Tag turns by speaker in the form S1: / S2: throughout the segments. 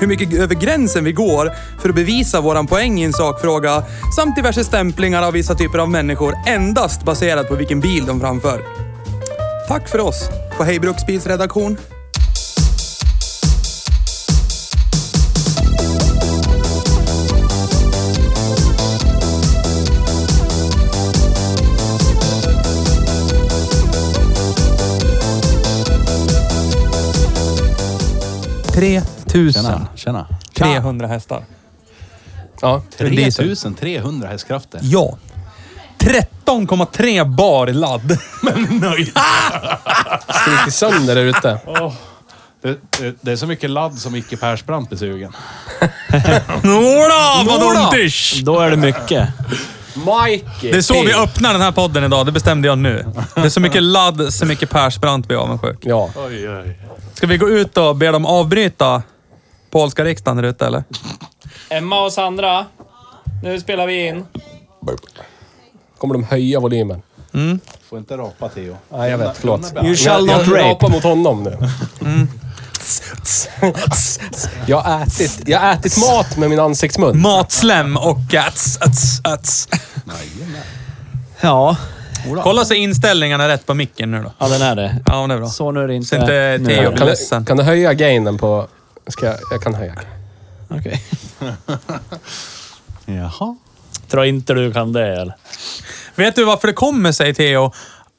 S1: Hur mycket över gränsen vi går för att bevisa våran poäng i en sakfråga samt diverse stämplingar av vissa typer av människor endast baserat på vilken bil de framför. Tack för oss på Hej Bruksbils redaktion.
S2: Tjena,
S3: 3000.
S2: tjena.
S1: 300 hästar.
S4: Ja.
S2: 3300 hästkrafter.
S3: Ja. 13,3 bar ladd.
S2: Nöjd.
S4: Skriker sönder där ute.
S2: Det, det, det är så mycket ladd som Micke Persbrandt blir sugen.
S3: Några, vad
S1: Några.
S3: ontish!
S5: Då är det mycket.
S4: Mikey!
S3: Det är så vi öppnar den här podden idag, det bestämde jag nu. Det är så mycket ladd, så mycket Persbrandt blir avundsjuk.
S4: Ja.
S2: Oj, oj.
S3: Ska vi gå ut och be dem avbryta polska riksdagen där ute eller?
S6: Emma och Sandra, nu spelar vi in.
S4: Kommer de höja volymen?
S2: Får inte rapa Theo.
S4: Nej, jag vet. Förlåt.
S5: You shall
S4: jag,
S5: not
S4: jag
S5: rape.
S4: rapar mot honom nu. jag, har ätit, jag har ätit mat med min ansiktsmun.
S3: Matslem och ats, ats, ats.
S5: Ja,
S3: Kolla så inställningarna är rätt på micken nu då.
S5: ja den är det.
S3: Ja, men det är bra.
S5: Så nu är det inte.
S3: Så inte
S5: nu är
S3: Theo
S5: det.
S3: blir
S4: Kan du,
S3: ledsen.
S4: kan du höja gainen på... Ska jag, jag kan höja.
S5: Okej.
S2: Jaha.
S5: Tror inte du kan det eller?
S3: Vet du varför det kommer sig, Theo,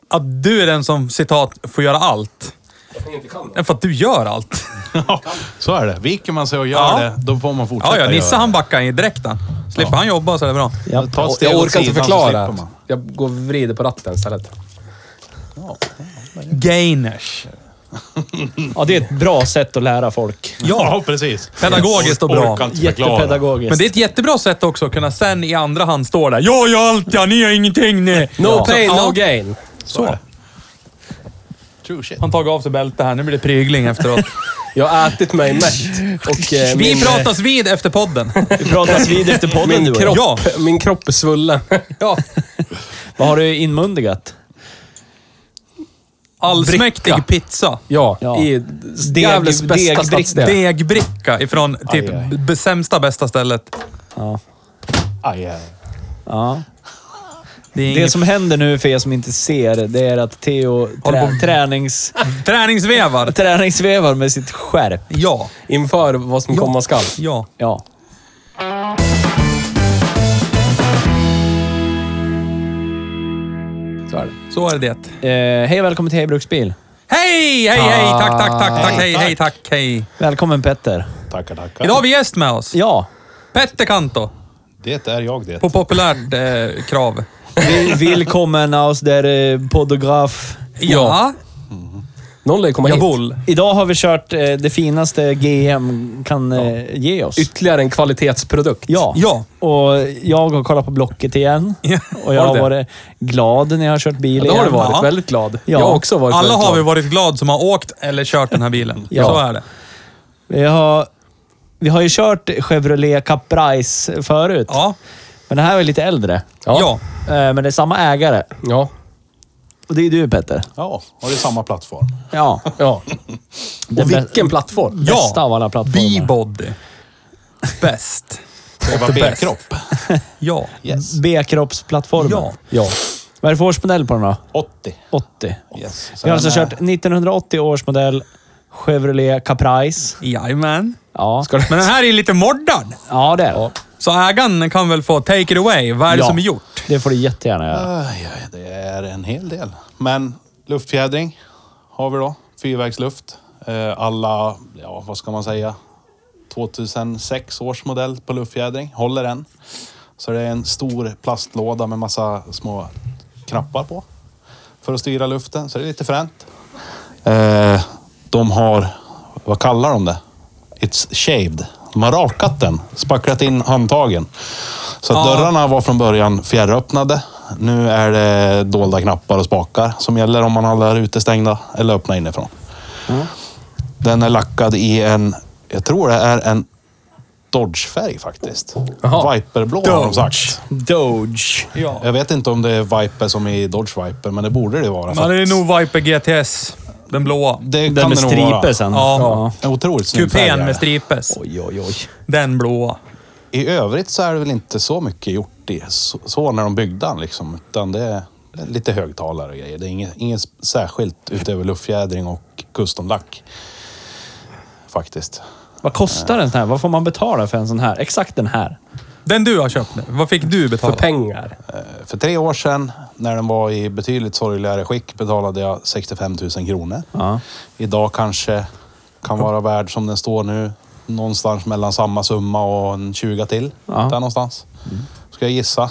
S3: att du är den som citat får göra allt? Nej, För att du gör allt.
S2: Så är det. Viker man sig och gör
S3: Ja.
S2: det, då får man fortsätta
S3: Ja, ja. Nisse
S2: göra
S3: han backar i direkten. Slipper han jobba så är det bra.
S5: Ja.
S2: det. Ta ett steg
S4: Jag
S2: åt
S4: orkar inte
S2: sidan så
S4: förklara.
S2: slipper man.
S4: Jag går och vrider på ratten istället.
S3: Gainers.
S5: ja, det är ett bra sätt att lära folk.
S2: Ja, precis.
S3: Pedagogiskt och bra.
S2: Orkar inte förklara.
S5: Jättepedagogiskt.
S3: Men det är ett jättebra sätt också att kunna sen i andra hand stå där. Jag gör allt ja, ni gör ingenting ni.
S4: No
S3: ja.
S4: pain,
S3: Ja.
S4: no gain.
S2: Så är det. True shit.
S3: Han tagit av sig bältet här, nu blir det prygling efteråt.
S4: Jag har ätit mig mätt. Och, eh, min,
S3: Vi pratas vid efter podden.
S5: Vi pratas vid efter podden
S4: min
S5: du och jag.
S4: kropp,
S3: Ja.
S4: min kropp är svullen.
S3: Ja.
S5: Vad har du inmundigat?
S3: Allsmäktig pizza.
S4: Ja,
S5: Ja. typ
S4: i Gävles bästa
S5: deg-
S4: stadsdel.
S3: Degbricka ifrån typ
S2: Aj, aj.
S3: b- sämsta bästa stället.
S5: Ja.
S2: Aj, aj.
S5: ja.
S3: Det är
S5: Det
S3: inget
S5: som händer nu för er som inte ser, det är att Theo
S3: Håller
S5: trä,
S3: på-
S5: tränings,
S3: Träningsvevar.
S5: träningsvevar med sitt skärp.
S3: Ja.
S4: Inför vad som komma skall.
S3: Ja.
S5: Ja.
S4: Så är det.
S3: Så är det.
S5: Eh, hej och välkommen till Hej Bruksbil.
S3: Hej, hej, hej! Tack, tack, tack, tack, hej, hej, tack, hej.
S5: Välkommen Petter.
S2: Tackar, tackar.
S3: Idag har vi gäst med oss.
S5: Ja,
S3: Petter Kanto.
S2: Det är jag det.
S3: På populärt eh, krav.
S5: vi, välkommen aus der eh, Podograf.
S3: Ja.
S4: Någon lär ju komma hit.
S3: Jawohl.
S5: Idag har vi kört eh, det finaste GM kan eh, ge oss.
S4: Ytterligare en kvalitetsprodukt.
S5: Ja.
S3: Ja.
S5: Och jag har kollat på Blocket igen.
S3: Ja,
S5: Och jag
S3: har
S5: har
S3: du
S5: varit glad när jag har kört bil
S4: Det har du
S5: igen.
S4: varit.
S3: Ja.
S4: Väldigt glad. Jag
S5: Ja.
S4: har också varit
S3: Alla
S4: väldigt
S3: har vi
S4: glad.
S3: varit glad som har åkt eller kört den här bilen.
S5: Ja.
S3: Så är det.
S5: Vi har, vi har ju kört Chevrolet Caprice förut.
S3: Ja.
S5: Men det här var lite äldre.
S3: Ja.
S5: Eh, Men det är samma ägare.
S4: Ja.
S5: Och det är du Petter.
S2: Ja, och det är samma plattform.
S5: Ja.
S4: ja.
S5: Den
S4: Och
S5: bä-
S4: vilken plattform.
S3: Ja.
S5: Bästa av alla plattformar.
S3: B-body. Bäst.
S2: Det var B-kropp.
S3: Ja.
S2: Yes.
S5: B-kroppsplattformen.
S3: Ja.
S4: Ja.
S5: Vad är det för årsmodell på den då?
S2: 80.
S5: 80.
S2: Yes.
S5: Vi har alltså
S2: Sen, eh,
S5: kört 1980 års modell Chevrolet Caprice.
S3: Jajamän.
S5: Ja,
S4: Ska du...
S3: Men den här är lite moddad.
S5: ja det är det.
S3: Så ägaren kan väl få take it away. Vad är det
S5: Ja.
S3: som är gjort?
S5: Det får du jättegärna göra.
S2: Aj, aj, det är en hel del. Men luftfjädring har vi då. Fyrvägsluft. Eh, Alla, ja vad ska man säga, 2006 års modell på luftfjädring. Håller än. Så det är en stor plastlåda med massa små knappar på. För att styra luften, så det är lite fränt. Eh, De har, vad kallar de det? It's shaved. De har rakat den, spacklat in handtagen. Så att
S3: Ja.
S2: dörrarna var från början fjärröppnade. Nu är det dolda knappar och spakar som gäller om man håller utestängda eller öppna inifrån.
S3: Mm.
S2: Den är lackad i en, jag tror det är en Dodge-färg faktiskt.
S4: Jaha.
S2: Viperblå har de sagt.
S5: Doge.
S3: Ja.
S2: Jag vet inte om det är Viper som i Dodge Viper, men det borde det vara. för
S3: Men det är
S2: att-
S3: nog Viper GTS. Den blåa.
S2: det kan
S5: Den med
S2: det nog vara.
S5: stripe sen.
S3: Ja.
S2: En otroligt snygg färg är
S3: Kupén
S2: det.
S3: med stripes.
S5: Oj, oj, oj.
S3: Den blåa.
S2: I övrigt så är det väl inte så mycket gjort i så, så när de byggde den liksom. Utan det är lite högtalare och grejer. Det är inget, inget särskilt utöver luftfjädring och custom-lack. Faktiskt.
S5: Vad kostar en sån här? Vad får man betala för en sån här? Exakt den här.
S3: Den du har köpt nu. Vad fick du
S4: För
S3: betala?
S4: pengar.
S2: För tre år sedan, när den var i betydligt sorgligare skick, betalade jag 65 000 kronor.
S5: Ja.
S2: Idag kanske kan vara värd som den står nu. Någonstans mellan samma summa och en 20 till.
S5: Ja.
S2: Där någonstans. Ska jag gissa.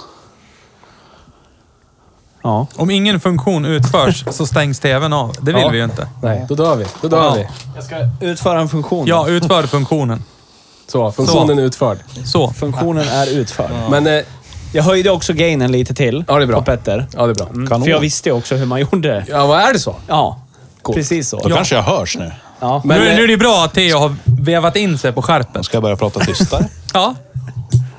S5: Ja.
S3: Om ingen funktion utförs så stängs tvn av. Det vill
S4: Ja.
S3: vi ju inte.
S4: Nej, då dör vi. Då dör
S3: Ja.
S4: vi.
S5: Jag ska utföra en funktion.
S3: Ja, utför funktionen.
S4: Så, funktionen är utförd.
S3: Så.
S5: Funktionen är utförd.
S4: Men, eh,
S5: Jag höjde också gainen lite till
S4: Ja, det är bra.
S5: på Petter.
S4: ja det är bra.
S5: Mm, För jag visste ju också hur man gjorde.
S4: Ja, vad är det så?
S5: Ja, precis så.
S2: Då kanske jag hörs nu.
S5: Ja.
S4: Men,
S3: nu,
S4: eh,
S3: nu är det ju bra att Theo har vevat in sig på skärpet.
S2: Ska jag börja prata tystare?
S3: Ja.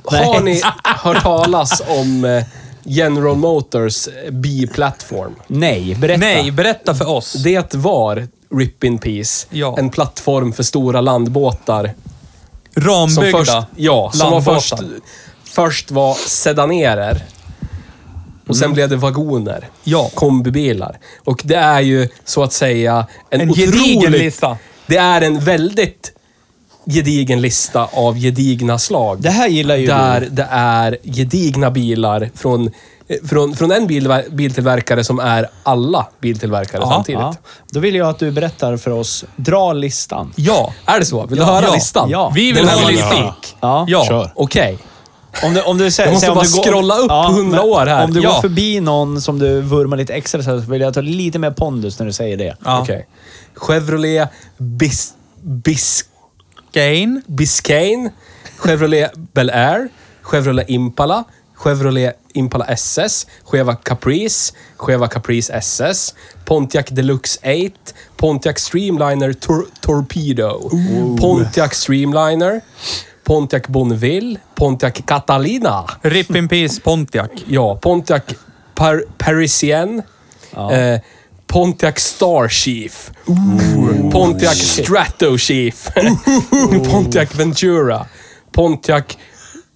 S4: Har ni hört talas om eh, General Motors eh, B-plattform?
S5: Nej, berätta.
S3: Nej, berätta för oss.
S4: Det var RIP in Peace.
S3: Ja.
S4: En plattform för stora landbåtar. Som
S3: Rambyggda.
S4: först, ja, som var
S3: landbåtar.
S4: först, först var sedanerer. Och sen blev det vagoner.
S3: Ja.
S4: Kombibilar. Och det är ju så att säga en,
S3: En gedigen
S4: otrolig...
S3: lista.
S4: Det är en väldigt gedigen lista av gedigna slag.
S5: Det här gillar ju
S4: Där
S5: du.
S4: det är gedigna bilar från, eh, från, från en bil, biltillverkare som är alla biltillverkare samtidigt.
S5: Ja. Då vill jag att du berättar för oss. Dra listan.
S3: Ja.
S4: Är det så? Vill du
S3: Ja.
S4: höra
S3: Ja.
S4: listan?
S5: Ja.
S3: Vi vill
S4: Den
S3: ha
S4: här
S3: listan.
S2: listan.
S5: Ja.
S3: Ja.
S2: Kör.
S4: Okej.
S5: Om du, om du, sä-
S4: Jag måste
S5: säg om
S4: bara
S5: du går-
S4: scrolla upp 100
S5: men
S4: år här.
S5: Om du
S3: Ja.
S5: går förbi någon som du vurmar lite extra så här, så vill jag ta lite mer pondus när du säger det.
S3: Ja.
S4: Okej. Chevrolet Bis, Bis,
S3: Gain.
S4: Biscayne, Chevrolet Bel Air, Chevrolet Impala, Chevrolet Impala SS, Cheva Caprice, Cheva Caprice SS, Pontiac Deluxe 8, Pontiac Streamliner Tor Torpedo, Pontiac Streamliner, Pontiac Bonneville, Pontiac Catalina,
S3: Rip in peace Pontiac.
S4: ja, Pontiac Par Parisienne, eh, Pontiac Star Chief. Pontiac Strato Chief. Pontiac Ventura. Pontiac...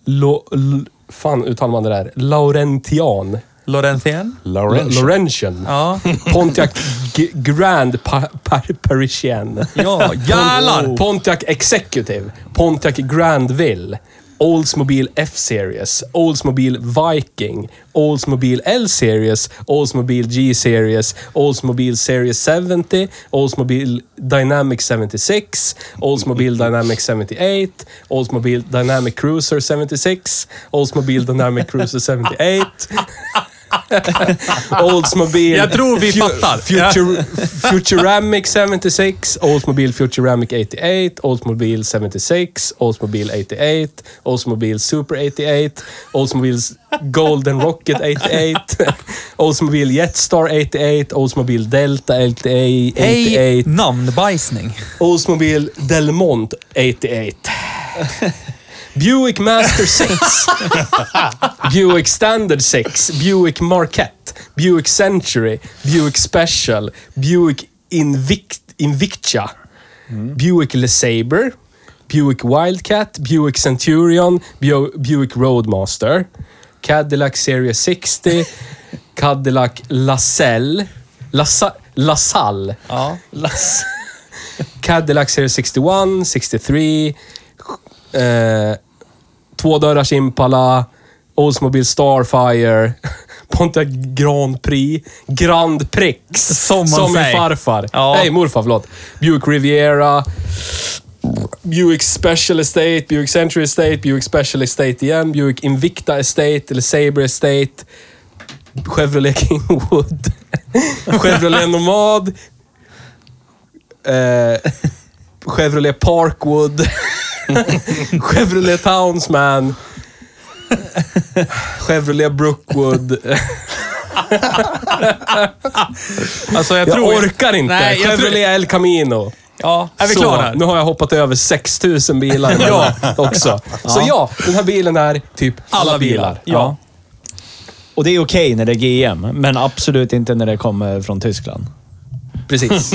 S4: Lo, l, fan uttalar man det där? Laurentian.
S3: Lorenzien.
S2: Lawrence.
S4: Laurentian.
S3: Ja.
S4: Pontiac G- Grand pa, pa, Parisienne.
S3: Ja, jävlar!
S4: Pontiac Executive, Pontiac Grandville, Oldsmobile F-Series, Oldsmobile Viking, Oldsmobile L-Series, Oldsmobile G-Series, Oldsmobile Series 70, Oldsmobile Dynamic 76, Oldsmobile Dynamic 78, Oldsmobile Dynamic Cruiser 76, Oldsmobile Dynamic Cruiser 78, Oldsmobile...
S3: Jag tror vi fattar.
S4: Future, Futuramic 76, Oldsmobile Futuramic 88, Oldsmobile 76, Oldsmobile 88, Oldsmobile Super 88, Oldsmobile Golden Rocket 88, Oldsmobile Jetstar 88, Oldsmobile Delta 88,
S3: Hej namnbajsning.
S4: Oldsmobile Delmont 88. Buick Master 6. Buick Standard 6. Buick Marquette. Buick Century. Buick Special. Buick Invict Invictia. Buick LeSabre. Buick Wildcat. Buick Centurion. Bu Buick Roadmaster. Cadillac Series 60. Cadillac LaSalle. Lasa LaSalle.
S3: Ja.
S4: Las- Cadillac Series 61, 63, eh, tvådörrars Impala, Oldsmobile Starfire, Pontiac Grand Prix, Grand Prix.
S3: Som man
S4: min
S3: säger.
S4: farfar.
S3: Ja.
S4: Nej, morfar, förlåt. Buick Riviera, Buick Special Estate, Buick Century Estate, Buick Special Estate igen, Buick Invicta Estate, eller Sabre Estate, Chevrolet Kingwood, Chevrolet Nomad, eh, Chevrolet Parkwood, Chevrolet Townsman, Chevrolet Brookwood,
S3: Alltså jag,
S4: Jag
S3: tror...
S4: orkar inte.
S3: Nej, jag tror...
S4: Chevrolet El Camino.
S3: Ja, är vi
S4: Så,
S3: klara?
S4: Nu har jag hoppat över 6000 bilar ja. också. Så ja, den här bilen är typ alla, bilar.
S3: Ja.
S5: Och det är okej när det är GM, men absolut inte när det kommer från Tyskland.
S4: Precis.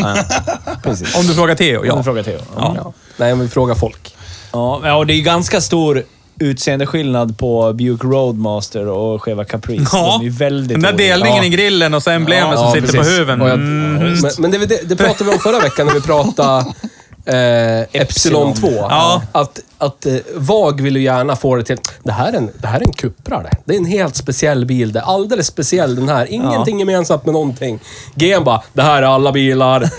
S5: Precis.
S3: Om du frågar Theo,
S5: Ja.
S3: ja.
S5: Fråga Theo. Ja.
S3: ja.
S4: Nej, men vi frågar folk.
S5: Ja. ja, och det är ganska stor utseendeskillnad på Buick Roadmaster och Cheva Caprice.
S3: Ja.
S5: De är väldigt
S3: Den där
S5: olika.
S3: delningen i grillen och så emblemet som sitter på
S4: precis.
S3: huven.
S4: Och jag-
S3: Mm.
S4: Men, men det, var det, det pratade vi om förra veckan när vi pratade eh, Epsilon 2.
S3: Ja.
S4: Att, att eh, VAG vill ju gärna få det till... Det här är en, det här är en Cupra det. Det är en helt speciell bil det. är Alldeles speciell den här. Ingenting gemensamt med någonting. GM bara, det här är alla bilar.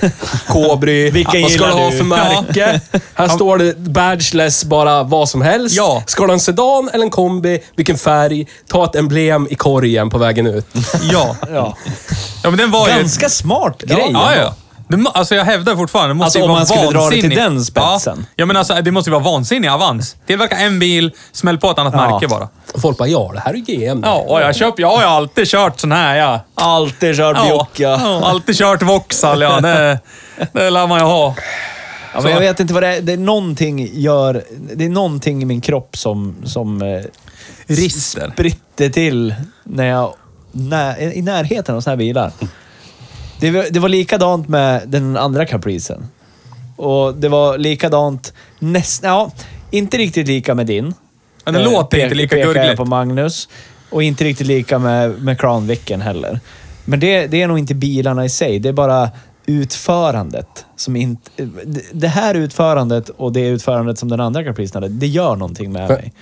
S4: Kobry.
S5: Vilken
S4: vad ska
S5: gillar
S4: du ha
S5: du?
S4: för märke? Här står det badgeless, bara vad som helst.
S3: Ja.
S4: Ska du ha en sedan eller en kombi? Vilken färg? Ta ett emblem i korgen på vägen ut.
S3: Ja.
S5: Ja.
S3: ja, men den var ju...
S5: Ganska smart grej.
S3: Ja, ja. Det, må- alltså jag hävdar fortfarande, det måste
S5: Alltså,
S3: ju
S5: om
S3: vara
S5: man skulle dra det till
S3: vansinnig.
S5: den spetsen.
S3: Ja, ja, men alltså, det måste ju vara vansinnig avans. Tillverka en bil, smäll på ett annat
S5: Ja.
S3: märke bara.
S4: Och folk bara, ja, det här är GM.
S3: Ja, och jag, köp, jag har ju alltid kört sån här. Ja.
S5: Alltid kört
S3: Ja,
S5: Buick, ja.
S3: ja, alltid kört Vauxhall, ja. Det, det lär man ju ha.
S5: Ja, men jag vet inte vad det är. Det är någonting, gör, det är någonting i min kropp som, som eh,
S3: Rister.
S5: spritter till när jag, när, i närheten av såna här bilar. Det, var- det var likadant med den andra Capricen. Och det var likadant nästan... Ja, inte riktigt lika med din.
S3: Men den
S5: Eh,
S3: låter inte
S5: pe-
S3: lika
S5: pekar jag
S3: gurgligt.
S5: på Magnus. Och inte riktigt lika med, med Crown Vicken heller. Men det, det är nog inte bilarna i sig. Det är bara utförandet. Som inte, det- det här utförandet och det utförandet som den andra Capricen hade, det gör någonting med mig.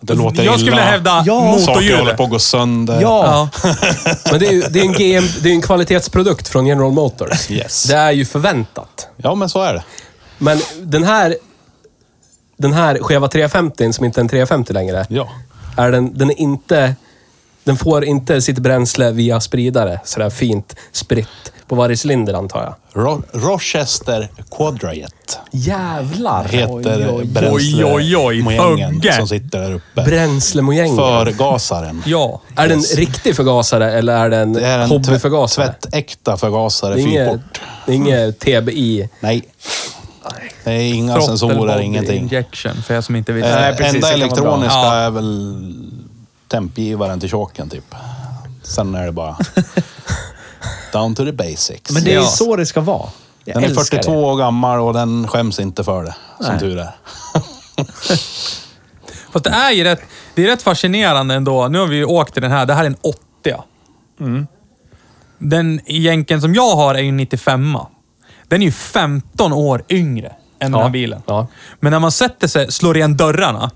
S2: Det låter
S3: Jag skulle
S2: illa.
S3: vilja hävda
S5: Ja.
S2: Saker håller
S3: motorhjulet.
S2: på att gå sönder.
S5: Ja,
S3: Ja.
S4: Men det är ju det är en, GM, det är en kvalitetsprodukt från General Motors.
S2: Yes.
S4: Det är ju förväntat.
S2: ja, men så är det.
S4: Men den här, den här skeva 350 som inte är en 350 längre,
S2: Ja.
S4: är den, den är inte... Den får inte sitt bränsle via spridare, sådär fint spritt på varje cylinder antar jag.
S2: Ro Rochester Quadrajet
S4: Jävlar!
S2: heter
S5: Oj, oj,
S2: bränsle-
S3: oj, oj,
S2: mojängen
S3: Fugge.
S2: som sitter där uppe.
S4: Bränslemojängen.
S2: Förgasaren.
S3: Ja.
S4: Är den riktig förgasare eller är den
S2: Det är en
S4: hobbyförgasare?
S2: tvätt- tvättäkta förgasare,
S4: Det är
S2: fyrport.
S4: inget- det är inget TBI.
S2: Nej. Det är inga
S3: Throttle
S2: sensorer,
S3: body
S2: ingenting.
S3: Injection, för jag som inte vet.
S2: Eh,
S5: Nej, precis,
S2: enda
S5: det kan vara bra.
S2: elektroniska
S3: Ja.
S2: är väl tempgivaren till choken typ. Sen är det bara down to the basics.
S5: men det är ju
S3: Ja.
S5: så det ska vara. Jag
S2: den är
S5: älskar
S2: 42
S5: det.
S2: år gammal och den skäms inte för det, som
S5: Nej.
S2: tur är.
S3: Fast det är ju rätt, det är rätt fascinerande ändå. Nu har vi ju åkt i den här. Det här är en 80. Den jänken som jag har är ju en 95. Den är ju 15 år yngre än den här bilen.
S4: ja.
S3: Men när man sätter sig, slår igen dörrarna,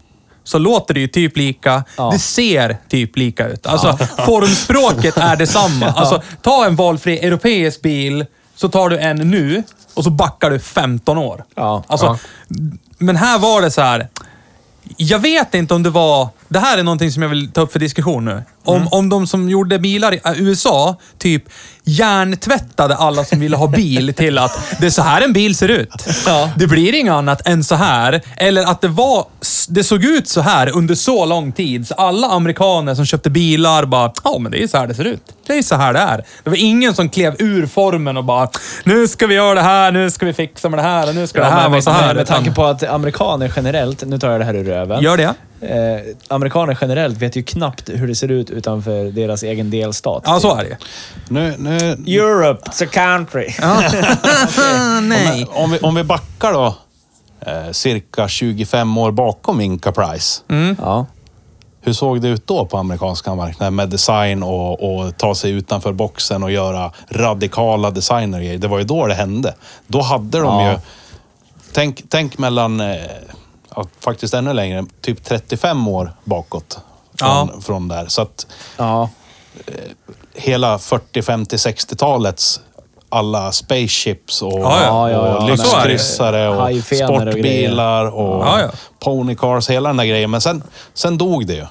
S3: så låter det ju typ lika. Det ser typ lika ut. Alltså, formspråket är detsamma. Alltså, ta en valfri europeisk bil, så tar du en nu och så backar du 15 år.
S5: Ja.
S3: Alltså, Men här var det så här. Jag vet inte om det var... Det här är någonting som jag vill ta upp för diskussion nu. Om,
S5: Mm.
S3: om de som gjorde bilar i äh, USA, typ hjärntvättade alla som ville ha bil till att det är så här en bil ser ut. Det blir inget annat än så här. Eller att det var... Det såg ut så här under så lång tid. Så alla amerikaner som köpte bilar bara, ja men det är så här det ser ut. Det är så här det är. Det var ingen som klev ur formen och bara, nu ska vi göra det här, nu ska vi fixa med det här och nu ska det här
S5: Ja,
S3: vara
S5: men,
S3: så här.
S5: men, med tanke
S3: Utan-
S5: på att amerikaner generellt, nu tar jag det här ur röven.
S3: Gör det.
S5: Eh, amerikaner generellt vet ju knappt hur det ser ut utanför deras egen delstat.
S3: Ja, så är det ju.
S2: Nu, nu,
S5: Europe, it's a country.
S3: Nej.
S2: om, vi, om vi backar då eh, cirka 25 år bakom Inca Price.
S5: Ja.
S2: Hur såg det ut då på amerikanska marknaden med design och, och ta sig utanför boxen och göra radikala designer och grejer? Det var ju då det hände. Då hade de
S5: Ja.
S2: ju... Tänk, tänk mellan, eh, ja, faktiskt ännu längre, typ 35 år bakåt från,
S3: Ja.
S2: från där. Så att
S5: ja.
S2: hela 40, 50, 60-talets alla spaceships och,
S3: Ja, ja.
S5: Ja, ja, ja.
S2: och lyxkryssare och
S5: Hajfenor och
S2: sportbilar och
S3: Ja, ja.
S2: ponycars, hela den där grejen. Men sen, sen dog det ju.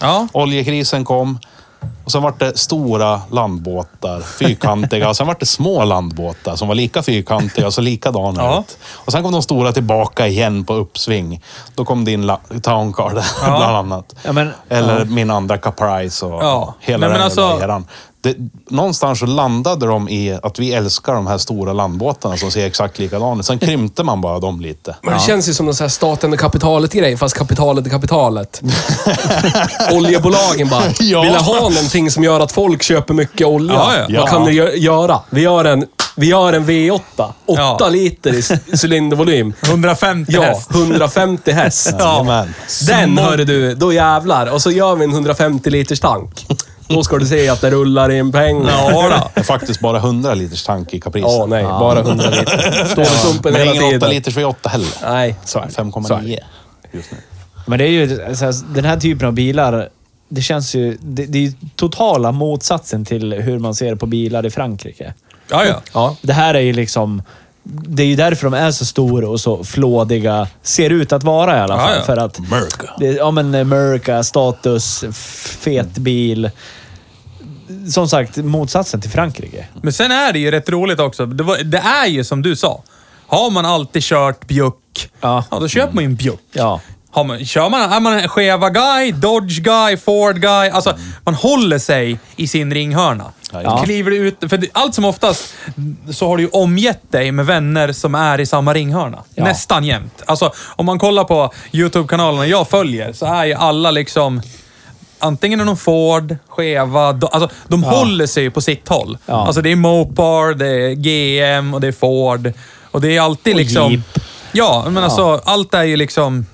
S3: Ja.
S2: Oljekrisen kom. Och Och sen vart det stora landbåtar, fyrkantiga. Och sen vart det små landbåtar som var lika fyrkantiga och så likadana
S3: Ja.
S2: ut. Och sen kom de stora tillbaka igen på uppsving. Då kom din la- Town Car där, bland annat.
S5: Ja, men-
S2: Eller min andra Caprice och
S3: Ja.
S2: hela
S3: Nej, men
S2: den
S3: alltså-
S2: jävla eran. Det, någonstans så landade de i att vi älskar de här stora landbåtarna som ser exakt likadana ut. Sen krympte man bara dem lite.
S4: Men det känns ju som någon sån här staten och kapitalet-grej, fast kapitalet är kapitalet. Oljebolagen bara,
S2: Ja.
S4: vill jag ha någonting som gör att folk köper mycket olja?
S3: Ja, ja.
S4: Vad
S2: Ja.
S4: kan ni gö- göra? Vi gör en, vi gör en V8, 8
S3: Ja.
S4: liter i s- cylindervolym.
S3: 150
S4: Ja,
S3: häst.
S4: 150 häst.
S2: Jajamän.
S4: Den hörde du, då jävlar. Och så gör vi en 150 liters tank. Då ska du se att det rullar in pengar.
S3: Ja, då.
S2: Det är faktiskt bara 100 liters tank i Caprice.
S4: Ja, nej. Bara 100 liter. Står i sumpen
S2: Men det är
S4: hela
S2: ingen 8
S4: tiden.
S2: liters V8 heller.
S4: Nej, så är det. Så är det.
S2: 5,9 just nu.
S5: Men det är ju så här, den här typen av bilar. Det känns ju... Det, det är ju totala motsatsen till hur man ser på bilar i Frankrike.
S3: Ja, ja.
S4: Ja.
S5: Det här är ju liksom... Det är ju därför de är så stora och så flådiga. Ser ut att vara i alla fall.
S3: Ja, ja.
S5: För att...
S2: America.
S5: Det, ja, men America, status, fet bil. Som sagt, motsatsen till Frankrike.
S3: Men sen är det ju rätt roligt också. Det, var, det är ju som du sa. Har man alltid kört bjuck,
S5: Ja.
S3: då köper man ju en bjuck.
S5: Ja.
S3: Har man, kör man, är man en Cheva guy, Dodge guy, Ford guy. Alltså, man håller sig i sin ringhörna.
S5: Ja.
S3: Kliver du ut, för det- allt som oftast så har du ju omgett dig med vänner som är i samma ringhörna.
S5: Ja.
S3: Nästan jämt. Alltså, om man kollar på YouTube-kanalerna jag följer så är ju alla liksom... Antingen är de Ford, Cheva, do, alltså de håller sig ju på sitt håll.
S5: Ja.
S3: Alltså det är Mopar, det är GM och det är Ford. Och det är alltid liksom...
S5: Jeep.
S3: Ja, men alltså allt är ju liksom...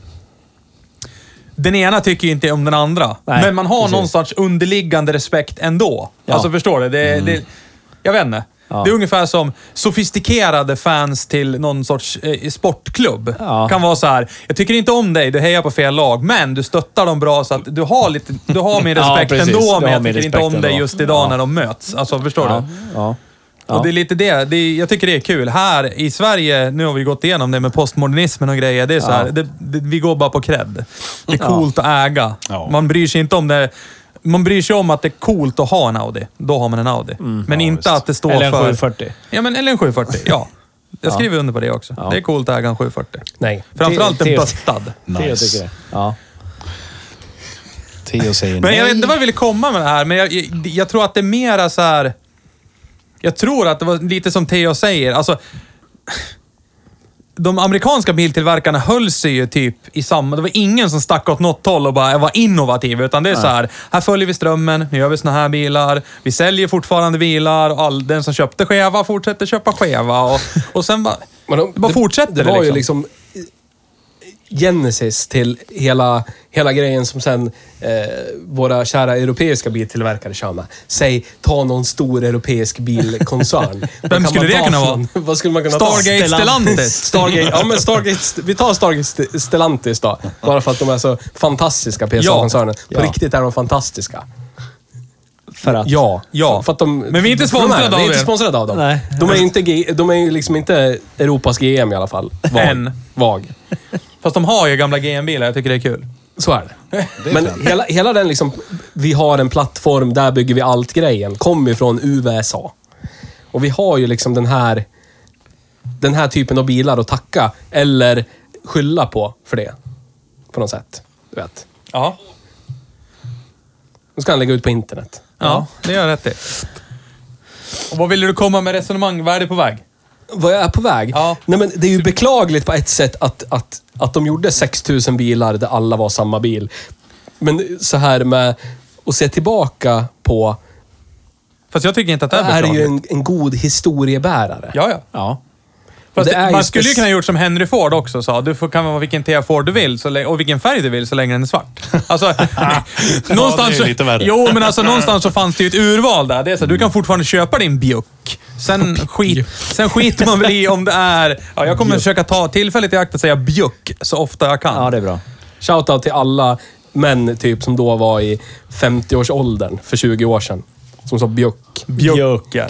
S3: Den ena tycker ju inte om den andra.
S5: Nej,
S3: men man har
S5: precis.
S3: någon sorts underliggande respekt ändå.
S5: Ja. Mm.
S3: Alltså förstår du? Det, det, jag vet inte.
S5: Ja.
S3: Det är ungefär som sofistikerade fans till någon sorts eh, sportklubb.
S5: Ja.
S3: Kan vara så här. jag tycker inte om dig, du hejar på fel lag, men du stöttar dem bra så att du har, lite, du har min
S5: Ja,
S3: respekt
S5: precis. Du
S3: ändå,
S5: har
S3: men jag
S5: min
S3: tycker inte
S5: respekt
S3: om dig
S5: ändå.
S3: just idag
S5: Ja.
S3: när de möts. Alltså förstår
S5: Ja.
S3: du?
S5: ja.
S3: Och det är lite det. det är, jag tycker det är kul. Här i Sverige, nu har vi gått igenom det med postmodernismen och grejer. Det är så här, det, det, vi går bara på cred. Det är coolt att äga.
S2: Ja.
S3: Man bryr sig inte om det. Man bryr sig om att det är coolt att ha en Audi. Då har man en Audi. Men
S2: Mm. Ja,
S3: inte
S2: visst.
S3: att det står
S5: Eller en
S3: för...
S5: 740.
S3: Ja, men, eller en 740. Ja. Jag skriver under på det också. Det är coolt att äga en 740.
S4: Nej.
S3: Framförallt en
S5: Det- det-
S3: böttad.
S5: Det jag tycker
S2: Nice.
S5: det. Ja.
S2: Theo säger
S3: Men jag vet
S2: nej.
S3: inte vad jag ville komma med det här, men jag, jag, jag tror att det är mera så här... Jag tror att det var lite som Theo säger. Alltså, de amerikanska biltillverkarna höll sig ju typ i samma... Det var ingen som stack åt något håll och bara var innovativ, utan det är så här. Här följer vi strömmen, nu gör vi såna här bilar. Vi säljer fortfarande bilar och all, den som köpte skeva fortsätter köpa skeva. Och, och sen bara...
S4: Men de-
S3: bara fortsätter
S4: det
S3: det,
S4: var
S3: liksom.
S4: ju liksom genesis till hela, hela grejen som sen eh, våra kära europeiska biltillverkare kör med. Säg, ta någon stor europeisk bilkoncern. Vad kan
S3: skulle
S4: man
S3: det
S4: ta
S3: kunna
S4: för
S3: vara?
S4: någon? Vad skulle man kunna
S3: Stargate
S4: ta?
S3: Stellantis.
S4: Stargate, ja men Stargate, St- vi tar Stargate St- Stellantis då. Bara för att de är så fantastiska PSA-koncernen.
S5: Ja.
S4: På riktigt är de fantastiska.
S5: För att...
S4: Ja.
S3: Ja.
S4: För att de,
S3: Men vi är inte
S4: för de
S3: sponsrade
S4: det.
S3: av
S4: Vi är inte
S3: er.
S4: sponsrade av dem.
S5: Nej.
S4: De är ju inte, G- de är ju liksom inte Europas GM i alla fall. Vag.
S3: Än.
S4: Vag.
S3: Fast de har ju gamla GM-bilar, jag tycker det är kul.
S4: Så är det.
S2: Det är
S4: Men
S2: fränt.
S4: hela, hela den liksom, vi har en plattform, där bygger vi allt-grejen, kommer ju från USA. Och vi har ju liksom den här, den här typen av bilar att tacka, eller skylla på för det. På något sätt. Du vet.
S3: Ja.
S4: Nu ska han lägga ut på internet.
S3: Ja, det gör jag rätt i. Och vad ville du komma med resonemang? Vad är du på väg?
S4: Vad jag är på väg?
S3: Ja.
S4: Nej, men det är ju beklagligt på ett sätt att, att, att de gjorde 6000 bilar där alla var samma bil. Men så här med att se tillbaka på,
S3: Fast jag tycker inte att det
S4: det
S3: är
S4: är ju
S3: beklagligt.
S4: en, en god historiebärare.
S3: Ja, ja.
S5: Ja.
S3: Fast
S4: Det är ju
S3: man skulle ju
S4: spec-
S3: kunna ha gjort som Henry Ford också sa. Du får, kan vara vilken TF Ford du vill så lä- och vilken färg du vill så länge den är svart. Alltså, någonstans...
S2: ju lite värre.
S3: Jo, men alltså någonstans så fanns det ju ett urval där. Det är så, du kan fortfarande köpa din bjuck. Sen, skit, sen skiter man väl i om det är... Ja, jag kommer försöka ta tillfället i akt att säga bjuck så ofta jag kan.
S5: Ja, det är bra.
S4: Shoutout till alla män typ som då var i 50-årsåldern för 20 år sedan. Som sa bjuck.
S3: Bjucken.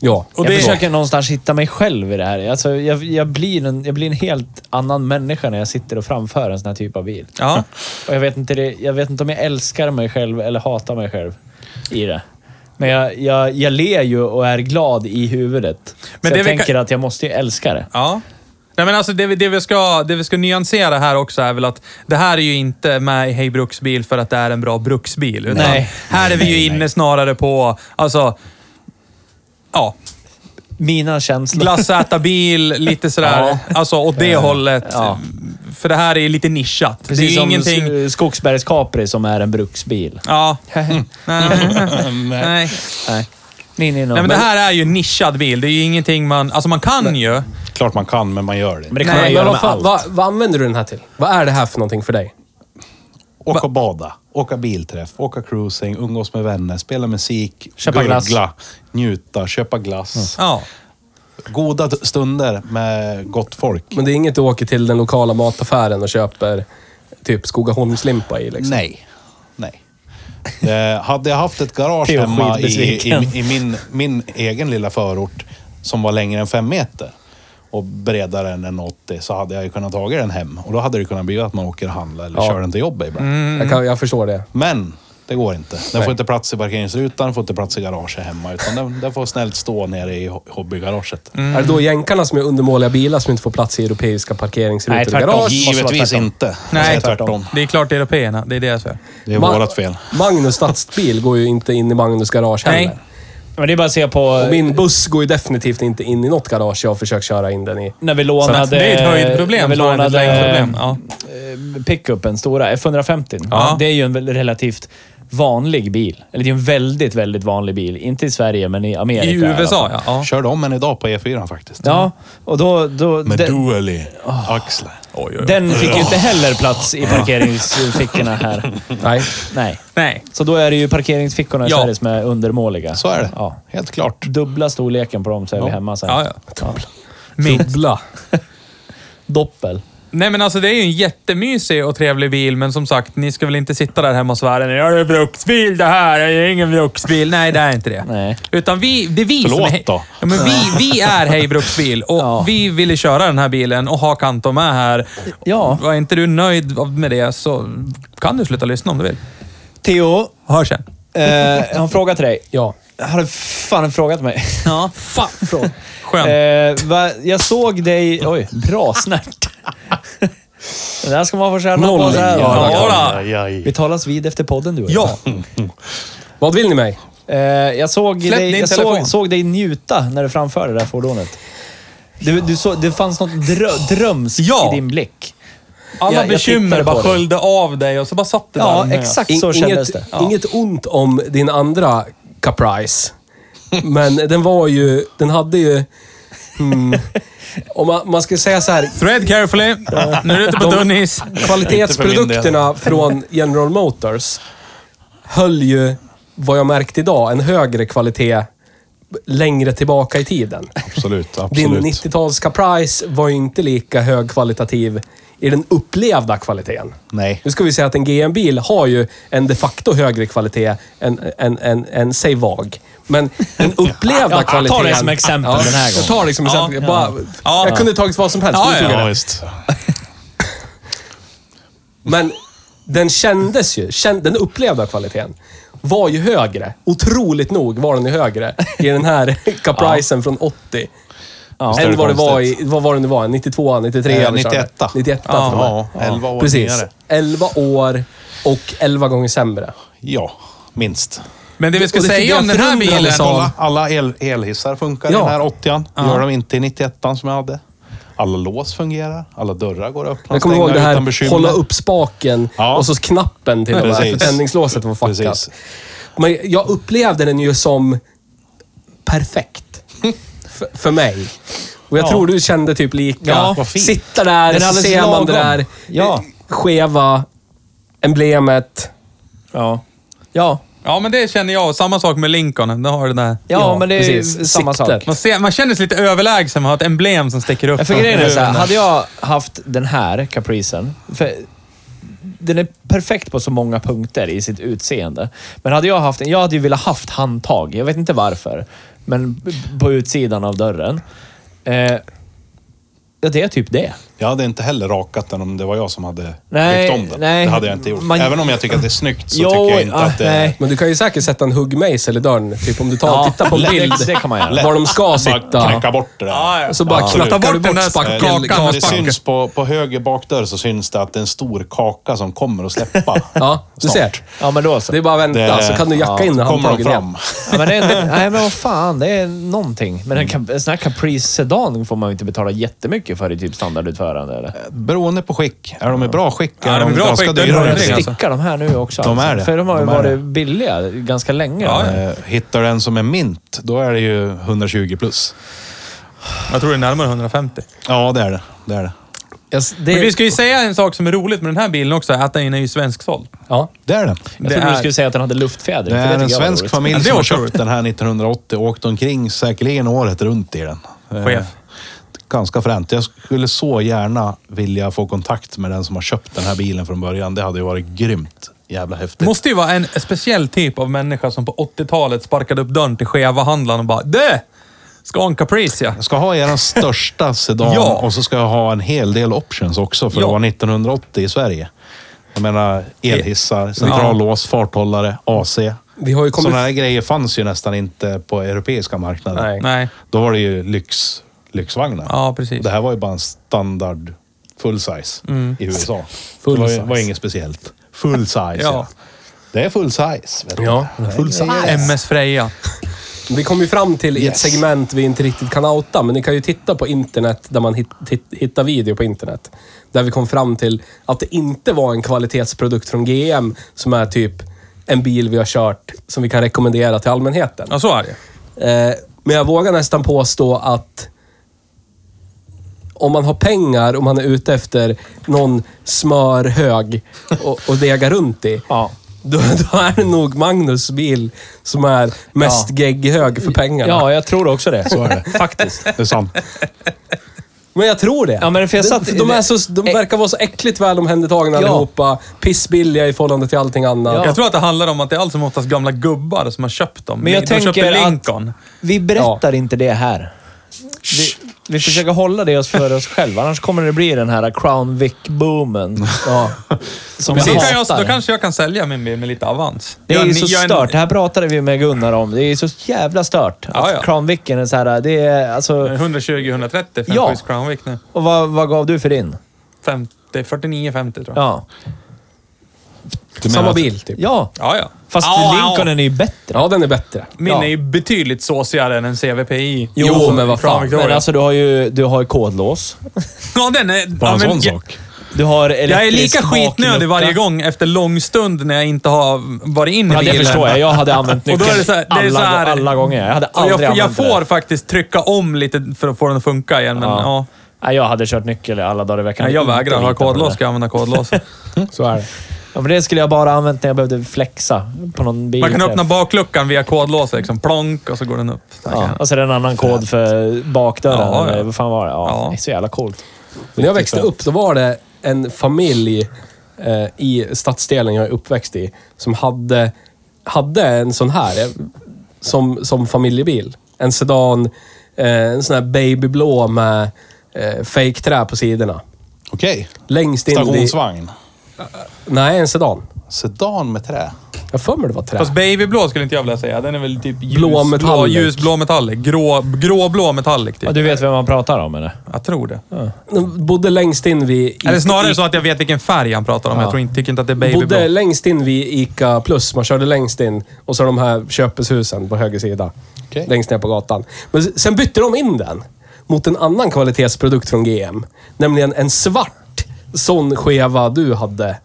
S4: Ja.
S3: Och
S5: jag
S3: det-
S5: försöker någonstans hitta mig själv i det här. Alltså, jag, jag, blir en, jag blir en helt annan människa när jag sitter och framför en sån här typ av bil.
S3: Ja.
S5: Och jag, vet inte det, jag vet inte om jag älskar mig själv eller hatar mig själv i det. Men jag, jag, jag ler ju och är glad i huvudet.
S3: Men
S5: Men så
S3: det
S5: jag
S3: vi kan-
S5: tänker att jag måste ju älska det.
S3: Ja. Nej, men alltså det, vi- det, vi ska, det vi ska nyansera här också är väl att det här är ju inte med i Hej Bruksbil för att det är en bra bruksbil. Utan
S5: Nej.
S3: Här är vi ju inne snarare på, alltså, ja,
S5: Mina känslor.
S3: glassätarbil, lite sådär, alltså åt det hållet.
S5: Eh, ja.
S3: För det här är lite nischat.
S5: Precis
S3: det är ju
S5: som
S3: ingenting...
S5: S- Skogsbergs Capri som är en bruksbil.
S3: Ja. Nej.
S2: Nej.
S3: Nej.
S5: Nej. Nej, nej, no.
S3: Nej, men det här är ju en nischad bil. Det är ju ingenting man... Alltså man kan ju.
S2: Klart man kan, men man gör det.
S5: men det kan
S3: Nej,
S5: man
S3: men
S5: göra
S4: vad,
S5: med
S4: fan-
S5: allt.
S4: vad, vad använder du den här till? Vad är det här för någonting för dig?
S2: Åka och bada, åka bilträff, åka cruising, umgås med vänner, spela musik,
S5: Köpa
S2: gurgla,
S5: glass.
S2: njuta, köpa glass.
S3: Ja.
S2: Goda t- stunder med gott folk.
S4: Men det är inget du åker till den lokala mataffären och köper typ Skogaholmslimpa i liksom.
S2: Nej. Nej. Eh, hade jag haft ett garage
S5: Theo är
S2: hemma i, i,
S5: skitbesviken.
S2: i min, min egen lilla förort som var längre än fem meter och bredare än en 80 så hade jag ju kunnat ta den hem. Och då hade det kunnat bli att man åker och handlar eller
S4: Ja.
S2: kör den till jobbet ibland.
S4: Jag, kan, jag förstår det.
S2: Men det går inte. Den
S4: Nej.
S2: får inte plats i parkeringsrutan, den får inte plats i garaget hemma. Utan den, den får snällt stå nere i ho- hobbygaraget.
S4: Är det då jänkarna som är undermåliga bilar som inte får plats i europeiska parkeringsrutor
S5: Nej,
S4: och
S5: tvärtom.
S4: garage?
S5: måste vara
S2: Givetvis
S5: tvärtom.
S2: inte.
S3: Nej.
S2: det är tvärtom.
S3: Det är klart européerna. Det är deras fel.
S2: Det är
S4: Ma-
S2: vårat fel.
S4: Magnus stadsbil går ju inte in i Magnus garage heller.
S3: Nej.
S5: Men det är bara att se på...
S4: Och min buss går ju definitivt inte in i något garage jag har försökt köra in den i.
S5: När vi
S3: Så
S5: lånade...
S3: att det är ett höjdproblem
S5: När vi
S3: snarare än ett
S5: lånade
S3: längdproblem. Ja.
S5: eh, pickupen, stora F150.
S3: Ja.
S5: Det är ju en väl- relativt vanlig bil. Eller det är en väldigt, väldigt vanlig bil. Inte i Sverige, men i Amerika.
S3: I
S5: alla fall.
S3: USA, ja. ja.
S2: Körde om en idag på E4 faktiskt.
S5: Ja, och då... då
S2: Med
S5: den,
S2: dual i axlar.
S5: den fick ju inte heller plats i parkeringsfickorna här.
S4: Nej.
S5: Nej.
S3: Nej.
S5: Så då är det ju parkeringsfickorna i
S3: Ja.
S5: Sverige som är undermåliga.
S2: Så är det.
S5: Ja.
S2: Helt klart.
S5: Dubbla storleken på dem så är vi hemma sen.
S3: Ja, ja. Minst.
S4: Dubbla.
S5: Doppel.
S3: Nej, men alltså det är ju en jättemysig och trevlig bil, men som sagt, ni ska väl inte sitta där hemma och svära nu. Ja, det är bruksbil det här. Det är ingen bruksbil. Nej, det är inte det.
S5: Nej.
S3: Utan vi, det är vi som
S2: Förlåt
S3: är,
S2: då.
S3: Ja, men vi, vi är Hej Bruksbil och
S5: Ja.
S3: vi ville köra den här bilen och ha Kanto med här.
S5: Ja.
S3: Var inte du nöjd av- med det så kan du sluta lyssna om du vill.
S5: Theo,
S3: Hör sen.
S5: eh, jag har en fråga till dig.
S4: Ja.
S5: Har du fan frågat mig?
S3: Ja.
S5: Fan, fråga.
S3: Skönt.
S5: Eh, va, jag såg dig... Oj, bra snärt. Det där ska man få känna
S4: Noll.
S5: på. Så här.
S4: Ja,
S3: Ja,
S5: Vi talas vid efter podden du och jag.
S3: ja.
S4: Vad vill ni mig?
S5: Eh, jag såg
S3: Släpp
S5: dig,
S3: din
S5: jag
S3: telefon.
S5: såg, såg dig njuta när du framförde det där fordonet. Du, du så, det fanns något drö, drömskt
S3: Ja.
S5: i din blick.
S3: Alla
S5: Jag- jag
S3: bekymmer
S5: tittade
S3: bara
S5: på dig.
S3: sköljde av dig och så bara satt det
S5: Ja,
S3: där. med.
S5: exakt
S4: Mm. In-
S5: så kändes
S4: inget,
S5: det.
S4: inget ont om din andra Caprice. Men den var ju... Den hade ju... Mm, om man, man ska säga så här.
S3: Thread carefully. Nu är du ute på
S4: De-
S3: tunn is.
S4: Kvalitetsprodukterna från General Motors höll ju, vad jag märkt idag, en högre kvalitet längre tillbaka i tiden.
S2: Absolut,
S4: Din
S2: absolut.
S4: 90-tals Caprice var ju inte lika högkvalitativ i den upplevda kvaliteten.
S2: Nej.
S4: Nu ska vi säga att en GM-bil har ju en de facto högre kvalitet än, än, än, än säg VAG. Men den upplevda
S5: Ja, ta
S4: kvaliteten...
S5: det som exempel den här
S4: Jag tar det som exempel.
S3: Ja.
S4: Bara,
S3: Ja.
S4: Jag kunde tagit vad som helst.
S3: Ja,
S4: men jag tog
S2: Ja,
S4: det.
S2: visst.
S4: Men den kändes ju, kän- den upplevda kvaliteten var ju högre. Otroligt nog var den ju högre i den här Capricen från 80.
S2: Visst är
S4: Än
S2: det
S4: vad det var i,
S2: konstigt.
S4: vad var det nu var? 92, 93?
S2: Eh,
S4: vi körde.
S2: 91.
S4: 91
S2: Ja,
S4: till och med.
S2: ja, 11 år
S4: Precis.
S2: nyare.
S4: 11 år och 11 gånger sämre.
S2: Ja, minst.
S3: Men det vi ska
S4: Och det fick
S3: säga
S4: jag
S3: om den här
S4: förundrades
S3: bilen...
S4: av.
S2: Alla, alla el, elhissar funkar
S4: Ja.
S2: i den här 80an. gör de inte i 91an som jag hade. Alla lås fungerar. Alla dörrar går att öppna och
S4: Jag kommer
S2: stänga
S4: ihåg det
S2: utan
S4: här,
S2: bekymmer.
S4: hålla upp spaken
S2: Ja.
S4: och så knappen till och med.
S2: Precis.
S4: För tändningslåset var fuckat.
S2: Precis.
S4: Men jag upplevde den ju som perfekt. F- för mig. Och jag tror du kände typ lika.
S5: Ja,
S2: vad fint.
S4: Sitta där,
S5: Den är
S4: så
S5: alldeles
S4: ser man det
S5: lagom.
S4: där
S5: Ja.
S4: skeva emblemet.
S5: Ja. Ja.
S3: Ja, men det känner jag. Samma sak med Lincoln. Det har det där.
S5: Ja,
S4: Ja,
S5: men det är ju
S4: precis.
S5: samma
S4: Siktet.
S5: sak.
S3: Man, ser, man känner sig lite överlägsen. Man har ett emblem som sticker upp.
S5: Ja, För grejen är så här, hade jag haft den här capricen. För den är perfekt på så många punkter i sitt utseende. Men hade jag haft en, jag hade ju velat haft handtag. Jag vet inte varför. Men b- på utsidan av dörren. Eh, ja, det är typ det.
S2: Jag hade inte heller rakat den om det var jag som hade
S5: Nej,
S2: byggt om den.
S5: nej.
S2: Det hade jag inte gjort.
S5: Man-
S2: Även om jag tycker att det är snyggt så
S5: Jo,
S2: tycker jag inte
S5: ah,
S2: att det är...
S5: nej.
S4: Men du kan ju säkert sätta en huggmejsel i dörren. Typ om du tar och tittar på en
S5: lätt.
S4: bild
S5: Det kan man göra.
S4: var de ska
S2: Bara knäcka
S4: sitta. Ah,
S2: bort det där.
S4: Så bara
S2: Absolut.
S4: knackar
S3: Ta
S4: du
S3: bort den
S4: bort liksom.
S3: där
S2: Eh,
S4: spackeln.
S3: kakan
S2: det,
S3: med
S2: det
S3: sparken.
S2: syns på, på höger bakdörr så syns det att det är en stor kaka som kommer att släppa.
S4: Ja, du
S2: Snart.
S4: ser.
S5: Ja, men då så.
S4: Det är bara att vänta,
S2: Det-
S3: alltså,
S4: så kan du jacka
S5: ja,
S4: in
S2: Kommer de
S4: handtagen igen.
S2: fram?
S5: Ja, men det är, nej, men vad fan. Det är någonting. Men en, Cap- en sån här Caprice Sedan får man ju inte betala jättemycket för i typ standardutförande. Eller?
S2: Beroende på skick. Är de i bra skick?
S3: Ja, de är i bra
S2: ganska
S3: skick, då är det
S2: dyra?
S3: bra
S5: De
S3: skick.
S5: stickar
S3: alltså.
S5: de här nu också.
S2: De
S5: alltså.
S2: är det.
S5: För de har ju
S2: De är
S5: varit billiga ganska länge.
S3: Ja, ja.
S2: Eh, Hittar du en som är mint, då är det ju 120 plus.
S3: Jag tror det är närmare 150.
S2: Ja, det är det. det, är det.
S5: Jag s- det,
S3: Men vi ska ju säga en sak som är roligt med den här bilen också, att den är ju svensksåld.
S5: ja.
S2: Det är den.
S5: Jag
S3: Det
S5: trodde
S3: är-
S5: du skulle säga att den hade luftfjädring.
S2: Det
S5: för
S2: är en
S5: tycker jag var
S2: svensk
S5: roligt.
S3: Ja,
S2: familj
S3: det
S2: som har
S3: var
S2: köpt
S3: roligt.
S2: den här 1980 och åkt omkring säkerligen året runt i den. Eh,
S3: Chef.
S2: Ganska fränt. Jag skulle så gärna vilja få kontakt med den som har köpt den här bilen från början. Det hade ju varit grymt jävla häftigt.
S3: Måste ju vara en speciell typ av människa som på 80-talet sparkade upp dörren till Cheva-handlaren och bara Du! Ska ha en Caprice ja.
S2: Jag ska ha er största sedan
S3: Ja.
S2: och så ska jag ha en hel del options också för
S3: Ja.
S2: att vara 1980 i Sverige. Jag menar
S4: E-
S2: elhissar, centrallås, farthållare, AC.
S4: Vi har ju kommit-
S2: Sådana här grejer fanns ju nästan inte på europeiska marknaden.
S4: Nej.
S3: Nej.
S2: Då var det ju lyx, lyxvagnar.
S3: Ja, precis.
S2: Det här var ju bara en standard full size i USA.
S4: Full
S2: det var, ju-
S4: size.
S2: var inget speciellt. Full size, ja.
S3: Ja.
S2: Det är full size. Vet du.
S4: Ja, full
S2: size.
S3: MS Freja.
S4: Vi kom ju fram till i ett
S2: Yes.
S4: segment vi inte riktigt kan outa, men ni kan ju titta på internet där man hit, hit, hittar video på internet. Där vi kom fram till att det inte var en kvalitetsprodukt från GM som är typ en bil vi har kört som vi kan rekommendera till allmänheten.
S3: Ja, så är det.
S4: Eh, men jag vågar nästan påstå att om man har pengar och man är ute efter någon smörhög och, och dega runt i.
S5: Ja.
S4: Då, då är det nog Magnus bil som är mest
S5: Ja.
S4: gegghög för pengarna.
S5: Ja, jag tror också det.
S2: Så är det.
S5: Faktiskt.
S2: Det är sant.
S4: Men jag tror det.
S5: Ja, men för jag satt- Eh.
S4: de, de, är så, de verkar vara så äckligt väl omhändertagna
S5: Ja.
S4: allihopa. Pissbilliga i förhållande till allting annat.
S5: Ja.
S3: Jag tror att det handlar om att det är allt som oftast gamla gubbar som har köpt dem.
S5: Men jag
S3: de
S5: tänker
S3: köper
S5: att-
S3: Lincoln.
S5: Vi berättar inte det här. Vi, vi försöker hålla det för oss själva, annars kommer det bli den här Crown Vic-boomen. Ja. Som
S3: Men då, kan jag,
S5: hatar.
S3: då kanske jag kan sälja min bil med lite avans.
S5: Det är
S3: Jag
S5: ju
S3: en-
S5: så
S3: jag en-
S5: stört. Det här pratade vi med Gunnar om. Det är ju så jävla stört att
S3: Ja, ja.
S5: Crown Vicen är så här... Det är, alltså,
S3: 120-130 för
S5: Ja.
S3: en schysst Crown Vic nu.
S5: och vad, vad gav du för din?
S3: 50, 49-50 tror jag. Ja,
S5: Ja.
S2: Du menar
S4: Samma
S2: att-
S4: bil, typ.
S5: Ja.
S3: ja. ja.
S5: Fast
S3: Au, au.
S5: Lincolnen är ju bättre.
S4: Ja, den är bättre.
S3: Min
S5: Ja.
S3: är ju betydligt såsigare än en CVPI.
S4: Jo,
S3: Alltså,
S4: men vad
S3: Crown
S4: fan.
S3: Victoria.
S5: Men alltså, du har ju du har ju kodlås.
S3: ja, den är...
S2: Bara
S3: ja,
S2: en
S3: men
S2: sån
S3: jag-
S2: sak.
S5: Du har
S3: Jag är
S5: elektrisk
S3: lika skitnödig
S5: baklucka.
S3: varje gång efter lång stund när jag inte har varit inne i
S5: Ja, det
S3: bilen.
S5: förstår jag. Jag hade använt
S3: Och då
S5: nyckeln
S3: är det så här- det är
S5: alla,
S3: så här-
S5: gå- alla gånger. Jag hade
S3: Och
S5: aldrig
S3: jag, jag
S5: använt
S3: får
S5: det.
S3: faktiskt trycka om lite för att få den att funka igen, men ja.
S5: Nej, jag hade kört nyckel alla dagar i veckan.
S3: Nej, jag
S5: Inte
S3: vägrar. Har jag
S5: lita på
S3: kodlås
S5: det.
S3: ska jag använda kodlås.
S4: Så är det.
S5: Ja, men det skulle jag bara använt när jag behövde flexa på någon bil.
S3: Man kan öppna bakluckan via kodlås, liksom. Plonk, och så går den upp.
S5: Ja, och så är det en annan kod för bakdörren.
S3: Ja, ja.
S5: eller Vad fan var det? Ja,
S3: Ja.
S5: Det är så jävla coolt.
S4: När jag växte upp, då var det en familj eh, i stadsdelen jag är uppväxt i som hade, hade en sån här eh, som, som familjebil. En sedan, eh, en sån här babyblå med eh, fake-trä på sidorna.
S2: Okej.
S4: Längst in i...
S2: Stationsvagn.
S4: Nej, en sedan.
S2: Sedan med trä.
S4: Jag för mig det var trä.
S3: Fast babyblå skulle inte jag vilja säga. Den är väl typ ljus,
S4: Blå
S3: blå,
S4: metallic.
S3: ljusblå metallic. Grå, gråblå metallic,
S5: Ja,
S3: typ.
S5: du vet vem man pratar om eller?
S3: Jag tror det.
S4: Den bodde längst in vid...
S3: Eller snarare så att jag vet vilken färg han pratar om. Jag tror inte, tycker inte att det är babyblå.
S4: Bodde längst in vid Ica Plus. Man körde längst in. Och så de här köpeshusen på höger sida.
S2: Okej.
S4: Längst ner på gatan. Men s- sen bytte de in den mot en annan kvalitetsprodukt från GM. Nämligen en svart sån skeva du hade.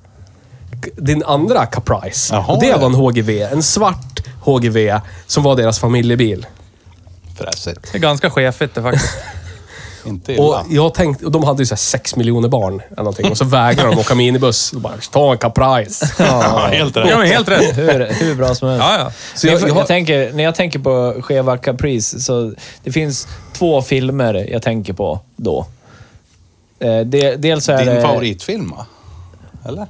S4: K- Din andra Caprice.
S2: Jaha.
S4: och det var en HGV. En svart HGV som var deras familjebil.
S2: Fräsigt.
S3: Det är ganska chefigt det faktiskt.
S2: Inte
S4: Och
S2: illa.
S4: jag tänkte, och de hade ju såhär 6 miljoner barn eller någonting och så vägrar de åka minibuss. Och bara, ta en Caprice.
S2: Ja, helt
S3: Ja,
S2: rätt.
S3: men helt rätt.
S5: Hur, hur bra som helst.
S3: Ja, ja.
S5: Så jag,
S4: Jag-
S5: jag,
S4: jag-
S5: tänker, när jag tänker på Cheva Caprice, så det finns två filmer jag tänker på då. Eh, de, dels så är
S2: Din
S5: det...
S2: favoritfilm, va? Eller?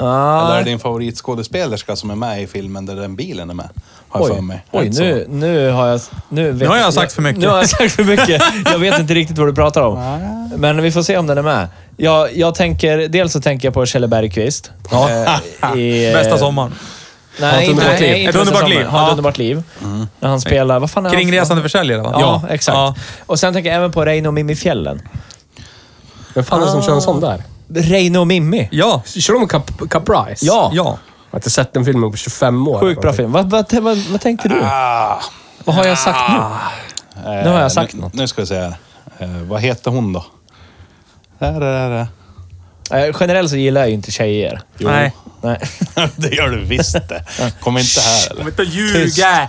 S5: Ah.
S2: Eller är det din favoritskådespelerska som är med i filmen där den bilen är med? Har jag för mig.
S5: Oj,
S2: Alltså,
S5: nu, nu har jag... Nu, vet
S3: har jag sagt för mycket.
S5: Nu har jag sagt för mycket. Jag vet inte riktigt vad du pratar om.
S2: Ah.
S5: Men vi får se om den är med. Jag, jag tänker, dels så tänker jag på Kjelle Bergqvist.
S2: Ah.
S5: Eh, i-
S3: Bästa sommaren.
S5: Nej,
S4: Ett
S5: inte,
S4: underbart liv.
S5: nej, inte
S3: Ett underbart
S5: Sommar.
S3: liv.
S5: Ja, ett
S3: Ja. Mm.
S5: underbart liv. När han spelar... Vad fan är han för-
S3: Kringresande försäljare, va?
S5: Ja, exakt.
S3: Ja.
S5: Och sen tänker jag även på Reino och Mimmi Fjällen.
S4: Vem fan är det som kör en sån där?
S5: Reino och Mimmi.
S3: Ja.
S4: Kör de Cap- Caprice?
S5: Ja.
S3: ja.
S4: Jag har inte sett den filmen på 25 år.
S5: Sjukt bra film. Vad, vad, vad, vad tänkte du?
S2: Ah,
S5: Vad har jag sagt nu?
S3: Ah.
S2: eh,
S5: Nu har jag sagt
S2: nu,
S5: något.
S2: Nu ska vi se här. Eh, vad heter hon då? Där, där, där.
S5: Eh, generellt så gillar jag ju inte tjejer.
S2: Jo.
S3: Nej.
S5: Nej.
S2: det gör du visst det. Kom inte här eller?
S3: inte ljuga!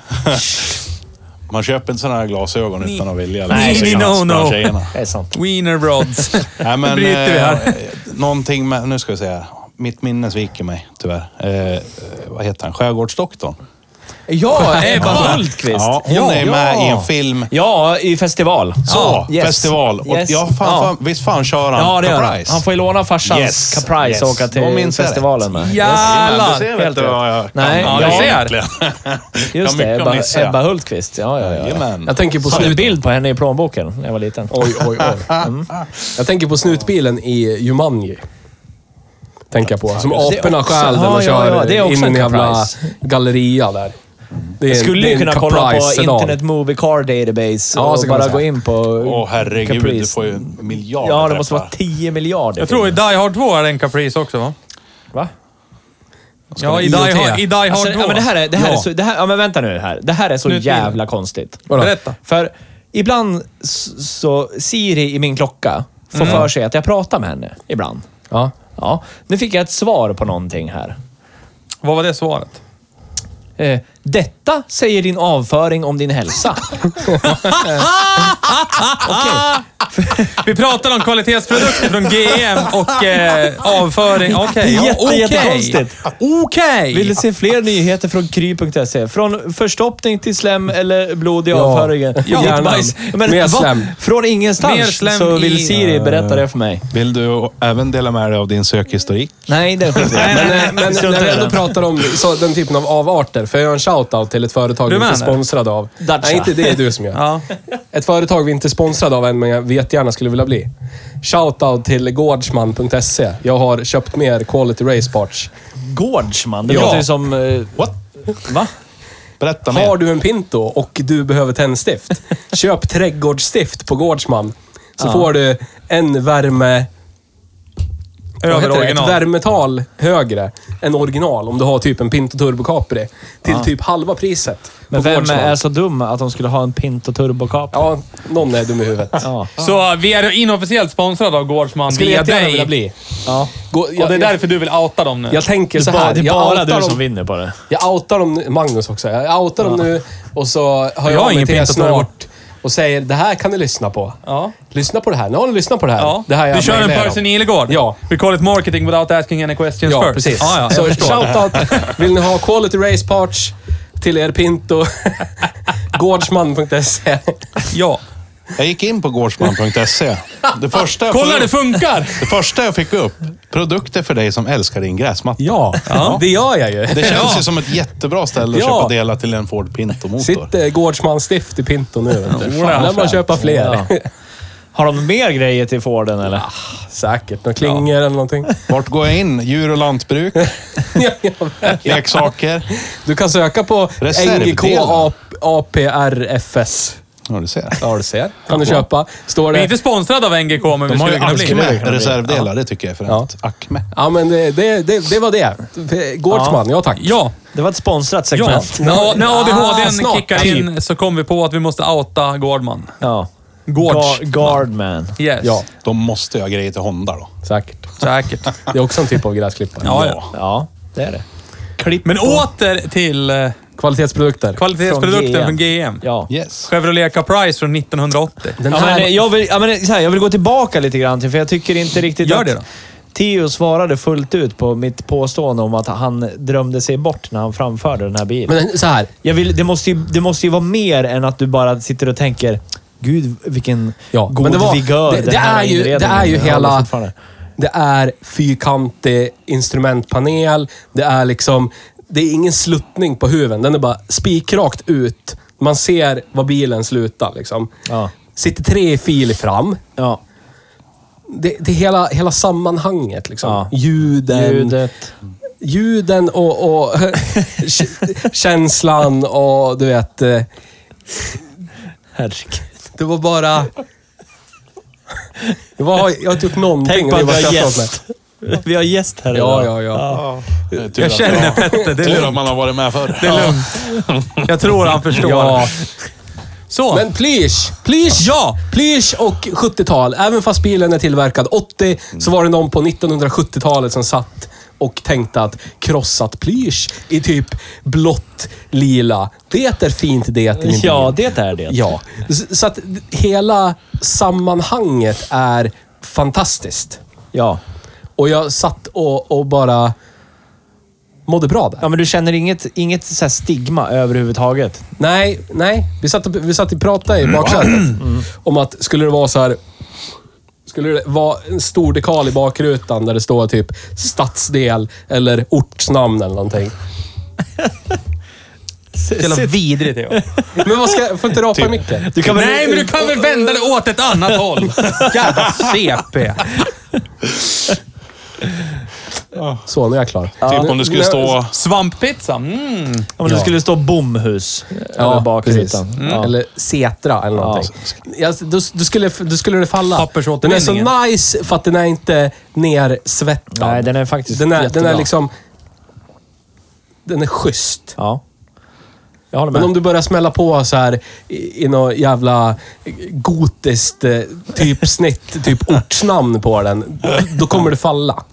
S2: Man köper inte sådana här glasögon utan att vilja. eller
S3: Nej,
S2: så
S3: ni-
S2: kan man
S3: no,
S2: spöra
S3: no.
S2: tjejerna.
S5: Det är sant.
S3: Wiener broads.
S2: Nej, men,
S3: Nu bryter vi här.
S2: eh, någonting med, nu ska vi se här. Mitt minne sviker mig tyvärr. Eh, eh, vad heter han? Skärgårdsdoktorn.
S5: Ja, Ebba Hultqvist.
S2: Ja, hon är med i en film.
S5: Ja, i festival.
S2: Så,
S5: ja, yes.
S2: festival. Och
S5: Yes.
S2: ja, fan,
S5: Ja.
S2: fan, visst fan kör han
S5: Ja, det gör han.
S2: Caprice?
S5: Han får ju låna farsans
S2: Yes,
S5: Caprice
S2: yes.
S5: och åka till
S2: De minns jag
S5: festivalen med.
S2: Ja,
S3: Jävlar!
S2: du ser vet
S5: Helt
S2: du
S5: rätt.
S2: vad jag kan.
S5: Nej,
S2: om
S5: ja,
S2: det
S5: du ser.
S2: egentligen.
S5: Just
S2: Ja,
S5: det,
S2: mycket
S5: Ebba,
S2: missar jag.
S5: Ebba Hultqvist. Ja, ja, ja.
S2: Jajamän.
S4: Jag tänker på
S5: Jag hade en
S4: snut...
S5: bild på henne i plånboken när jag var liten.
S4: Oj, oj, oj.
S5: Mm.
S4: Jag tänker på snutbilen i Jumanji. Tänker jag på. Som
S5: Det-
S4: aporna stjäl den
S5: Ja,
S4: och
S5: ja,
S4: kör
S5: ja, det är också
S4: in i en
S5: en
S4: jävla
S5: Caprice.
S4: galleria där. Det är en-
S5: Jag skulle
S4: det är
S5: ju
S4: en
S5: kunna kolla på
S4: Caprice-sedan.
S5: Internet Movie Car Database
S4: Ja, så
S5: och
S4: kan man
S5: bara
S4: säga.
S5: gå in på
S2: Åh herregud,
S5: Caprice.
S2: du får ju en miljard
S5: Ja, det måste
S2: träffar.
S5: vara 10 miljarder.
S3: Jag tror i Die Hard 2 är det en Caprice också, va?
S5: Va?
S3: Ja, i Die,
S4: IOT.
S3: Hard, i Die Hard
S5: Alltså,
S3: 2.
S5: ja, men det här är, det här
S3: Ja.
S5: är så, det här, ja, men vänta nu här. Det här är så
S3: Snutbil.
S5: jävla konstigt.
S4: Vadå?
S3: Berätta.
S5: För ibland s- så Siri i min klocka får för sig att jag pratar med henne ibland.
S4: Ja.
S5: Ja, nu fick jag ett svar på någonting här.
S3: Vad var det svaret?
S5: Eh, detta säger din avföring om din hälsa.
S3: Vi pratar om kvalitetsprodukter från GM och eh, avföring. Okej. ja,
S5: Jätte-
S3: okej.
S5: jättekonstigt.
S3: Okej!
S5: Vill du se fler nyheter från kry.se? Från förstoppning till slem eller blod i avföringen.
S4: Ja.
S5: Ditt
S4: Hjärnan.
S5: Men,
S4: Mer
S5: va?
S4: slem.
S5: Från
S3: Mer
S5: ingenstans
S3: slem
S5: så
S3: i-
S5: vill Siri berätta det för mig.
S2: Vill du även dela med dig av din sökhistorik?
S5: Nej, det skiter jag i.
S4: Men, eh, men
S5: Strunta
S4: när
S5: i
S4: vi
S5: det.
S4: ändå pratar om så, den typen av avarter, för jag gör en shout-out till ett företag vi
S3: Du
S4: inte är
S3: menar?
S4: sponsrade av.
S5: Dacia.
S4: Nej, inte det är du som gör.
S3: Ja.
S4: Ett företag vi inte är sponsrade av än, men jag vet gärna skulle vilja bli. Shoutout till gårdsman.se. Jag har köpt mer quality race parts.
S5: Gårdsman, det
S4: Ja.
S5: låter ju som... eh,
S2: What?
S5: Va?
S2: Berätta mer.
S4: Har du en Pinto och du behöver tändstift, köp trädgårdsstift på Gårdsman. Så får du en värme... vad
S3: Över
S4: heter det?
S3: original.
S4: Ett värmetal högre än original om du har typ en Pinto Turbo Capri. Till typ halva priset.
S5: Men
S4: på
S5: vem
S4: Gårdsman.
S5: är så dum att de skulle ha en Pinto Turbo Cup?
S4: Ja, någon är dum i huvudet.
S5: Ja.
S3: Så eh, vi är inofficiellt sponsrade av Gårdsman
S4: Skulle
S3: via
S4: jättegärna
S3: dig.
S4: vilja bli.
S5: Ja.
S4: Gå,
S3: Och det är därför du vill outa dem nu.
S4: Jag tänker så
S5: Det är bara-
S4: här.
S5: det är
S4: jag,
S5: bara
S4: outar
S5: du som
S4: dem,
S5: vinner på det.
S4: jag outar dem nu. Magnus också. Jag outar dem nu och så hör
S3: Jag
S4: jag
S3: har
S4: av mig
S3: ingen
S4: till er
S3: pint att ta
S4: snart
S3: bort.
S4: och säger det här kan ni lyssna på.
S3: Ja.
S4: Lyssna på det här. Nu har ni lyssnat på det här.
S3: Ja.
S4: Det här jag
S3: du kör en
S4: mejlar
S3: Percy
S4: om.
S3: Nilegård.
S4: Ja.
S3: We call it marketing without asking any questions
S4: Ja,
S3: first.
S4: precis.
S3: Ja, ja, jag
S4: så
S3: förstår.
S4: shoutout. Vill ni ha quality race parts till er Pinto? Gårdsman.se.
S3: Ja.
S2: Jag gick in på gårdsman.se. Det första jag
S3: Kolla,
S2: fick
S3: det
S2: upp,
S3: funkar!
S2: det första jag fick upp. Produkter för dig som älskar din gräsmatta.
S4: Ja, det gör jag ju.
S2: Det känns ju som ett jättebra ställe att
S4: Ja.
S2: köpa delar till en Ford Pinto-motor.
S4: Sitter Gårdsman-stift i Pinto nu. vet du. Lär man köpa fler.
S5: Ja. Har de mer grejer till Forden eller?
S4: Säkert. Några klingor eller någonting.
S2: Vart går jag in? Djur och lantbruk,
S4: Ja, ja,
S2: leksaker.
S4: Du kan söka på
S2: Reservdelar.
S4: NGK APRFS.
S2: Ja, du ser.
S4: Ja, du ser. Kan du köpa. Står
S3: Vi är
S4: det...
S3: inte sponsrade av NGK, men vi
S2: De har ju
S3: skulle kunna bli.
S2: Acme reservdelar, det tycker jag är fränt. Acme.
S4: Ja, men det, det, det, det var det. Gårdsman, ja tack.
S3: Ja.
S5: Det var ett sponsrat
S3: Ja,
S5: segment.
S3: när, när ADHDn
S4: Ah, snart,
S3: kickar
S4: typ.
S3: in så kom vi på att vi måste outa Gårdman.
S5: Ja.
S3: Gårds.
S5: Ga- Guardman.
S3: Yes.
S4: Ja.
S2: De måste ju ha grejer till Honda då.
S4: Säkert.
S3: Säkert.
S4: Det är också en typ av gräsklippare.
S3: Ja, ja.
S5: Ja, det är det. Klipp
S3: Men åter till eh,
S4: Kvalitetsprodukter.
S3: kvalitetsprodukten
S5: Från
S3: från GM.
S5: Ja.
S2: Yes.
S3: Chevrolet Caprice från 1980.
S4: Den
S5: Ja,
S4: här,
S5: men, eh, jag, vill, ja, men, så här, jag vill gå tillbaka lite grann till, för jag tycker inte riktigt
S3: Gör
S5: att
S3: det då.
S5: Theo svarade fullt ut på mitt påstående om att han drömde sig bort när han framförde den här bilen.
S4: men så här.
S5: Jag vill, det, måste ju, det måste ju vara mer än att du bara sitter och tänker Gud, vilken
S4: Ja,
S5: god
S4: men det var-
S5: vigör
S4: det- det
S5: den här
S4: är ju- det
S5: inredningen
S4: är ju
S5: håller
S4: hela-
S5: fortfarande."
S4: Det är fyrkantig instrumentpanel. Det är liksom... Det är ingen sluttning på huven. Den är bara spikrakt ut. Man ser var bilen slutar liksom.
S5: Ja.
S4: Sitter tre i fil fram.
S5: Ja.
S4: Det, det är hela, hela sammanhanget liksom.
S5: Ja.
S4: Ljuden.
S5: Ljudet.
S4: Ljuden och, och känslan och du vet. eh,
S5: Herregud.
S4: Det var bara... Det var, jag har inte gjort någonting.
S5: Tänk
S4: och
S5: på
S4: ni
S5: att
S4: bara
S5: vi har
S4: skrattar åt
S5: gäst. Vi har gäst här
S4: mig.
S5: idag.
S4: Ja, ja, ja.
S2: Det är tur
S3: Jag
S2: att
S3: känner
S2: man-
S3: Petter. Det är
S2: Tur
S3: lugnt.
S2: att man har varit med förr.
S3: Det är lugnt. Jag tror han förstår.
S4: Ja.
S3: Så.
S4: Men plysch! Plysch!
S3: Ja.
S4: Plysch och 70-tal. Även fast bilen är tillverkad 80 så var det någon på 1970-talet som satt och tänkte att krossat plysch i typ blått, lila. Det är fint det i min bil.
S5: Ja, det är det.
S4: Ja. S- Så att hela sammanhanget är fantastiskt.
S5: Ja.
S4: Och jag satt och, och bara mådde bra där.
S5: Ja, men du känner inget, inget så här stigma överhuvudtaget?
S4: Nej, nej. Vi satt och, vi satt och pratade i
S3: Mm.
S4: baksätet om att skulle det vara så här... Skulle det vara en stor dekal i bakrutan där det står typ stadsdel eller ortsnamn eller någonting.
S3: Jävla vidrigt är jag.
S4: Men vad ska... Får inte rapa
S3: Typ.
S4: i micken?
S5: Du kan väl-
S3: Nej, men du kan väl vända dig åt ett annat håll? Jävla CP.
S4: Så, nu är jag klar.
S2: Typ om det skulle
S4: Nu-
S2: stå...
S3: Svamppizza. Mm.
S5: Om det skulle stå bomhus över
S4: Ja,
S5: bakrutan.
S4: precis. Mm.
S5: Ja.
S4: Eller Setra eller någonting. Ja. då, då, skulle, då skulle det falla. Den är
S3: Pappersåtervinningen.
S4: så nice för att den är inte nersvettad.
S5: Nej, den är faktiskt
S4: den är, den
S5: jättebra.
S4: är liksom... Den är schysst.
S5: Ja. Jag håller med.
S4: Men om du börjar smälla på så här i, i något jävla gotiskt eh, typsnitt, typ ortsnamn på den, då kommer det falla.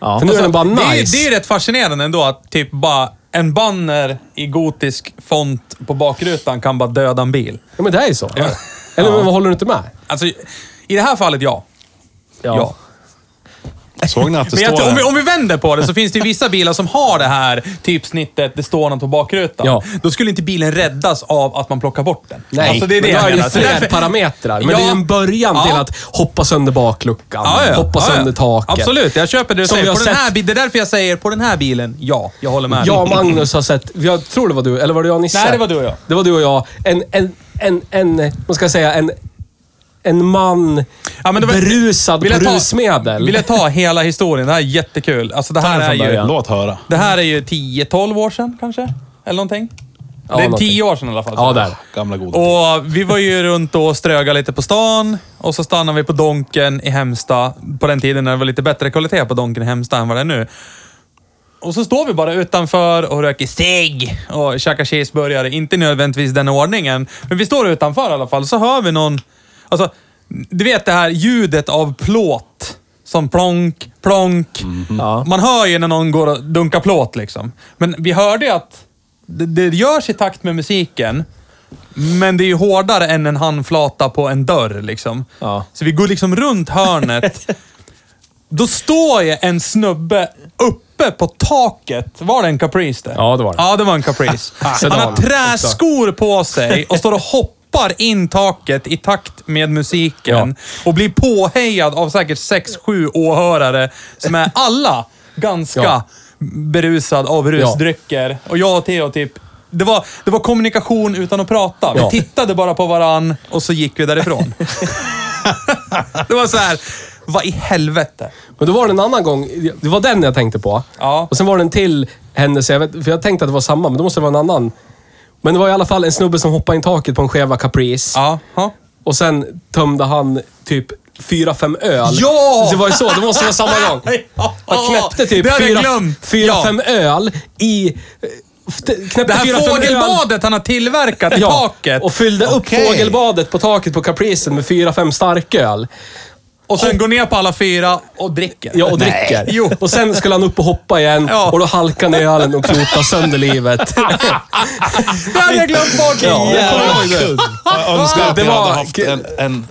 S5: Ja.
S4: För nu är den bara
S3: Det är,
S4: nice.
S3: det är rätt fascinerande ändå att typ bara en banner i gotisk font på bakrutan kan bara döda en bil.
S4: Ja, men det är ju så. Eller men, vad håller du inte med?
S3: Alltså, i det här fallet ja. Ja.
S5: Ja.
S2: Såg ni att det
S3: Men jag,
S2: står
S3: tror- om, vi,
S2: en-
S3: om vi vänder på det så finns det ju vissa bilar som har det här typsnittet, det står något på bakrutan.
S4: Ja.
S3: Då skulle inte bilen räddas av att man plockar bort den.
S4: Nej,
S3: alltså, det är det
S4: men
S3: jag
S4: då är det
S3: menar.
S4: ju
S3: Så
S4: fler
S3: därför-
S4: parametrar. Men
S3: Ja.
S4: det är ju en början till
S3: Ja.
S4: att hoppa sönder bakluckan,
S3: Ja, ja, ja.
S4: hoppa
S3: Ja, ja.
S4: sönder taket.
S3: Absolut, jag köper det du
S4: Som vi
S3: säger.
S4: har
S3: På den
S4: sett-
S3: här, bi- det är därför jag säger på den här bilen, ja, jag håller med.
S4: Jag och Magnus har sett, jag tror det var du, eller var det jag och Nisse?
S6: Nej, det var du och jag.
S4: Det var du och jag. En, en, en, en vad ska jag säga, en, en man
S3: Ja, men det var-
S4: berusad
S3: Vill
S4: på
S3: jag ta-
S4: rusmedel.
S3: Vill jag ta hela historien? Det här är jättekul. Alltså, det, här
S5: den
S3: är
S5: från
S3: ju,
S5: början.
S2: Låt höra.
S3: det här är ju 10-12 år sedan kanske? Eller någonting?
S4: Ja,
S3: det är
S4: någonting.
S3: 10 år sedan i alla fall.
S4: Ja, där.
S2: Gamla goda tider.
S3: Och vi var ju runt och strögade lite på stan och så stannade vi på Donken i Hemsta. På den tiden när det var lite bättre kvalitet på Donken i Hemsta än vad det är nu. Och så står vi bara utanför och röker cigg och käkar cheeseburgare. Inte nödvändigtvis den ordningen, men vi står utanför i alla fall. Så hör vi någon... Alltså, du vet det här ljudet av plåt. Som plonk, plonk.
S5: Ja.
S3: Man hör ju när någon går och dunkar plåt liksom. Men vi hörde ju att det, det görs i takt med musiken. Men det är ju hårdare än en handflata på en dörr liksom.
S5: Ja.
S3: Så vi går liksom runt hörnet. Då står ju en snubbe uppe på taket. Var det en Caprice det?
S4: Ja, det var det.
S3: Ja, det var en Caprice. Han
S4: Sedan.
S3: har träskor på sig och står och hoppar in taket i takt med musiken. Och blir påhejad av säkert sex, sju åhörare som är alla ganska
S4: Ja.
S3: berusad av rusdrycker. Och jag och Theo typ... Det var, det var kommunikation utan att prata. Vi
S4: Ja.
S3: tittade bara på varann och så gick vi därifrån. det var så här, vad i helvete?
S4: Men då var det en annan gång, det var den jag tänkte på.
S3: Ja.
S4: Och sen var det en till händelse, jag vet, för jag tänkte att det var samma, men då måste det vara en annan. Men det var i alla fall en snubbe som hoppade in i taket på en skeva Caprice.
S3: Ja. ja.
S4: Och sen tömde han typ fyra, fem öl.
S3: Ja!
S4: Det var ju så, det måste vara samma gång. Han knäppte
S3: Det
S4: typ
S3: hade jag
S4: fyra,
S3: glömt.
S4: fyra
S3: Ja.
S4: fem öl i... eh, f- t- Knäppte
S3: Det här
S4: fyra, fem öl-
S3: fågelbadet han har tillverkat i
S4: Ja,
S3: taket.
S4: och fyllde
S2: Okej.
S4: upp fågelbadet på taket på Capricen med fyra, fem starköl.
S3: Och sen går ner på alla fyra och dricker.
S4: Ja, och dricker.
S3: Jo.
S4: Och sen skulle han upp och hoppa igen
S3: Ja.
S4: och då halkar ner ölen och klotar sönder livet.
S3: Det hade jag glömt bort!
S4: Ja, det kommer jag
S5: Jävla kul.
S2: Jag önskar att
S4: Det
S2: vi
S4: var
S2: hade haft
S4: kul.
S2: en, en,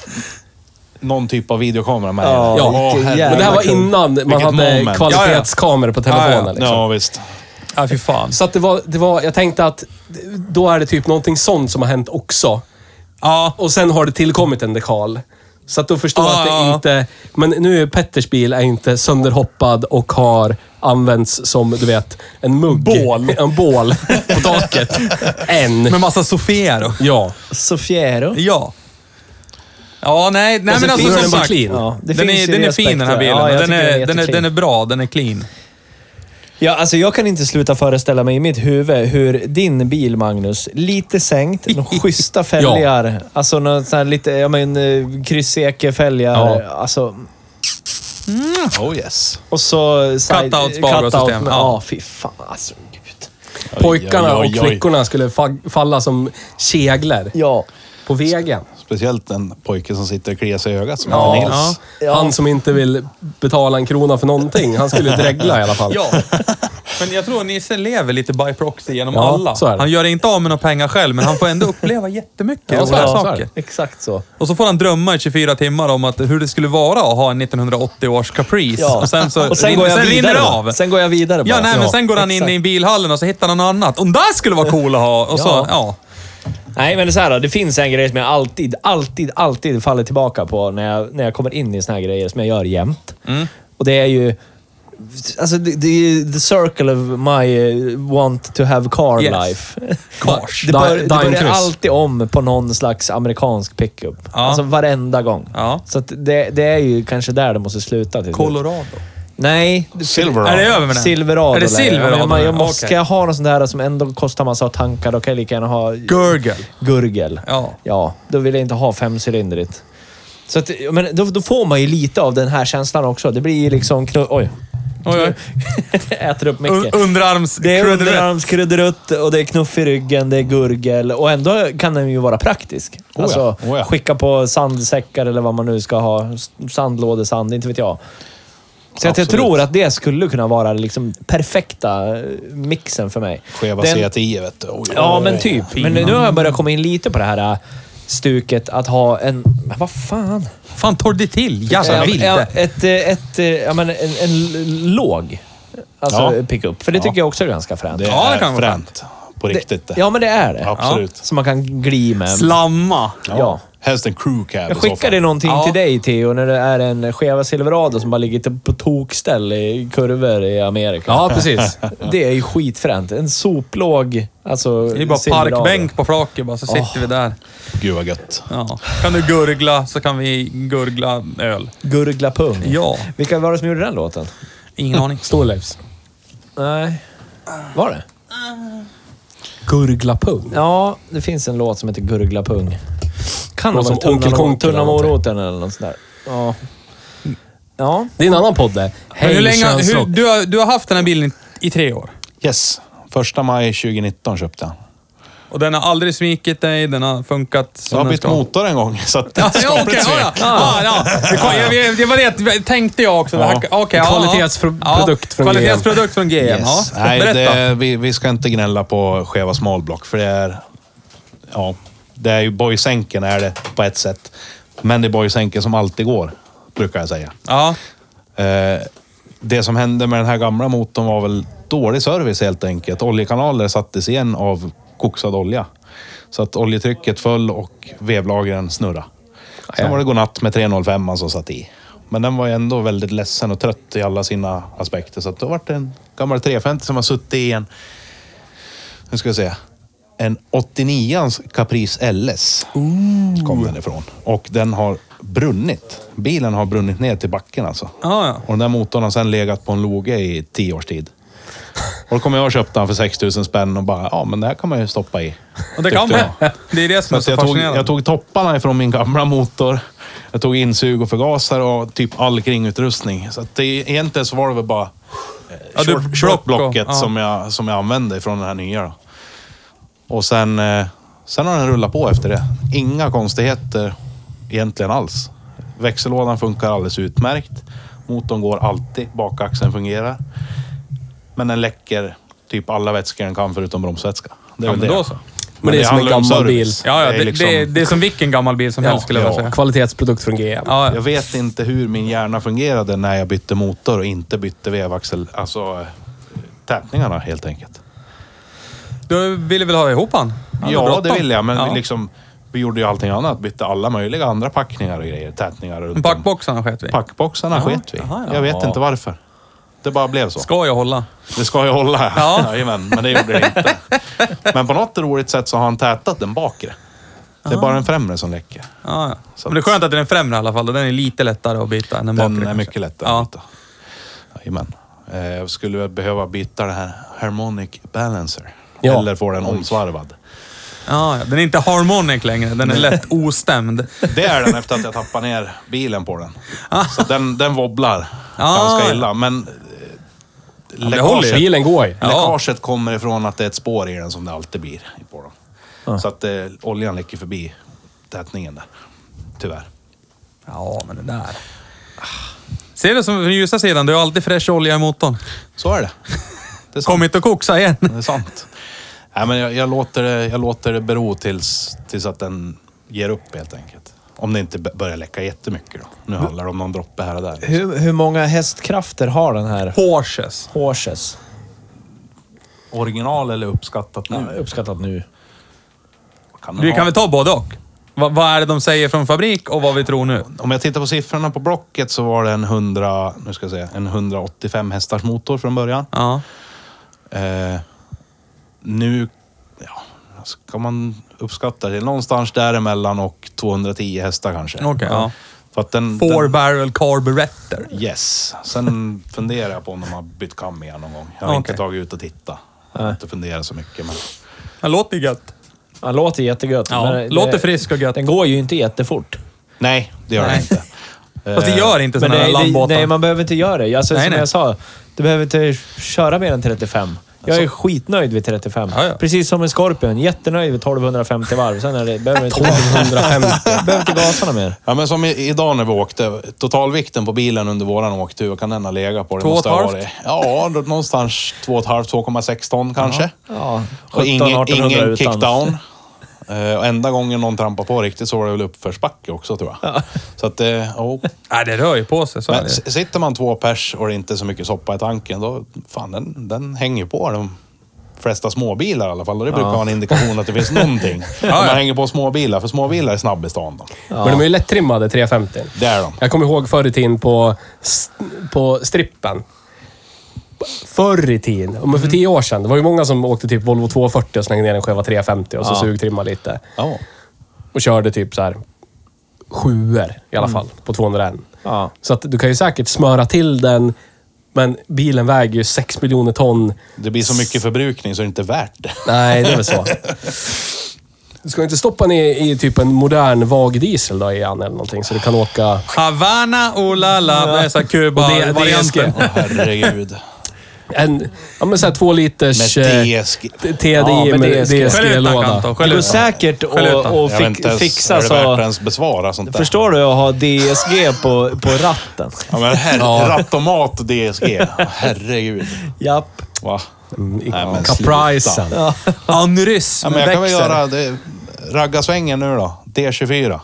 S2: någon typ av videokamera med.
S5: Ja,
S2: Åh,
S4: vilken
S2: herregud.
S5: jävla
S4: Men det här var innan man
S2: Vilket
S4: hade
S2: moment.
S4: kvalitetskameror på telefonen.
S3: Ja, ja.
S4: Liksom.
S2: Ja, visst.
S3: Ja, fy fan.
S4: Så att det var, det var, jag tänkte att då är det typ någonting sånt som har hänt också.
S3: Ja,
S4: Och sen har det tillkommit en dekal. Så att då förstår jag att
S3: Ja,
S4: det
S3: ja,
S4: inte... Men nu är Petters bil är inte sönderhoppad och har använts som, du vet, en mugg.
S6: Bål.
S4: En bål på taket. Än.
S3: Med massa Sofiero.
S4: Ja.
S5: Sofiero.
S3: Ja. Ja, nej, nej men
S4: så
S3: alltså
S4: finns
S3: som
S4: den bara
S3: sagt.
S4: clean.
S5: Ja, det
S3: den,
S5: finns
S3: är,
S5: ju
S3: den
S5: det
S3: är fin den här
S5: aspekten.
S3: bilen.
S5: Ja, jag
S3: den,
S5: tycker
S3: är,
S5: den är
S3: den, är,
S5: jätteclean.
S3: den är bra, den är clean.
S5: Ja, alltså jag kan inte sluta föreställa mig i mitt huvud hur din bil, Magnus, lite sänkt, några schyssta fälgar, alltså någon sån här lite, ja men eh, krysseke-fälgar,
S4: Ja.
S5: alltså.
S2: Oh yes.
S5: Och så... side-
S3: Cutout sparsystem,
S5: cutout, men-
S3: ja.
S5: Ja, fy fan alltså. Gud.
S4: Pojkarna
S2: Oj, oj,
S4: och
S2: oj.
S4: flickorna skulle fa- falla som keglar
S5: Ja.
S4: på vägen.
S2: Speciellt en pojke som sitter och kliar sig i ögat som
S4: Ja.
S2: heter Nils.
S5: Ja.
S4: Han som inte vill betala en krona för någonting. Han skulle dregla i alla fall.
S3: Ja. Men jag tror Nisse lever lite by proxy genom
S4: Ja,
S3: alla.
S4: så är det.
S3: Han gör inte av med några pengar själv, men han får ändå uppleva jättemycket ja,
S4: så är
S3: sådana
S4: det, så är
S3: saker.
S5: Exakt så.
S3: Och så får han drömma i 24 timmar om att, hur det skulle vara att ha en 1980 års Caprice.
S5: Ja.
S3: Och sen, så,
S5: Och sen går jag
S3: sen
S5: vidare.
S3: rinner det
S5: bara.
S3: av.
S5: Sen går jag vidare bara.
S3: ja, nej, men sen går han in
S5: exakt.
S3: i bilhallen och så hittar han något annat. Om där skulle vara cool att ha! Och så,
S5: Ja.
S3: ja.
S5: Nej, men det, är så här, då, det finns en grej som jag alltid, alltid, alltid faller tillbaka på när jag, när jag kommer in i såna här grejer som jag gör jämt.
S3: Mm.
S5: Och det är ju... Alltså, det, det är ju the circle of my eh, want to have car
S3: Yes.
S5: life.
S3: Cars.
S5: Det, bör,
S4: Di-
S5: det
S4: Dime
S5: börjar
S4: Cruise.
S5: alltid om på någon slags amerikansk pickup. Alltså varenda gång.
S3: Ja.
S5: Så att det, det är ju kanske där det måste sluta. Till slut.
S3: Colorado.
S5: Nej,
S2: Silverado.
S3: Är det över med den?
S5: Silverado.
S3: Är det
S5: lär jag.
S3: Silverado?
S5: Men man, jag måste,
S3: Okej.
S5: Ska jag ha något sånt där som ändå kostar massa tankar, då kan jag lika gärna ha
S3: Gurgel.
S5: gurgel.
S3: Ja.
S5: ja. Då vill jag inte ha femcylindrigt. Så att, men då, då får man ju lite av den här känslan också. Det blir ju liksom... Knu- oj.
S3: Oj, oj.
S5: Äter upp
S2: Uh,
S3: Un-
S5: mycket.
S3: Underarms...
S5: Det är
S3: kruderutt.
S5: underarmskruderutt och det är knuff i ryggen, det är gurgel och ändå kan den ju vara praktisk.
S2: ja,
S5: Alltså,
S2: oh ja.
S5: skicka på sandsäckar eller vad man nu ska ha. S- Sandlådesand, inte vet jag. Så att jag
S2: Absolut.
S5: tror att det skulle kunna vara liksom perfekta eh, mixen för mig.
S2: Skeva
S5: Den-
S2: CTI, vet du. Oj,
S5: Ja,
S2: oj,
S5: men
S2: oj.
S5: typ. Men nu har jag börjat komma in lite på det här äh, stuket att ha en... Men vad fan?
S3: Fan, torr det till. Jävla
S5: Eh,
S3: vilde.
S5: ja, ett, eh, ett, eh, ja, men en, en l- låg alltså
S2: Ja.
S5: pickup. För det tycker jag också är ganska fränt.
S2: Det
S3: Ja, det
S2: är
S3: kan vara
S2: fränt. På riktigt. Det.
S5: Ja, men det är det.
S2: Absolut.
S5: Som man kan gli med.
S3: Slamma.
S5: ja.
S2: Helst en crew cab
S5: Jag
S2: i så
S5: skickade
S2: fall.
S5: någonting
S3: Ja.
S5: till dig, Theo, när det är en skeva Silverado som bara ligger till- på tokställ i kurvor i Amerika.
S4: Ja, precis.
S5: Det är ju skitfränt. En soplåg alltså
S3: Det är bara
S5: Silverado.
S3: parkbänk på flaket bara, så sitter vi där.
S2: Gud vad gött.
S3: Ja. Kan du gurgla så kan vi gurgla öl.
S5: Gurgla pung.
S3: Ja,
S5: Vilka var det som gjorde den låten?
S3: ingen aning.
S4: Storleifs.
S5: Nej. Var det?
S4: Gurgla pung.
S5: Ja, det finns en låt som heter Gurgla pung. Kan ha
S4: Någon
S5: varit
S4: som Onkel
S5: Tunna
S4: Konkel
S5: mor- Tunna
S4: eller någonting.
S5: moroten eller något sånt där. Ja. Ja.
S4: Det är en annan podd det.
S3: Men
S4: Hej,
S3: hur länge, hur,
S4: könsrock.
S3: du, har, du har haft den här bilen i tre år.
S2: Yes. Första maj 2019 köpte jag.
S3: Och den har aldrig svikit dig, den har funkat som
S2: Jag har
S3: den
S2: bytt
S3: ska.
S2: motor en gång. Så att
S3: Ja, ja, okej. ja, ja. Ja, ja. Det kom- jag- jag- Det var det jag tänkte jag också. Det här-
S2: Ja.
S3: okej, ja, ja.
S4: Kvalitetsprodukt från GM.
S3: Kvalitetsprodukt från GM.
S2: Yes.
S3: Ja.
S2: Nej,
S3: Berätta.
S2: det, vi, vi ska inte gnälla på skeva smalblock, för det är... Ja, det är ju bojsänken är det på ett sätt. Men det är bojsänken som alltid går, brukar jag säga.
S3: Ja.
S2: Eh, det som hände med den här gamla motorn var väl dålig service helt enkelt. Oljekanaler sattes igen av koksad olja. Så att oljetrycket föll och vevlagren snurrade. Sen var det godnatt med 305 som satt i. Men den var ju ändå väldigt ledsen och trött i alla sina aspekter. Så att då var det en gammal 350 som har suttit i en... Nu ska jag se. En 89ans Caprice LS kom den ifrån. Och den har brunnit. Bilen har brunnit ner till backen alltså.
S3: Ah, Ja, ja.
S2: Och den där motorn har sedan legat på en loge i tio års tid. Och då kommer jag och köpte den för 6 000 spänn och bara, ja men det här kan man ju stoppa i.
S3: Och det kan man.
S2: Tyckte
S3: Det är det som är
S2: jag. Så
S3: så
S2: jag, tog,
S3: fascinerande.
S2: jag tog topparna ifrån min gamla motor. Jag tog insug och förgasare och typ all kringutrustning. Så att det, egentligen så var det väl bara eh,
S3: Ja, du-
S2: short, shortblocket
S3: block och- ja.
S2: som, jag, som jag använde från den här nya. Då. Och sen, eh, sen har den rullat på efter det. Inga konstigheter egentligen alls. Växellådan funkar alldeles utmärkt. Motorn går alltid. Bakaxeln fungerar. Men den läcker typ alla vätskor den kan förutom bromsvätska. Det är
S3: Ja,
S2: väl
S3: men
S2: det.
S3: då så. Men
S2: Men
S4: det är som en
S2: handlar om
S4: gammal
S2: service.
S4: bil.
S3: Ja, ja,
S2: är
S3: det,
S2: liksom-
S3: det, det är som vilken gammal bil som helst skulle jag vilja
S4: Ja,
S3: säga.
S4: kvalitetsprodukt från GM.
S3: Ja, ja.
S2: Jag vet inte hur min hjärna fungerade när jag bytte motor och inte bytte vevaxel, alltså eh, tätningarna helt enkelt.
S3: Du ville väl ha ihop han? Han hade
S2: ja,
S3: bråttom.
S2: det vill jag, men
S3: Ja.
S2: liksom Vi gjorde ju allting annat. Bytte alla möjliga andra packningar och grejer. Tätningar runt om.
S3: Packboxarna sket vi.
S2: Packboxarna sket vi.
S3: jaha, ja.
S2: Jag vet inte varför. Det bara blev så.
S3: Ska jag hålla?
S2: Det ska jag hålla.
S3: Ja.
S2: Ja. Jajamän, men det gjorde det inte. Men på något roligt sätt så har han tätat den bakre. Det är bara den främre som läcker.
S3: Ja, ja.
S2: Så
S3: Men det är
S2: att-
S3: skönt att den är främre i alla fall. och Den är lite lättare att byta än den bakre.
S2: Den är
S3: kanske.
S2: mycket lättare
S3: Ja.
S2: att byta. Jajamän. Eh, Jag skulle väl behöva byta den här Harmonic Balancer.
S4: Ja.
S2: Eller få den omsvarvad.
S3: Ja, ja. Den är inte harmonic längre. Den är lätt ostämd.
S2: Det är den efter att jag tappade ner bilen på den.
S3: Ah.
S2: Så den, den wobblar ganska illa. Men eh,
S3: håller ju.
S2: läckaget,
S4: Bilen går ju.
S2: läckaget kommer ifrån att det är ett spår i den som det alltid blir på dem.
S3: Ah.
S2: Så att eh, oljan läcker förbi tätningen där. Tyvärr.
S3: Ja, men den där. Ser du som den ljusa sidan? Du har alltid fräsch olja i motorn.
S2: Så är det. Det är sant.
S3: Kom inte och koksa igen.
S2: Det är sant. Nej, men jag, jag, låter det, jag låter det bero tills, tills att den ger upp helt enkelt. Om det inte b- börjar läcka jättemycket då. Nu handlar det om någon droppe här och där.
S5: Hur, hur många hästkrafter har den här
S3: Porsches.
S5: Horses?
S2: Original eller uppskattat
S5: Ja,
S2: nu?
S5: uppskattat nu.
S2: Kan den
S3: Vi
S2: ha-
S3: kan väl ta både och? Va, vad är det de säger från fabrik och vad vi tror nu?
S2: Om jag tittar på siffrorna på Blocket så var det en, 100, nu ska jag säga, en 185 hästars motor från början.
S3: Ja.
S2: Eh, nu ja, ska man uppskatta det någonstans däremellan och 210 hästar kanske.
S3: Okej, ja.
S2: För att den,
S3: Four
S2: den,
S3: barrel carburetor.
S2: Yes. Sen funderar jag på om de har bytt kam igen någon gång. Jag har inte
S3: Okej.
S2: tagit ut och tittat. Jag har inte funderat så mycket. Men...
S3: Det låter gött.
S5: Ja, låter jättegött.
S3: Ja,
S5: men det-
S3: låter frisk och gött.
S5: Den går ju inte jättefort.
S2: Nej, det gör jag
S3: Nej.
S2: inte.
S3: Fast det gör inte
S5: Men
S3: sådana
S5: nej,
S3: här
S5: det,
S3: landbåtar.
S5: nej, man behöver inte göra det. Alltså,
S3: Nej,
S5: som
S3: nej.
S5: jag sa, du behöver inte köra mer än 35. Jag är skitnöjd vid 35.
S3: Ja, ja.
S5: Precis som en Scorpion. Jättenöjd vid 1250 varv. Sen är det, behöver inte, behöver inte gasarna mer.
S2: Ja, men som i, idag när vi åkte. Totalvikten på bilen under våran åktur, vad kan den ha legat på? Det
S3: Två och
S2: måste
S3: ett
S2: ha
S3: halvt?
S2: varit- Ja, då- någonstans 2,5-2,6 ton kanske.
S5: Ja,
S2: Och
S5: 17,
S2: ingen,
S5: 1800
S2: ingen
S5: utan.
S2: kickdown. Eh, och enda gången någon trampade på riktigt så var det väl uppförsbacke också tror jag. Så att, eh, oh.
S3: Nej, det rör ju på sig. Så är
S2: Men
S3: det.
S2: s- sitter man två pers och det är inte så mycket soppa i tanken, då fan, den, den hänger ju på de flesta småbilar i alla fall. Och det brukar vara en indikation att det finns någonting. Om
S3: ja.
S2: man hänger på småbilar, för småbilar är snabb i stan. Då.
S4: Men de är ju lättrimmade 350.
S2: Det är de.
S4: Jag kommer ihåg förr i tiden på, s- på strippen. Förr i tiden, men
S3: Mm.
S4: för tio år sedan. Det var ju många som åkte typ Volvo 240 och slängde ner en skeva 350 och så sugtrimmade lite.
S2: Ja.
S4: Och körde typ så här sjuor i
S3: Mm.
S4: alla fall på 201.
S5: Ja.
S4: Så att du kan ju säkert smöra till den, men bilen väger ju 6 miljoner ton.
S2: Det blir så mycket förbrukning så det är inte värt det.
S4: Nej, det är väl så. Du ska inte stoppa ner i typ en modern vag diesel då i han eller någonting så du kan åka...
S3: Havana, oh la la. Det är så här
S4: Och det-
S3: Kuba-varianten.
S4: DSG.
S2: Åh, herregud.
S4: En, ja men såhär två
S2: Med
S4: liters... eh,
S2: DSG.
S4: TDI
S5: Ja, men
S4: med
S5: DSG.
S3: Skäll ut den
S4: DSG-låda.
S3: Kanton.
S5: Det
S3: Skäll
S5: går
S3: ut den.
S5: säkert
S3: Skäll ut den.
S5: att
S2: Jag vet inte
S5: fi-
S2: ens,
S5: fixa
S2: är det värt att
S5: så...
S2: ens besvara sånt där?
S5: Förstår du att ha DSG på, på ratten?
S2: Ja, men her-
S4: Ja.
S2: Rattomat DSG. Åh, Herregud.
S5: Japp.
S2: Va?
S4: Mm, I
S2: Nej, men
S4: Caprisen.
S3: Aneurysm
S2: Ja, men jag kan väl
S3: växer.
S2: göra det. Raggarsvängen nu då. D24.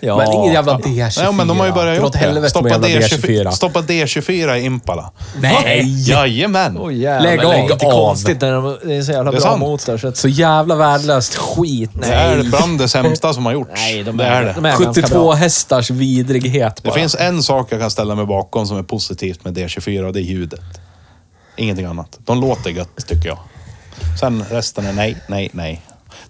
S5: Ja.
S4: Men ingen jävla D24.
S2: Nej, men de har ju börjat
S4: Dra åt
S2: göra det.
S4: helvete
S2: Stoppa
S4: med jävla D24.
S2: D24, stoppa D24 i Impala.
S3: Nej!
S2: Jajamän!
S5: Åh, jävlar,
S4: Lägg
S5: det är
S4: av.
S5: inte konstigt när de, det är så jävla
S2: Det är
S5: bra
S2: sant.
S5: motor. Så att,
S4: Så jävla värdelöst skit.
S2: Det är bland det sämsta som har gjorts.
S5: Nej, de
S2: det
S5: är-
S2: är det.
S5: de är- ganska
S4: 72
S5: bra.
S4: hästars vidrighet
S2: Det
S4: bara.
S2: finns en sak jag kan ställa mig bakom som är positivt med D24 och det är ljudet. Ingenting annat. De låter gött tycker jag. Sen resten är nej, nej, nej.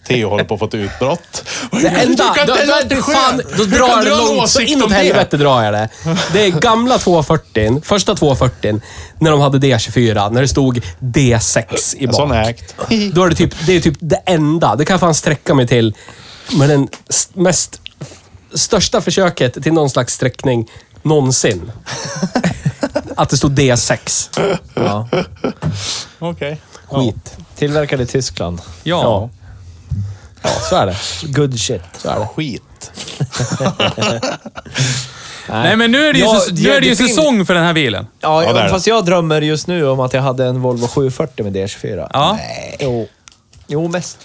S2: Theo håller på att få ett utbrott.
S4: Det enda,
S2: Du kan
S4: då,
S2: inte
S4: då,
S2: äta
S4: fan,
S2: själv.
S4: då
S2: Hur
S4: drar
S2: kan
S4: jag
S2: du
S4: det
S2: ha en
S4: långt så
S2: åsikt
S4: inåt
S2: om det?
S4: helvete drar jag det. Det är gamla 240, första 240, när de hade D24, när det stod D6 i
S2: En sån
S4: bak.
S2: är ägt.
S4: Då är det typ det, är typ det enda, det kan jag fan sträcka mig till, med den s- mest, största försöket till någon slags sträckning någonsin. Att det stod D6.
S5: ja.
S2: Okej.
S4: Skit.
S5: Tillverkad i Tyskland.
S3: Ja.
S4: Ja. Ja, så är det.
S5: Good shit.
S4: Så är det.
S2: Skit.
S3: Nej, men nu är det ju,
S5: Ja,
S3: säs- nu är det ju
S5: det finns-
S3: säsong för den här bilen.
S5: Ja,
S2: Ja, det är det.
S5: fast jag drömmer just nu om att jag hade en Volvo 740 med D24.
S3: Ja,
S5: Jo. Jo, mest.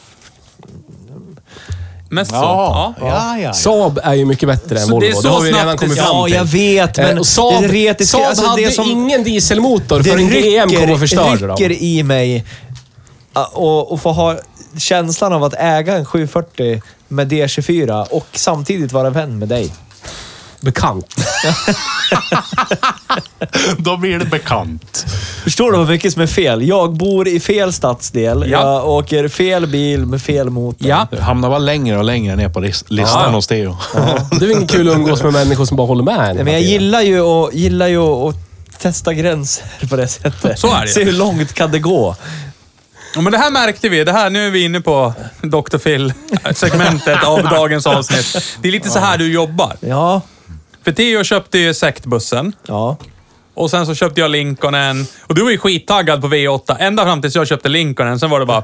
S3: mest så.
S2: Ja,
S3: Ja.
S2: ja, ja.
S4: Saab är ju mycket bättre än
S3: Så
S4: Volvo.
S3: det är
S4: Det,
S3: så
S4: har vi
S3: snabbt
S4: redan kommit
S3: det-
S4: fram
S5: Ja,
S4: till.
S5: jag vet,
S4: Eh,
S5: men
S4: och Saab,
S5: det retiska...
S4: Saab
S5: alltså,
S4: hade
S5: det som,
S4: ingen dieselmotor
S5: det
S4: förrän GM kom och förstörde
S5: rycker
S4: dem.
S5: i mig ah, och, och få ha känslan av att äga en 740 med D24 och samtidigt vara vän med dig.
S4: Bekant.
S2: Då blir det bekant.
S5: Förstår du hur mycket som är fel? Jag bor i fel stadsdel.
S3: Ja.
S5: Jag åker fel bil med fel motor.
S3: Ja,
S2: Du hamnar bara längre och längre ner på lis- listan
S3: Ja.
S2: hos Theo.
S4: Det är väl inget kul att umgås med människor som bara håller med en
S5: Nej, men
S4: hela
S5: jag
S4: tiden.
S5: gillar ju att, gillar ju att testa gränser på det sättet.
S3: Så är det.
S5: Se hur långt kan det gå.
S3: Ja, men det här märkte vi. Det här, nu är vi inne på Dr. Phil-segmentet av dagens avsnitt. Det är lite så här du jobbar.
S5: Ja,
S3: För Theo köpte ju sektbussen
S5: ja.
S3: och sen så köpte jag Lincolnen. Och du var ju skittaggad på V8 ända fram tills jag köpte Lincolnen. Sen var det bara...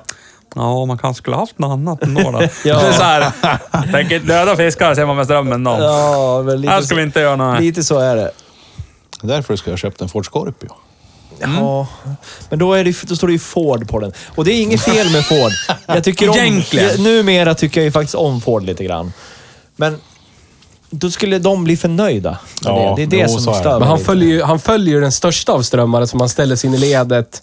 S3: Ja, man kanske skulle haft något annat ändå då.
S5: Ja.
S3: Det är så här, tänker döda fiskar ser man med strömmen då.
S5: ja men lite
S3: här ska
S5: så,
S3: vi inte göra något.
S5: Lite så är det.
S2: Därför ska jag köpt en Ford Scorpio.
S3: Mm.
S5: Ja, men då, är det, då står det ju Ford på den. Och det är inget fel med Ford. Jag tycker om,
S3: Egentligen.
S5: Jag, numera tycker jag ju faktiskt om Ford lite grann. Men då skulle de bli för nöjda. med
S2: Ja,
S5: det. det är det
S2: jo, så
S5: som
S2: är det.
S5: stör mig
S4: Men han
S5: lite.
S4: följer, ju- han följer ju den största av strömmare som han ställer sig in i ledet.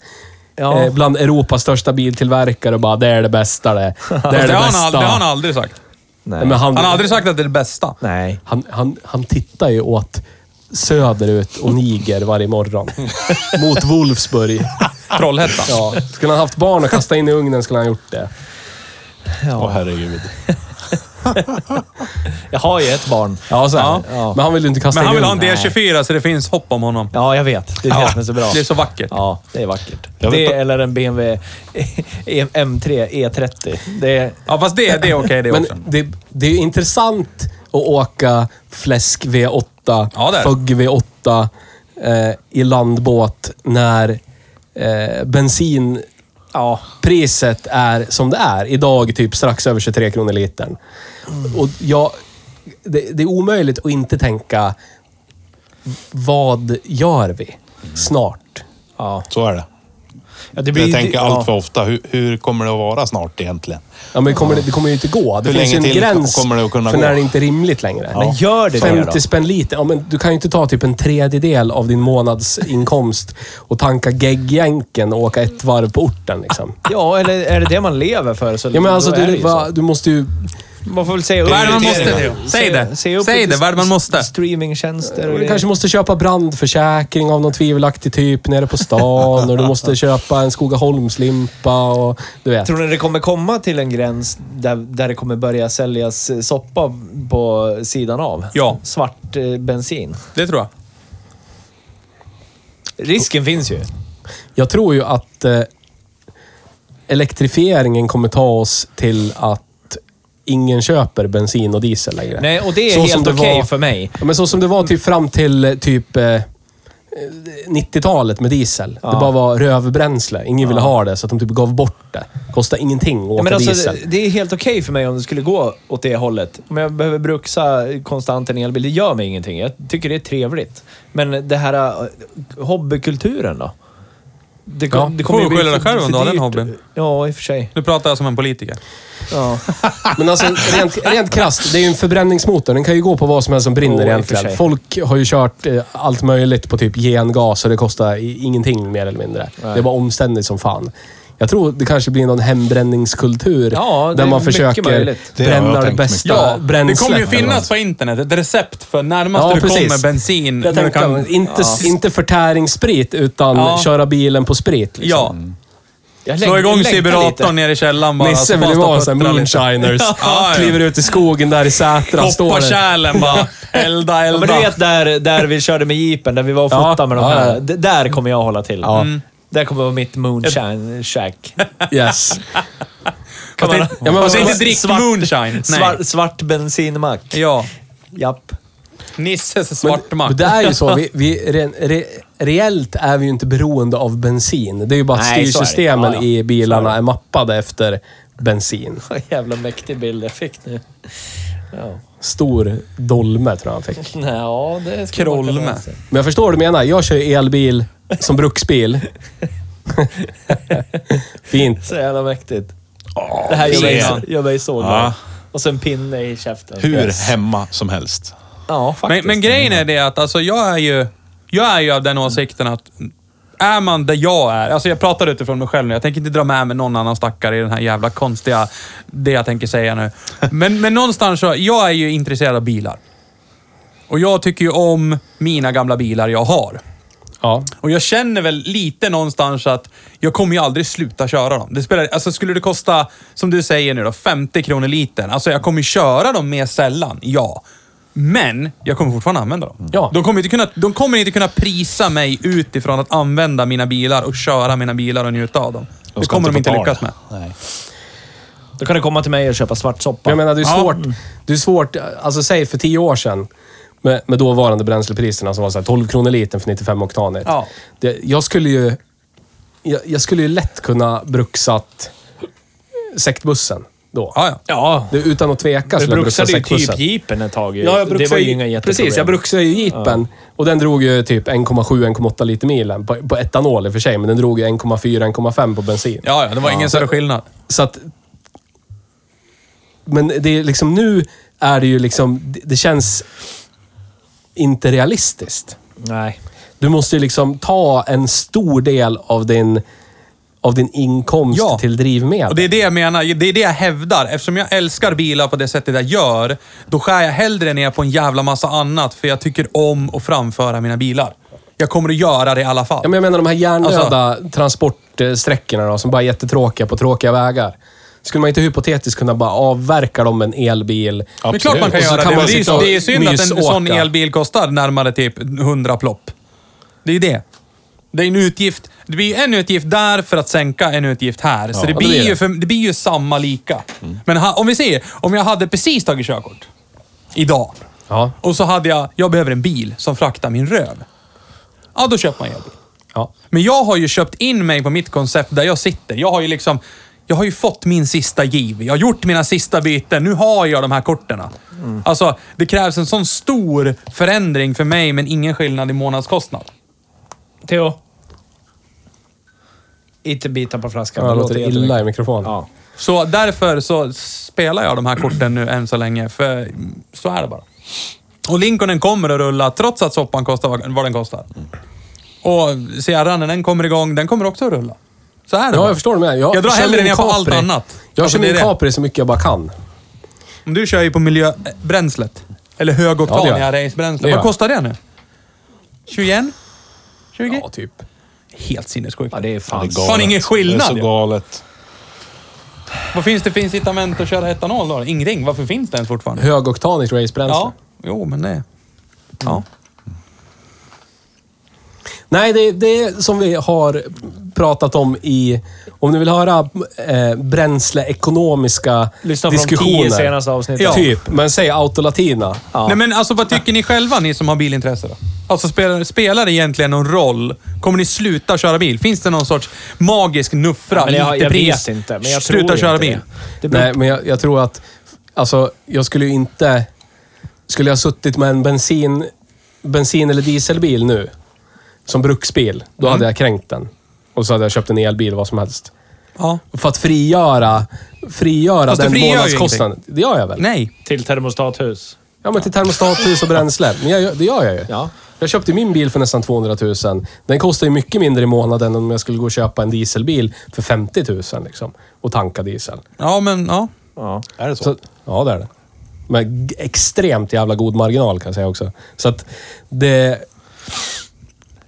S5: Ja.
S4: Eh, bland Europas största biltillverkare och bara det är det bästa det. Det är det,
S3: det, har han,
S4: bästa.
S3: ald- det har han aldrig sagt.
S5: Nej.
S4: Nej, men han,
S3: Han har aldrig sagt att det är det bästa.
S5: Nej.
S4: han, han, han tittar ju åt söderut och niger varje morgon. Mot Wolfsburg.
S3: Trollhättan.
S4: Ja. Skulle han haft barn och kasta in i ugnen skulle han ha gjort det.
S2: Åh herregud.
S5: Jag har ju ett barn.
S4: Ja, så ja.
S5: Ja.
S4: Men han vill ju inte kasta
S3: Men han
S4: in
S3: vill
S4: i
S3: ha en
S4: ugnen.
S3: D24 så det finns hopp om honom.
S5: Ja, jag vet. Det är det som är så bra.
S3: Det är så vackert.
S5: Ja, det är vackert.
S2: Jag vet
S5: Det
S2: att-
S5: eller en BMW E- M3 E30. Det är...
S3: Ja, fast det, det är okej det också.
S4: Men det, det är ju intressant att åka fläsk V8,
S3: Ja, det är det.
S4: fugg V8 eh, i landbåt när eh, bensinpriset är som det är. Idag typ strax över 23 kronor litern.
S3: Mm.
S4: Och jag, det, det är omöjligt att inte tänka, vad gör vi
S3: Mm.
S4: snart?
S5: Ja.
S2: Så är det.
S5: Ja, det
S2: Jag tänker
S5: det-
S2: allt för ofta. Hur, hur kommer det att vara snart egentligen?
S4: Ja, men kommer det, det kommer ju inte gå. Det
S2: Hur
S4: finns ju en
S2: länge till
S4: gräns
S2: kommer det att kunna
S4: för
S2: gå?
S4: när det inte är rimligt längre.
S5: Men gör det det
S4: 50
S5: då?
S4: spänn liter. Ja, men du kan ju inte ta typ en tredjedel av din månadsinkomst och tanka geggjänken och åka ett varv på orten. Liksom.
S5: Ja, eller är det det man lever för? Så
S4: Ja, men alltså,
S5: då är det
S4: du,
S5: ju
S4: va,
S5: så.
S4: du måste ju...
S5: Man får väl säga upp...
S3: Vad är det man måste?
S2: Prioriteringar.
S3: Theo? Säg det.
S5: Se upp
S3: Säg
S5: lite
S3: det. Vad är det man måste?
S5: Streamingtjänster och
S4: Du
S5: grejer.
S4: kanske måste köpa brandförsäkring av någon tvivelaktig typ nere på stan och du måste köpa en Skogaholmslimpa och du vet.
S5: Tror ni det kommer komma till en gräns där, där det kommer börja säljas eh, soppa på sidan av?
S3: Ja.
S5: Svart eh, bensin.
S3: Det tror jag.
S5: Risken finns ju.
S4: Jag tror ju att eh, elektrifieringen kommer ta oss till att ingen köper bensin och diesel längre.
S5: Nej, och det är
S4: Så som
S5: helt
S4: det
S5: okej
S4: var-
S5: för mig.
S4: Ja, men så som det var typ fram till eh, typ eh, 90-talet med diesel. Det bara var rövbränsle. Ingen ville ha det, så att de typ gav bort det. Kostar ingenting att åka
S5: Ja, men alltså,
S4: diesel.
S5: det är helt okej för mig om det skulle gå åt det hållet. Om jag behöver bruxa konstant en elbil, det gör mig ingenting. Jag tycker det är trevligt. Men det här eh, hobbykulturen då? Det, kom,
S3: Ja, du får
S5: bli
S3: skylla dig
S5: för-
S3: själv om
S5: för
S3: du har den
S5: dyrt.
S3: hobbyn.
S5: Ja, i och för sig.
S3: Nu pratar jag som en politiker.
S5: Ja.
S4: Men alltså, rent, rent krasst, det är ju en förbränningsmotor. Den kan ju gå på vad som helst som brinner
S5: Åh, i och för
S4: egentligen.
S5: sig.
S4: Folk har ju kört eh, allt möjligt på typ gengas och det kostar i- ingenting mer eller mindre. Det är bara omständigt som fan. Jag tror det kanske blir någon hembränningskultur
S5: Ja, det
S4: där
S5: är
S4: man
S5: mycket
S4: försöker
S5: möjligt.
S2: Det har jag
S4: bränna det
S2: tänkt
S4: bästa
S2: mycket.
S4: bränslet.
S3: det kommer ju
S4: eller vad
S3: finnas på internet ett recept för närmast
S4: Ja,
S3: du
S4: precis.
S3: kommer bensin.
S4: Jag
S3: när du
S4: tänkte,
S3: kan,
S4: inte, inte förtäringssprit, utan
S3: Ja.
S4: köra bilen på sprit. Liksom.
S3: ja,
S5: Jag
S3: slå
S5: läng-
S3: igång
S5: längtar lite.
S3: sibiratorn nere i källaren bara. alltså
S4: Nisse
S3: så
S4: vill ju
S3: bara
S4: vara
S3: stoppa
S4: såhär
S3: upp den
S4: moonshiners.
S3: Ja, ja.
S4: Kliver ut i skogen där i Sätra.
S3: lite.
S4: står
S3: Koppar
S4: där.
S3: kärlen bara. Elda,
S5: Ja,
S3: elda.
S5: men du vet där, där vi körde med jeepen, där vi var och
S4: Ja,
S5: fotade med de
S4: ja,
S5: här.
S4: ja.
S5: D- Där kommer jag hålla till.
S4: Ja.
S5: Där kommer vara mitt moonshine shack.
S4: Yes.
S5: Kan man-
S4: Ja, men
S3: Fast
S4: vad-
S3: inte drick
S5: Svart-
S3: moonshine. Nej.
S5: Svart, svart bensinmack.
S3: Ja.
S5: Japp.
S3: Nisses
S4: Men
S3: svartmakt.
S4: det är ju så. Vi, vi, re, re, reellt är vi ju inte beroende av bensin. Det är ju bara att
S5: Nej, så är det.
S4: styrsystemen
S5: Ja, ja.
S4: i bilarna är mappade efter bensin.
S5: Vad jävla mäktig bild jag fick nu. Ja,
S4: Stor dolme tror jag han fick.
S5: Nej, ja det ska
S3: Kroll
S5: man kunna
S3: med.
S5: se.
S4: Men jag förstår vad du menar. Jag kör ju elbil som bruksbil. Fint.
S5: Så jävla mäktigt. det här gör
S3: fin.
S5: mig, så- gör mig så glad.
S2: Ja.
S5: Och så en pinne i käften.
S2: Hur
S5: Yes.
S2: hemma som helst.
S5: Ja, faktiskt.
S3: Men, men grejen är det att alltså, jag, är ju, jag är ju av den åsikten att är man där jag är, alltså jag pratar utifrån mig själv nu, jag tänker inte dra med mig någon annan stackare i den här jävla konstiga, det jag tänker säga nu. Men, men någonstans så, jag är ju intresserad av bilar. Och jag tycker ju om mina gamla bilar jag har.
S4: Ja.
S3: Och jag känner väl lite någonstans att jag kommer ju aldrig sluta köra dem. Det spelar, alltså skulle det kosta, som du säger nu då, 50 kronor litern. Alltså jag kommer ju köra dem mer sällan, ja. Men jag kommer fortfarande använda dem.
S4: Ja.
S3: De, kommer inte kunna, de kommer inte kunna prisa mig utifrån att använda mina bilar och köra mina bilar och njuta av dem. det
S2: ska
S3: kommer de
S2: få
S3: inte
S2: ta
S3: lyckas
S2: det.
S3: med.
S2: Nej.
S5: Då kan du komma till mig och köpa svartsoppa.
S4: Men jag menar, det är
S3: Ja.
S4: svårt. Det är svårt. Alltså säg för tio år sedan med, med dåvarande bränslepriserna som var så här 12 kronor litern för 95 oktanigt.
S3: Ja.
S4: Det, jag skulle ju... Jag, jag skulle ju lätt kunna bruksat sektbussen då.
S3: Ja, ja.
S5: ja,
S4: Det, utan att tveka
S5: du
S4: skulle jag bruksat
S5: bruxade ju
S4: sektbussen.
S5: typ jeepen ett tag. Ju.
S4: Ja, jag
S5: det var
S4: bruxade
S5: ju inga jätteproblem.
S4: Precis, jag bruxade ju jeepen. Och den drog ju typ 1,7-1,8 liter milen på, på etanol i och för sig, men den drog ju 1,4-1,5 på bensin.
S3: Ja, ja, det var ingen större skillnad.
S4: Så att... Men det är liksom nu är det ju liksom... det- Det känns inte realistiskt.
S5: Nej.
S4: Du måste ju liksom ta en stor del av din, av din inkomst
S3: Ja.
S4: till
S3: Och
S4: drivmedel.
S3: det är det jag menar, det är det jag hävdar. Eftersom jag älskar bilar på det sättet jag gör, då skär jag hellre ner på en jävla massa annat, för jag tycker om att framföra mina bilar. Jag kommer att göra det i alla fall.
S4: Ja, men jag menar de här hjärndöda
S3: Alltså-
S4: transportsträckorna då, som bara är jättetråkiga på tråkiga vägar. Skulle man inte hypotetiskt kunna bara avverka dem med en elbil?
S3: det är klart man kan
S4: Och så
S3: göra
S4: kan
S3: det, men
S4: man
S3: det
S4: sitta
S3: är,
S4: och
S3: det är synd att en
S4: mysåka.
S3: sån elbil kostar närmare typ 100 plopp. Det är ju det. Det är en utgift. Det blir en utgift där för att sänka en utgift här. Så det,
S4: det
S3: blir
S4: blir
S3: Ju
S4: det.
S3: för, det blir ju samma lika. Men ha, om vi säger, om jag hade precis tagit körkort idag
S4: Ja.
S3: och så hade jag, jag behöver en bil som fraktar min röv. Ja, då köper man en elbil.
S4: Ja.
S3: Men jag har ju köpt in mig på mitt koncept där jag sitter. Jag har ju liksom... Jag har ju fått min sista giv. Jag har gjort mina sista byten. Nu har jag de här korten.
S4: Mm.
S3: Alltså, det krävs en sån stor förändring för mig, men ingen skillnad i månadskostnad.
S5: Theo. Inte bita på flaskan.
S4: Ja, det
S5: Det
S4: låter
S5: jättemycket.
S4: illa i mikrofonen.
S5: Ja.
S3: Så därför så spelar jag de här korten nu än så länge, för så är det bara. Och Lincolnen kommer att rulla, trots att soppan kostar vad- vad den kostar. Och Sierran, när den kommer igång, den kommer också att rulla. Så är det
S4: Ja,
S3: bara.
S4: jag förstår det med. Jag,
S3: Jag drar
S4: kör
S3: hellre
S4: min
S3: ner på
S4: Capri.
S3: allt annat.
S4: Jag
S3: Alltså,
S4: kör
S3: det är
S4: min
S3: det.
S4: Capri så mycket jag bara kan.
S3: Men Du kör ju på miljöbränslet. Eller
S4: Ja, det gör
S3: högoktaniga
S4: jag. Det
S3: racebränsle.
S4: gör
S3: Vad
S4: jag.
S3: kostar det nu? 21? 20?
S4: Ja, typ.
S3: Helt sinnessjukt.
S5: ja, det är
S2: Det
S5: fan...
S2: är
S3: Fan,
S2: galet.
S3: ingen skillnad
S2: Det är
S3: ju.
S2: så galet.
S3: Vad finns det för incitament att köra etanol då? Ingring, varför finns det ens fortfarande?
S4: Högoktanigt racebränsle.
S3: Ja, jo men det... Ja.
S4: Nej, det, det är som vi har pratat om i... Om ni vill höra eh, bränsleekonomiska
S5: Lyssna på de
S4: diskussioner.
S5: tio senaste avsnitten.
S4: Ja. Typ, men säg Autolatina.
S3: Nej men alltså vad tycker ni själva, ni som har bilintresse då? Alltså spelar, spelar det egentligen någon roll? Kommer ni sluta köra bil? Finns det någon sorts magisk nuffra?
S5: men jag-
S3: lite
S5: jag
S3: pris,
S5: vet inte, men jag
S3: sluta
S5: tror
S3: köra
S5: inte
S3: bil.
S5: Det beror...
S4: Nej, men jag, jag tror att... Alltså, jag skulle ju inte... Skulle jag suttit med en bensin, bensin eller dieselbil nu, som bruksbil, då
S3: Mm.
S4: hade jag kränkt den. Och så hade jag köpt en elbil, vad som helst.
S3: Ja.
S4: För att frigöra, frigöra
S3: Fast du
S4: den
S3: frigör ju
S4: månadskostnaden. Det gör jag väl?
S3: Nej.
S5: Till termostathus.
S4: Ja, men till termostat, hus och bränsle. Men jag, gör- det gör jag ju.
S5: Ja.
S4: Jag köpte min bil för nästan 200 000. Den kostar ju mycket mindre i månaden än om jag skulle gå och köpa en dieselbil för 50 000 liksom. Och tanka diesel.
S3: Ja men, ja.
S5: Ja.
S2: Är det så?
S4: Så, ja, det är det. Med g- extremt jävla god marginal kan jag säga också. Så att det...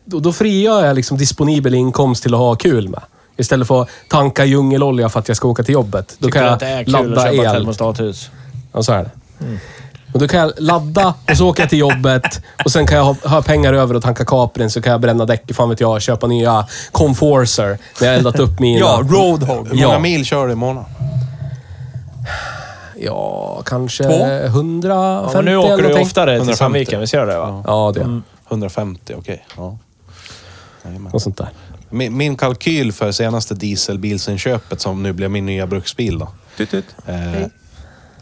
S4: Då, då frigör jag liksom disponibel inkomst till att ha kul med. Istället för att tanka djungelolja för att jag ska åka till jobbet. Då
S5: Tycker
S4: kan
S5: du
S4: jag
S5: att det är kul
S4: ladda
S5: att köpa
S4: el.
S5: termostathus?
S4: Ja, så är det. Och då kan jag ladda och så åker jag till jobbet och sen kan jag ha, ha pengar över och tanka Caprin så kan jag bränna däck, fan vet jag, köpa nya Comforcer när jag eldat upp mina.
S3: Ja, roadhog.
S2: Hur många
S4: Ja.
S2: mil kör du i månaden?
S4: ja, kanske
S3: Två?
S4: 150
S5: Ja, men nu åker
S4: eller
S5: du
S4: någonting.
S5: oftare till
S2: 150.
S5: Sandviken, visst gör du det? Va?
S4: Ja, det. Mm.
S2: 150, okej. Ja. Jajamän.
S4: Något sånt där.
S2: Min, min kalkyl för senaste dieselbilsinköpet, som nu blev min nya bruksbil, då,
S3: Tut, tut.
S2: eh,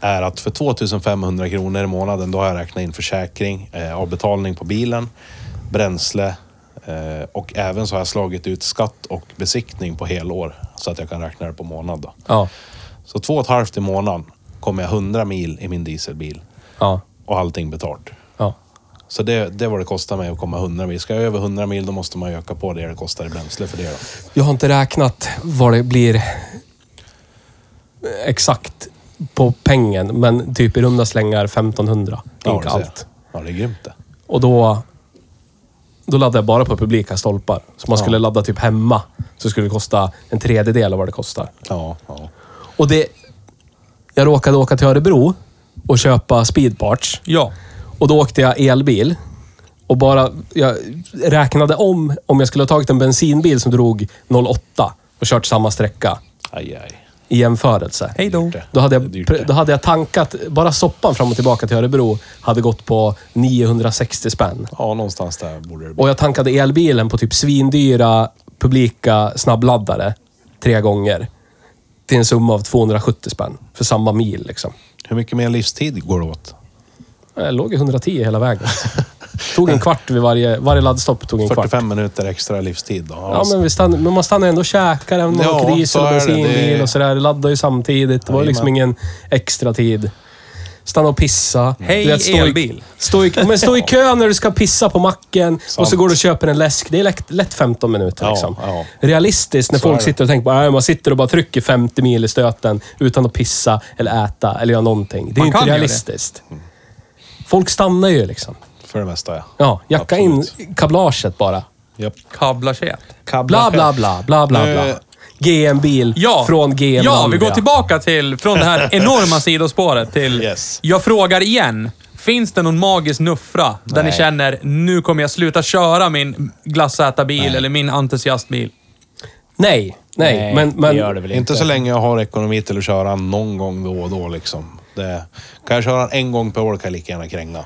S2: är att för 2500 kronor i månaden, då har jag räknat in försäkring, eh, avbetalning på bilen, bränsle eh, och även så har jag slagit ut skatt och besiktning på helår så att jag kan räkna det på månad. Då.
S4: Ja.
S2: Så två och ett halvt i månaden kommer jag 100 mil i min dieselbil
S4: Ja.
S2: och allting betalt.
S4: Ja.
S2: Så det, det var det kostar mig att komma 100 mil. Ska jag över 100 mil då måste man ju öka på det det kostar i bränsle för det. Då.
S4: Jag har inte räknat vad det blir exakt på pengen, men typ i runda slängar 1500.
S2: Ja,
S4: Inka
S2: du ser.
S4: allt.
S2: Ja, det är grymt det.
S4: Och då, då laddade jag bara på publika stolpar. Så man skulle ladda typ hemma, så skulle det kosta en tredjedel av vad det kostar.
S2: Ja, ja.
S4: Och det... Jag råkade åka till Örebro och köpa speedparts.
S3: Ja.
S4: Och då åkte jag elbil. Och bara... Jag räknade om om jag skulle ha tagit en bensinbil som drog 08 och kört samma sträcka
S2: Aj, aj.
S4: i jämförelse.
S3: Hej då.
S2: Det.
S4: Då hade, jag,
S2: Det är dyrt
S4: pre-
S2: det.
S4: då hade jag tankat, bara soppan fram och tillbaka till Örebro hade gått på 960 spänn.
S2: Ja, någonstans där borde det bli.
S4: Och jag tankade elbilen på typ svindyra publika snabbladdare tre gånger. Till en summa av 270 spänn för samma mil liksom.
S2: Hur mycket mer livstid går det åt?
S4: Jag låg i 110 hela vägen. tog en kvart vid varje, varje laddstopp. Tog en kvart.
S2: 45 minuter extra livstid då? alltså,
S4: Ja, men, vi stann, men man stannar ändå och käkar även om man
S2: Ja,
S4: åker diesel
S2: så
S4: och
S2: är det.
S4: bensinbil
S2: Det-
S4: och sådär. Det Laddar ju samtidigt. Det var ju liksom ingen extra tid. Stanna och
S2: Mm.
S4: pissa.
S3: Hej,
S4: Du vet, stå i-
S3: elbil.
S4: Stå i, men stå i kö när du ska pissa på macken och så går du och köper en läsk. Det är lätt, lätt 15 minuter
S2: Ja,
S4: liksom.
S2: ja.
S4: Realistiskt när
S2: Så är
S4: folk
S2: det.
S4: sitter och tänker på "Nej, man sitter och bara trycker 50 mil i stöten utan att pissa eller äta eller göra någonting. Det är
S3: Man
S4: ju inte
S3: kan göra det.
S4: realistiskt. Folk stannar ju liksom.
S2: För det mesta, ja.
S4: Ja, jacka
S2: Absolut.
S4: in kablaget bara.
S2: Japp.
S3: Kablarset.
S4: Bla, bla, bla, bla, bla,
S2: Eh.
S4: bla. GM-bil
S3: Ja.
S4: från GM
S3: Ja, vi
S4: Landvia.
S3: går tillbaka till, från det här enorma sidospåret till...
S2: Yes.
S3: Jag frågar igen. Finns det någon magisk nuffra där ni
S2: Nej.
S3: känner, nu kommer jag sluta köra min glassätarbil eller min entusiastbil?
S4: Nej, nej, men... men
S5: det gör det väl
S2: Inte.
S5: inte.
S2: så länge jag har ekonomi till att köra någon gång då och då liksom. Det, kan jag köra en gång per år kan jag lika gärna kränga.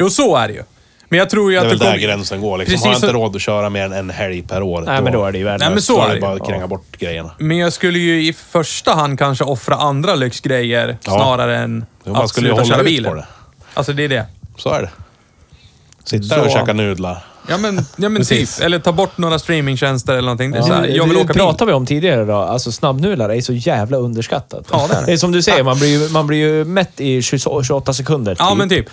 S3: Jo, så är det ju. Men jag tror ju
S2: Det är
S3: att
S2: väl
S3: du
S2: där
S3: kommer...
S2: gränsen går liksom.
S3: Precis
S2: har jag inte
S3: så-
S2: råd att köra mer än en helg per år.
S5: Nej, men då är det ju värdelöst.
S3: Nej, men så
S2: Då
S3: är
S2: är
S3: det
S2: det bara
S3: ju.
S2: att kränga bort grejerna.
S3: Men jag skulle ju i första hand kanske offra andra lyxgrejer
S2: Ja.
S3: snarare än
S2: Jo, man
S3: att
S2: skulle ju
S3: sluta
S2: hålla
S3: köra
S2: ut på
S3: bilen.
S2: det.
S3: Alltså, det är det.
S2: Så är det. Sitta där och
S3: Så.
S2: käka nudlar.
S3: Ja, men, ja, men typ. Eller ta bort några streamingtjänster eller någonting. Det är så här,
S5: Det-
S3: jag vill
S5: det
S3: åka bil.
S5: pratade vi om tidigare då. Alltså snabbnudlar är så jävla underskattat.
S3: Ja, det är det.
S5: är som du säger, man blir ju, man blir ju mätt i 20 28 sekunder.
S3: Ja, men typ.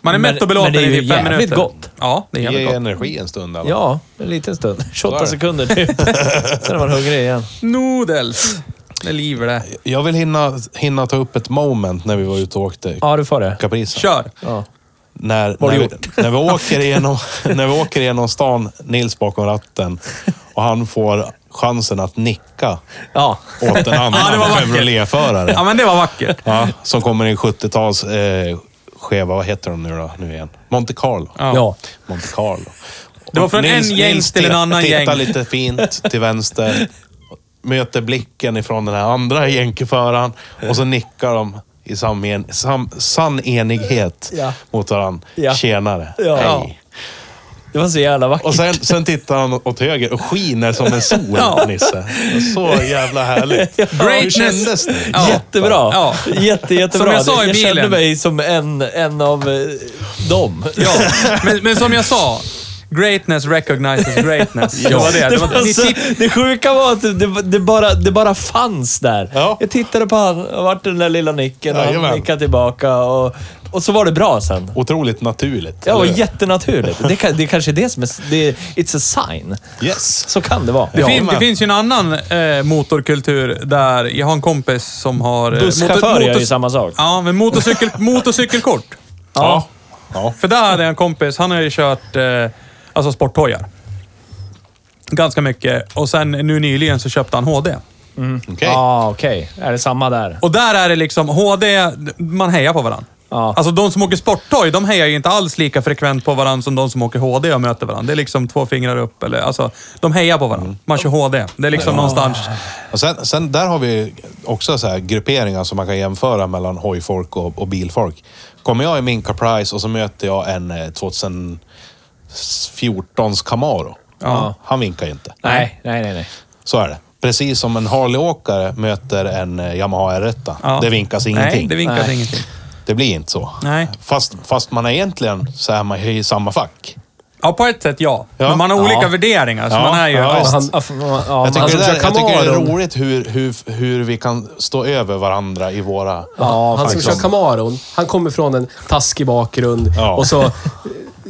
S3: Man är
S5: Men-
S3: mätt och belåten
S5: men det är
S3: i
S5: ju
S3: typ fem
S5: jävligt
S3: minuter.
S5: gott.
S3: Ja, det är jävligt
S2: Ge
S3: gott.
S2: energi en stund eller?
S5: Ja, en liten stund. 28
S2: det.
S5: sekunder typ. Sen är man hungrig igen.
S3: Noodles. Det är liv det.
S2: Jag vill hinna, hinna ta upp ett moment när vi var ute och åkte
S5: Ja, du får det.
S2: Capricen.
S3: Kör!
S5: Ja.
S2: När,
S5: har
S2: när,
S5: du
S2: vi, när, vi åker igenom, när vi åker igenom stan, Nils bakom ratten, och han får chansen att nicka
S5: ja.
S2: åt
S3: Ja,
S2: en
S3: det var
S2: annan
S3: vackert.
S2: Chevrolet-förare.
S3: Ja, men det var vackert.
S2: Ja, som kommer i 70-tals eh, skeva, vad heter de nu då? Nu igen. Monte Carlo.
S4: Ja.
S2: Monte Carlo.
S3: Det var från en gäng till en
S2: titta-
S3: annan
S2: Titta
S3: gäng.
S2: lite fint till vänster. Möter blicken ifrån den här andra jänkeföraren och så nickar de i sam, en- sam, sann enighet
S5: Ja.
S2: mot varandra.
S5: Ja.
S2: Tjenare.
S5: Ja.
S2: Hej.
S5: Det var så jävla vackert.
S2: Och sen, sen tittar han åt höger och skiner som en sol, Nisse. Så jävla härligt. Hur
S3: Greatness.
S2: kändes det?
S3: Ja.
S5: Jättebra.
S3: Ja.
S5: Jätte, jättebra.
S3: Som jag sa i bilen.
S5: kände mig som en, en av eh, dem.
S3: Ja. Men, men som jag sa, greatness recognizes greatness. Det var det. det, var, ni
S5: så,
S3: tipp,
S5: det sjuka var att det, det, bara, det bara fanns där.
S2: Ja.
S5: Jag tittade på han och vart den där lilla nicken och
S2: Jajamän.
S5: han nickade tillbaka. Och, och så var det bra sen.
S2: Otroligt naturligt.
S5: Ja,
S2: eller
S5: och
S2: hur?
S5: jättenaturligt. Det, kan- det är kanske är det som är... Det, it's a sign.
S2: Yes.
S5: Så kan det vara.
S3: det, fin,
S2: men-
S3: det finns ju en annan eh, motorkultur där jag har en kompis som har... eh,
S5: Busschaufför gör ju
S3: motors-
S5: samma sak.
S3: Ja, men motorcykel, motorcykelkort.
S2: Ja. ja.
S3: För där hade jag en kompis, han har ju kört eh, alltså sporthojar. Ganska mycket. Och sen nu nyligen så köpte han HD.
S2: Okej.
S5: Ja, ah, okej. Är det samma där?
S3: Och där är det liksom HD, man hejar på varandra.
S5: Ja.
S3: Alltså de som åker sporttoy, de hejar ju inte alls lika frekvent på varandra som de som åker HD och möter varandra. Det är liksom två fingrar upp. Eller, alltså, de hejar på
S2: Mm.
S3: varandra. Man kör HD. Det är liksom någonstans...
S2: Och sen, sen där har vi också så här grupperingar som man kan jämföra mellan hojfolk och, och bilfolk. Kommer jag i min Caprice och så möter jag en eh, 2014s Camaro.
S3: Ja.
S2: Han vinkar ju inte.
S5: Nej, nej, nej. nej.
S2: Så är det. Precis som en Harley-åkare möter en eh, Yamaha R1.
S3: Ja.
S2: Det vinkas ingenting.
S3: Nej, det vinkas
S5: Nej.
S3: ingenting.
S2: Det blir inte så.
S3: Nej.
S2: Fast, fast man är egentligen så är man ju i samma fack.
S3: Ja, på ett sätt ja.
S2: Ja.
S3: Men man har olika
S5: Ja.
S3: värderingar. Så
S2: Ja,
S3: man är ju...
S2: ja,
S3: Ja,
S2: visst.
S5: Han, ja, f- ja,
S2: Jag
S5: men
S2: tycker,
S5: han som
S2: det,
S5: kör
S2: där, Alltså, jag tycker det är
S5: Camaron-
S2: roligt hur, hur, hur vi kan stå över varandra i våra...
S5: Ja,
S4: han som
S5: faktiskt.
S4: kör Camaron, han kommer från en taskig bakgrund
S2: Ja.
S4: och så eh,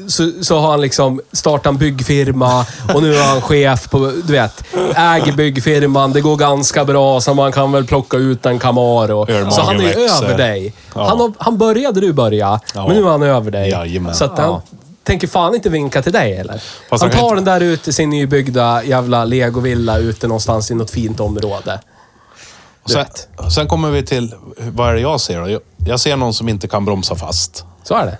S4: så, så har han liksom startat en byggfirma och nu är han chef på, du vet, äger byggfirman. Det går ganska bra, så man kan väl plocka ut en Camaro.
S2: Ölmagen
S4: Så han är ju
S2: växer.
S4: över dig.
S2: Ja.
S4: Han, har, han började du börja,
S2: Ja.
S4: men nu är han över dig.
S2: Jajamän.
S4: Så att han tänker fan inte vinka till dig eller?
S2: Fast han
S4: han
S2: kan
S4: tar
S2: inte-
S4: den där ut i sin nybyggda jävla legovilla ute någonstans i något fint område.
S2: Och sen,
S4: Rätt.
S2: sen kommer vi till, vad är det jag ser då? Jag, jag ser någon som inte kan bromsa fast.
S4: Så är det.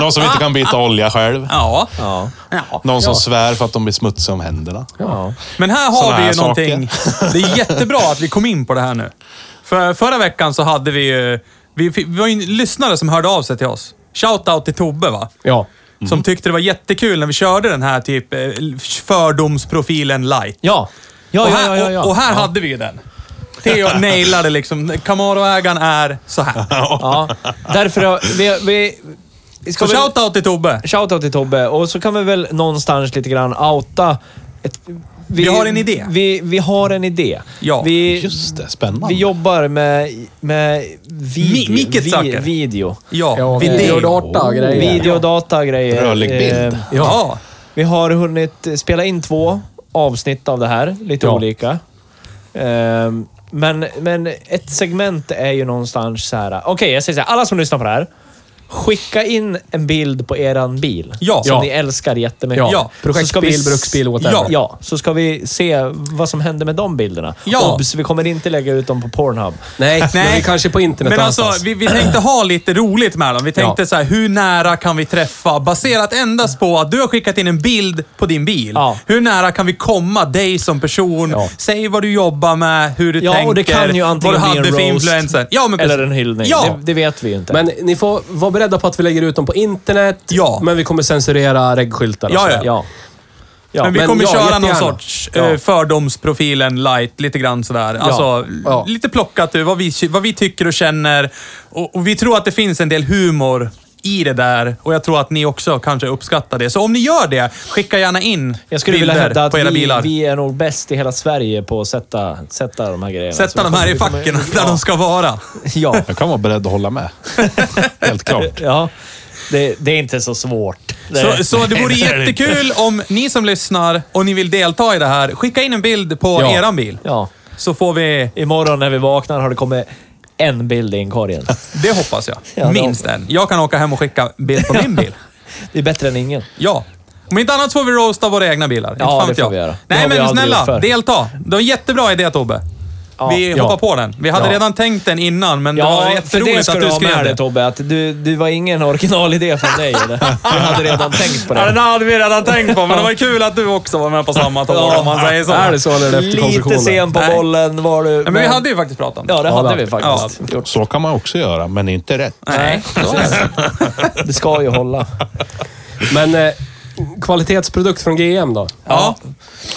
S2: Någon som inte kan byta olja själv.
S1: Ja.
S5: Ja.
S1: ja.
S2: Någon som svär för att de blir smutsiga om händerna.
S5: ja.
S3: Men här har
S2: Såna
S3: vi
S2: här
S3: ju någonting. Det är jättebra att vi kom in på det här nu. För förra veckan så hade vi ju... Vi, fick- vi var ju en lyssnare som hörde av sig till oss. Shoutout till Tobbe va?
S4: Ja.
S5: Mm.
S3: Som tyckte det var jättekul när vi körde den här typ eh, fördomsprofilen light.
S5: Ja. Ja,
S3: och
S5: ja,
S3: här,
S5: ja, ja, ja.
S3: Och, och här hade vi ju den. Theo nailade liksom. Camaro-ägaren är så här.
S5: ja. Därför har vi... vi vi ska
S3: Så
S5: väl-
S3: shoutout till Tobbe.
S5: Shoutout till Tobbe. Och så kan vi väl någonstans lite grann outa... Ett,
S3: Vi har en idé.
S5: Vi, vi har en idé.
S3: Ja.
S5: Vi,
S2: Just det, spännande.
S5: vi jobbar med, med video.
S3: Mi- Micket Zucker.
S5: video.
S3: Ja,
S4: ja
S3: vi
S5: video.
S3: det.
S4: Videodata och grejer.
S2: Oh.
S5: Videodata grejer.
S2: Rörlig bild.
S5: Eh,
S3: Ja.
S5: Vi har hunnit spela in två avsnitt av det här, lite
S4: Ja.
S5: olika. Ehm, men, men ett segment är ju någonstans så här. Okej, jag säger så här. Alla som lyssnar på det här, skicka in en bild på eran bil.
S3: Ja.
S5: Som
S3: Ja.
S5: ni älskar jättemycket.
S4: Ja.
S3: Ja.
S5: Så ska
S4: Projektbil,
S5: vi s-
S4: bruksbil, whatever.
S5: Ja. ja, så ska vi se vad som händer med de bilderna.
S3: Ja.
S5: Obs, vi kommer inte lägga ut dem på Pornhub.
S4: Nej,
S3: Nej.
S4: men vi kanske är på internet
S3: Men alltså,
S4: någonstans.
S3: vi, vi tänkte ha lite roligt med dem. Vi tänkte
S4: Ja.
S3: så här, hur nära kan vi träffa? Baserat endast på att du har skickat in en bild på din bil.
S5: Ja.
S3: Hur nära kan vi komma dig som person?
S4: Ja.
S3: Säg vad du jobbar med, hur du
S5: Ja,
S3: tänker,
S5: och det kan ju
S3: vad du
S5: antingen
S3: hade
S5: bli en
S3: för
S5: roast
S3: influencer. Ja, men precis.
S5: eller en hyllning.
S3: Ja,
S5: Det, det vet vi ju inte.
S4: Men ni får vara beredda på att vi lägger ut dem på internet.
S3: Ja.
S4: Men vi kommer censurera regskyltar och
S3: Ja,
S4: sådär.
S3: ja.
S5: ja. Ja,
S3: men vi
S4: men
S3: kommer
S4: ja,
S3: köra någon
S4: jättegärna.
S3: sorts eh, fördomsprofilen light, lite grann sådär. Alltså,
S4: Ja.
S3: lite plockat ur vad vi, vad vi tycker och känner. Och, och vi tror att det finns en del humor i det där och jag tror att ni också kanske uppskattar det. Så om ni gör det, skicka gärna in
S5: Jag skulle
S3: bilder
S5: vilja hävda att
S3: på era
S5: vi,
S3: bilar.
S5: vi är nog bäst i hela Sverige på att sätta, sätta de här grejerna. Så
S3: Sätta
S5: vi
S3: de här
S5: kommer-
S3: i
S5: vi kommer-
S3: facken där de ska vara.
S5: Ja,
S2: Jag kan vara beredd att hålla med. Helt klart.
S5: ja. Det, det är inte så svårt. Det,
S3: Så, så det vore jättekul om ni som lyssnar och ni vill delta i det här, skicka in en bild på
S4: Ja.
S3: eran bil.
S5: ja.
S3: Så får vi...
S5: Imorgon när vi vaknar har det kommit en bild i inkorgen.
S3: Det hoppas jag.
S5: Ja, det
S3: Minst en. Jag kan åka hem och skicka bild på min bil.
S5: Det är bättre än ingen.
S3: Ja. Om inte annat så får vi roasta våra egna bilar. inte
S5: Ja,
S3: fan
S5: det
S3: vet
S5: får
S3: jag.
S5: vi göra. Det
S3: Nej,
S5: har vi
S3: men
S5: aldrig gjort
S3: snälla,
S5: förr.
S3: delta. Det var en jättebra idé, Tobbe.
S5: Ja.
S3: vi
S5: Ja.
S3: hoppar på den. Vi hade
S5: Ja.
S3: redan tänkt den innan, men det var
S5: Ja, för det
S3: jätteroligt
S5: ska
S3: att
S5: du
S3: du
S5: ha
S3: skrev
S5: med
S3: det.
S5: dig Tobbe. Att du, du var ingen originalidé från dig. Eller? Du hade redan tänkt på
S3: Ja, den
S5: det.
S3: hade vi redan tänkt på, men det var kul att du också var med på samma tåg, om man säger så.
S4: Är det så eller är det efterkonstruktioner?
S5: Lite sen på
S3: Nej.
S5: bollen var du.
S3: Nej, men vi hade ju faktiskt pratat om det.
S5: Ja, det hade
S4: Ja,
S5: vi faktiskt. gjort.
S2: Så kan man också göra, men det är inte rätt.
S3: Nej.
S5: Det ska ju hålla.
S4: Men eh, kvalitetsprodukt från GM då?
S3: Ja.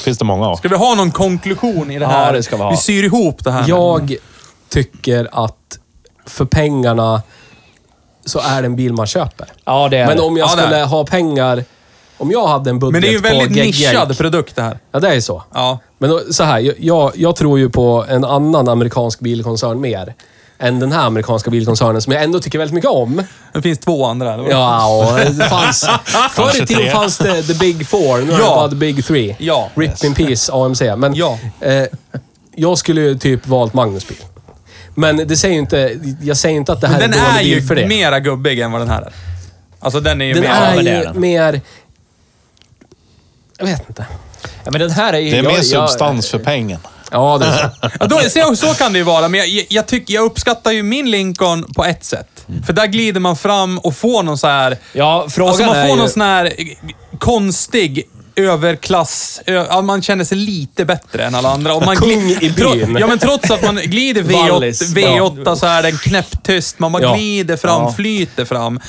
S2: finns det många av.
S3: Ska vi ha någon konklusion i det här?
S5: det ska vi ha.
S3: Vi syr ihop det här. nu.
S4: Jag tycker att för pengarna så är det en bil man köper.
S5: Ja, det är
S4: Men
S5: det.
S4: om jag
S3: Ja, det är
S4: skulle
S3: det.
S4: ha pengar... Om jag hade en budget
S3: Men det är ju en
S4: på
S3: väldigt
S4: Gegg-
S3: nischad produkt det här.
S4: Ja, det är ju så.
S3: Ja.
S4: Men då, så här, jag- jag, jag tror ju på en annan amerikansk bilkoncern mer än den här amerikanska bilkoncernen som jag ändå tycker väldigt mycket om.
S3: Det finns två andra. eller vad?
S4: Ja, och det fanns, förr i tiden
S2: tre.
S4: fanns det the big four, nu är det
S3: Ja.
S4: bara the big three.
S3: Ja.
S4: RIP in peace, AMC. Men
S3: Ja.
S4: eh, jag skulle ju typ valt Magnus bil. Men det säger ju inte, jag säger inte att det här
S3: Den
S4: är en
S3: är
S4: dålig
S3: ju
S4: bil för det.
S3: mera gubbig än vad den här är. Alltså den är ju
S4: den
S3: mer...
S4: är
S5: men
S4: ju
S5: det är den.
S4: mer... Jag vet inte.
S5: Ja, men den här är ju...
S2: Det är
S5: jag-
S2: mer
S5: jag-
S2: substans för pengen.
S4: Ja, det är så.
S3: Ja, då, så, så kan det ju vara, men jag, jag, jag, tycker, jag uppskattar ju min Lincoln på ett sätt.
S4: Mm.
S3: För där glider man fram och får någon så här...
S5: Ja, frågan
S3: alltså man
S5: är
S3: får
S5: ju...
S3: någon sån här eh, konstig överklass... Ö, ja, man känner sig lite bättre än alla andra. Och man
S4: Kung
S3: gli-
S4: i byn.
S3: ja, men trots att man glider
S5: Wallis,
S3: V8,
S5: ja.
S3: V8 så är den knäpptyst. Man bara
S4: Ja.
S3: glider fram,
S5: Ja.
S3: flyter fram.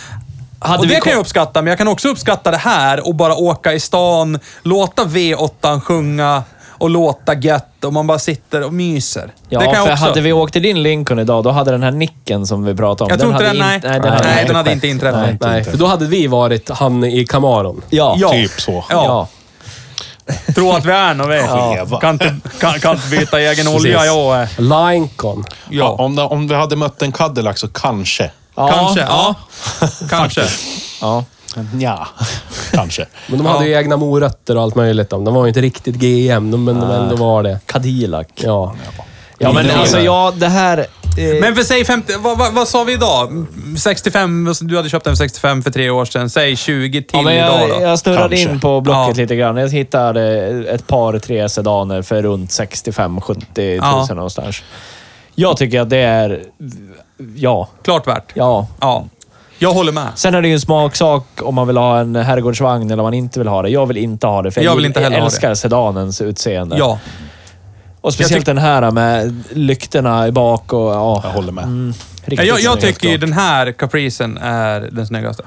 S5: Hade
S3: och
S5: vi
S3: det kan
S5: kom-
S3: jag uppskatta, men jag kan också uppskatta det här och bara åka i stan, låta V8 sjunga och låta gött och man bara sitter och myser.
S5: Ja,
S3: det kan jag
S5: för
S3: också.
S5: hade vi åkt i din Lincoln idag, då hade den här nicken som vi pratade om...
S3: Jag tror inte den,
S5: hade
S3: nej.
S5: inte-
S3: Nej,
S5: den hade inte
S3: den
S5: skett.
S3: hade inte inträffat.
S5: Nej.
S4: Nej, för då hade vi varit han i Camaron.
S5: Ja.
S3: Ja.
S2: Typ så.
S3: Ja.
S5: Ja.
S3: Tro att vi är något, vet
S2: Leva.
S3: Kan inte, kan, kan inte byta egen olja, jag. eh.
S4: Lincoln.
S2: Ja,
S3: Ja,
S2: om, det- om vi hade mött en Cadillac så kanske.
S5: Ja.
S3: kanske. Ja. Kanske.
S5: Ja.
S2: Ja, kanske.
S4: Men de hade ju egna morötter och allt möjligt. De de var ju inte riktigt GM, de- men de ändå var det.
S5: Cadillac.
S4: Ja.
S5: Ja, men
S2: Det är
S5: alltså
S2: det.
S5: ja, det här... Eh,
S3: Men för säg 50, vad, vad, vad sa vi idag? 65, du hade köpt den för 65 för tre år sedan. Säg 20 till
S5: Ja, men
S3: idag
S5: jag,
S3: då.
S5: jag snurrade
S2: Kanske.
S5: in på Blocket
S3: Ja.
S5: lite grann. Jag hittade ett par, tre sedaner för runt 65-70
S3: Ja.
S5: 000 någonstans. Jag tycker att det är... Ja,
S3: Klart värt.
S5: ja.
S3: Ja. Jag håller med.
S5: Sen är det ju en smaksak om man vill ha en herrgårdsvagn eller om man inte vill ha det. Jag vill inte ha det, för
S3: Jag vill inte heller ha det.
S5: älskar sedanens utseende.
S3: Ja.
S5: Och speciellt den här med lyktorna i bak och... Ja, Mm.
S2: Jag håller med.
S5: riktigt
S3: Jag, jag
S5: snyggt.
S3: tycker ju den här capricen är den snyggaste.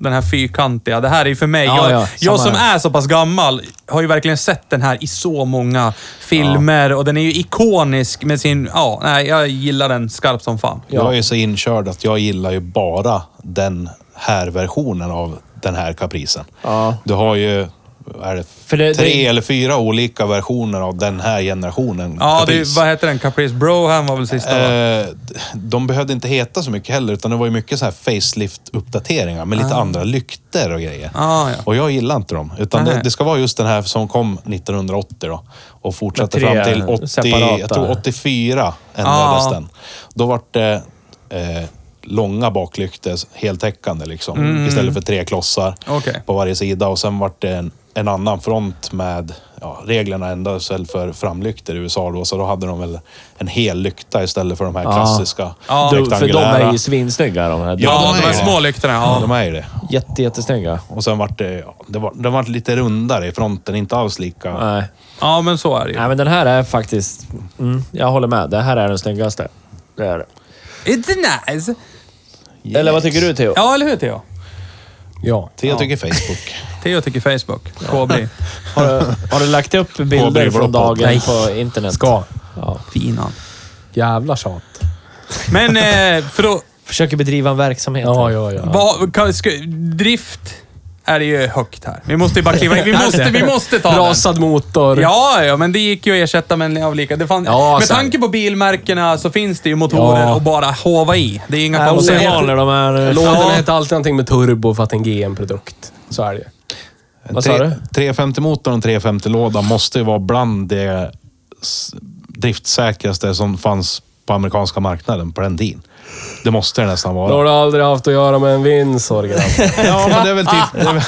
S3: Den här fyrkantiga. Det här är ju för mig.
S5: Ja,
S3: jag,
S5: ja,
S3: jag
S5: samma
S3: som
S5: här.
S3: är så pass gammal har ju verkligen sett den här i så många filmer och den är ju ikonisk med sin... Ja, nej, jag gillar den skarpt som fan.
S2: Jag är så inkörd att jag gillar ju bara den här versionen av den här kaprisen.
S5: Ja.
S2: Du har ju är det
S5: För det-
S2: tre
S5: det-
S2: eller fyra olika versioner av den här generationen
S3: Ja, det,
S2: kapris.
S3: vad heter den? Caprice Broham var väl sista? va?
S2: Eh, de behövde inte heta så mycket heller, utan det var ju mycket så här facelift-uppdateringar med lite andra lykter och grejer.
S3: Ah, ja.
S2: Och jag gillar inte dem. Utan
S3: Nej.
S2: det, det ska vara just den här som kom 1980 då, och fortsatte
S5: Med tre
S2: fram till 80,
S5: separata-
S2: jag tror 84 ändrades
S3: Ah.
S2: den. Då var det eh, långa baklyktor, heltäckande liksom,
S5: Mm.
S2: istället för tre klossar
S3: Okej.
S2: på varje sida. Och sen var det en, en annan front med ja, reglerna ändrades väl för framlyktor i USA då, så då hade de väl en hel lykta istället för de här klassiska
S3: Ja.
S5: Du, för de
S2: rektangulära.
S5: är ju svinsnygga de här.
S3: ja, de
S2: de är
S3: här
S2: ju
S3: små
S2: det.
S3: lyktorna.
S2: Ja,
S3: Ja.
S2: de är ju det.
S5: Jätte, jättesnygga.
S2: Och sen vart det, ja, det var, den vart lite rundare i fronten, inte alls lika.
S5: Nej.
S3: ja, men så är det ju.
S5: Nej, men den här är faktiskt... Mm, jag håller med. Den här är den snyggaste. Det är det.
S3: It's nice.
S5: Eller vad tycker du, Theo?
S3: Ja, eller hur Theo?
S4: ja.
S2: Thea tycker Facebook.
S3: Theo tycker Facebook. KB.
S5: Har, du, har du lagt upp bilder
S2: Hårdbryr
S5: från
S2: bloppar.
S5: dagen
S4: Nej.
S5: på internet?
S4: Ska.
S5: Ja.
S3: Finan.
S4: Jävla tjat.
S3: Men eh, för då...
S5: Försöker bedriva en verksamhet.
S4: Ja,
S5: här.
S4: ja, ja.
S3: Vad- kan- ska, drift är det ju högt här. Vi måste ju bara kliva in. Vi måste, vi måste ta den.
S4: Rasad motor.
S3: Ja, ja, men det gick ju att ersätta med en av lika. Det fann,
S4: Ja,
S3: med
S4: så här.
S3: tanke på bilmärkena så finns det ju motorer
S4: Ja.
S3: att bara hova i. Det är inga
S5: Äh,
S3: konstigheter.
S5: Ovaner de är...
S4: Lådan
S3: Ja.
S4: hette alltid någonting med turbo för att det är en GM-produkt. Så är det ju.
S5: Vad sa du?
S2: 350-motorn och 350-lådan måste ju vara bland det s- driftsäkraste som fanns på amerikanska marknaden på den tiden. Det måste det nästan
S4: Då har
S2: vara.
S4: du aldrig haft att göra med en Windsor, grabben.
S2: Ja, men det är väl typ... Det är väl,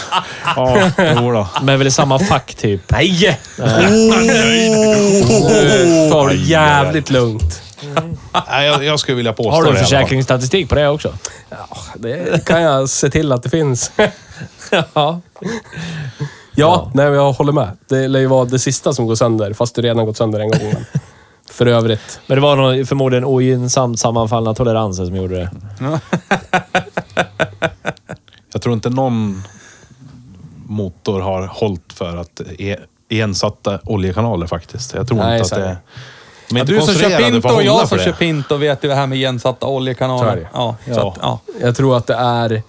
S2: ja, jo då.
S5: Men väl i samma fack, typ.
S4: Nej! Nu tar du jävligt lugnt.
S2: Nej, jag, jag skulle vilja påstå
S5: Har du
S2: det i alla fall.
S5: försäkringsstatistik på det också?
S4: Det kan jag se till att det finns. Ja,
S5: Ja.
S4: Nej, men jag håller med. Det lär ju vara det sista som går sönder, fast du redan gått sönder en gång. Men För övrigt.
S5: Men det var nog förmodligen ogynnsamt sammanfallna toleranser som gjorde det.
S2: Jag tror inte någon motor har hållit för att e- igensatta oljekanaler faktiskt. Jag tror
S4: Nej,
S2: inte
S4: så
S2: att
S4: är
S2: det...
S4: det.
S2: De är inte
S3: Du som kör
S2: konstruerade
S3: Pinto
S2: för
S3: och
S2: att hålla
S3: jag
S2: för
S3: som
S2: det.
S3: kör Pinto vet ju det här med igensatta
S4: Så är
S3: oljekanaler.
S4: det.
S3: Ja, Så
S2: Ja.
S3: att, ja.
S4: Jag tror att det är...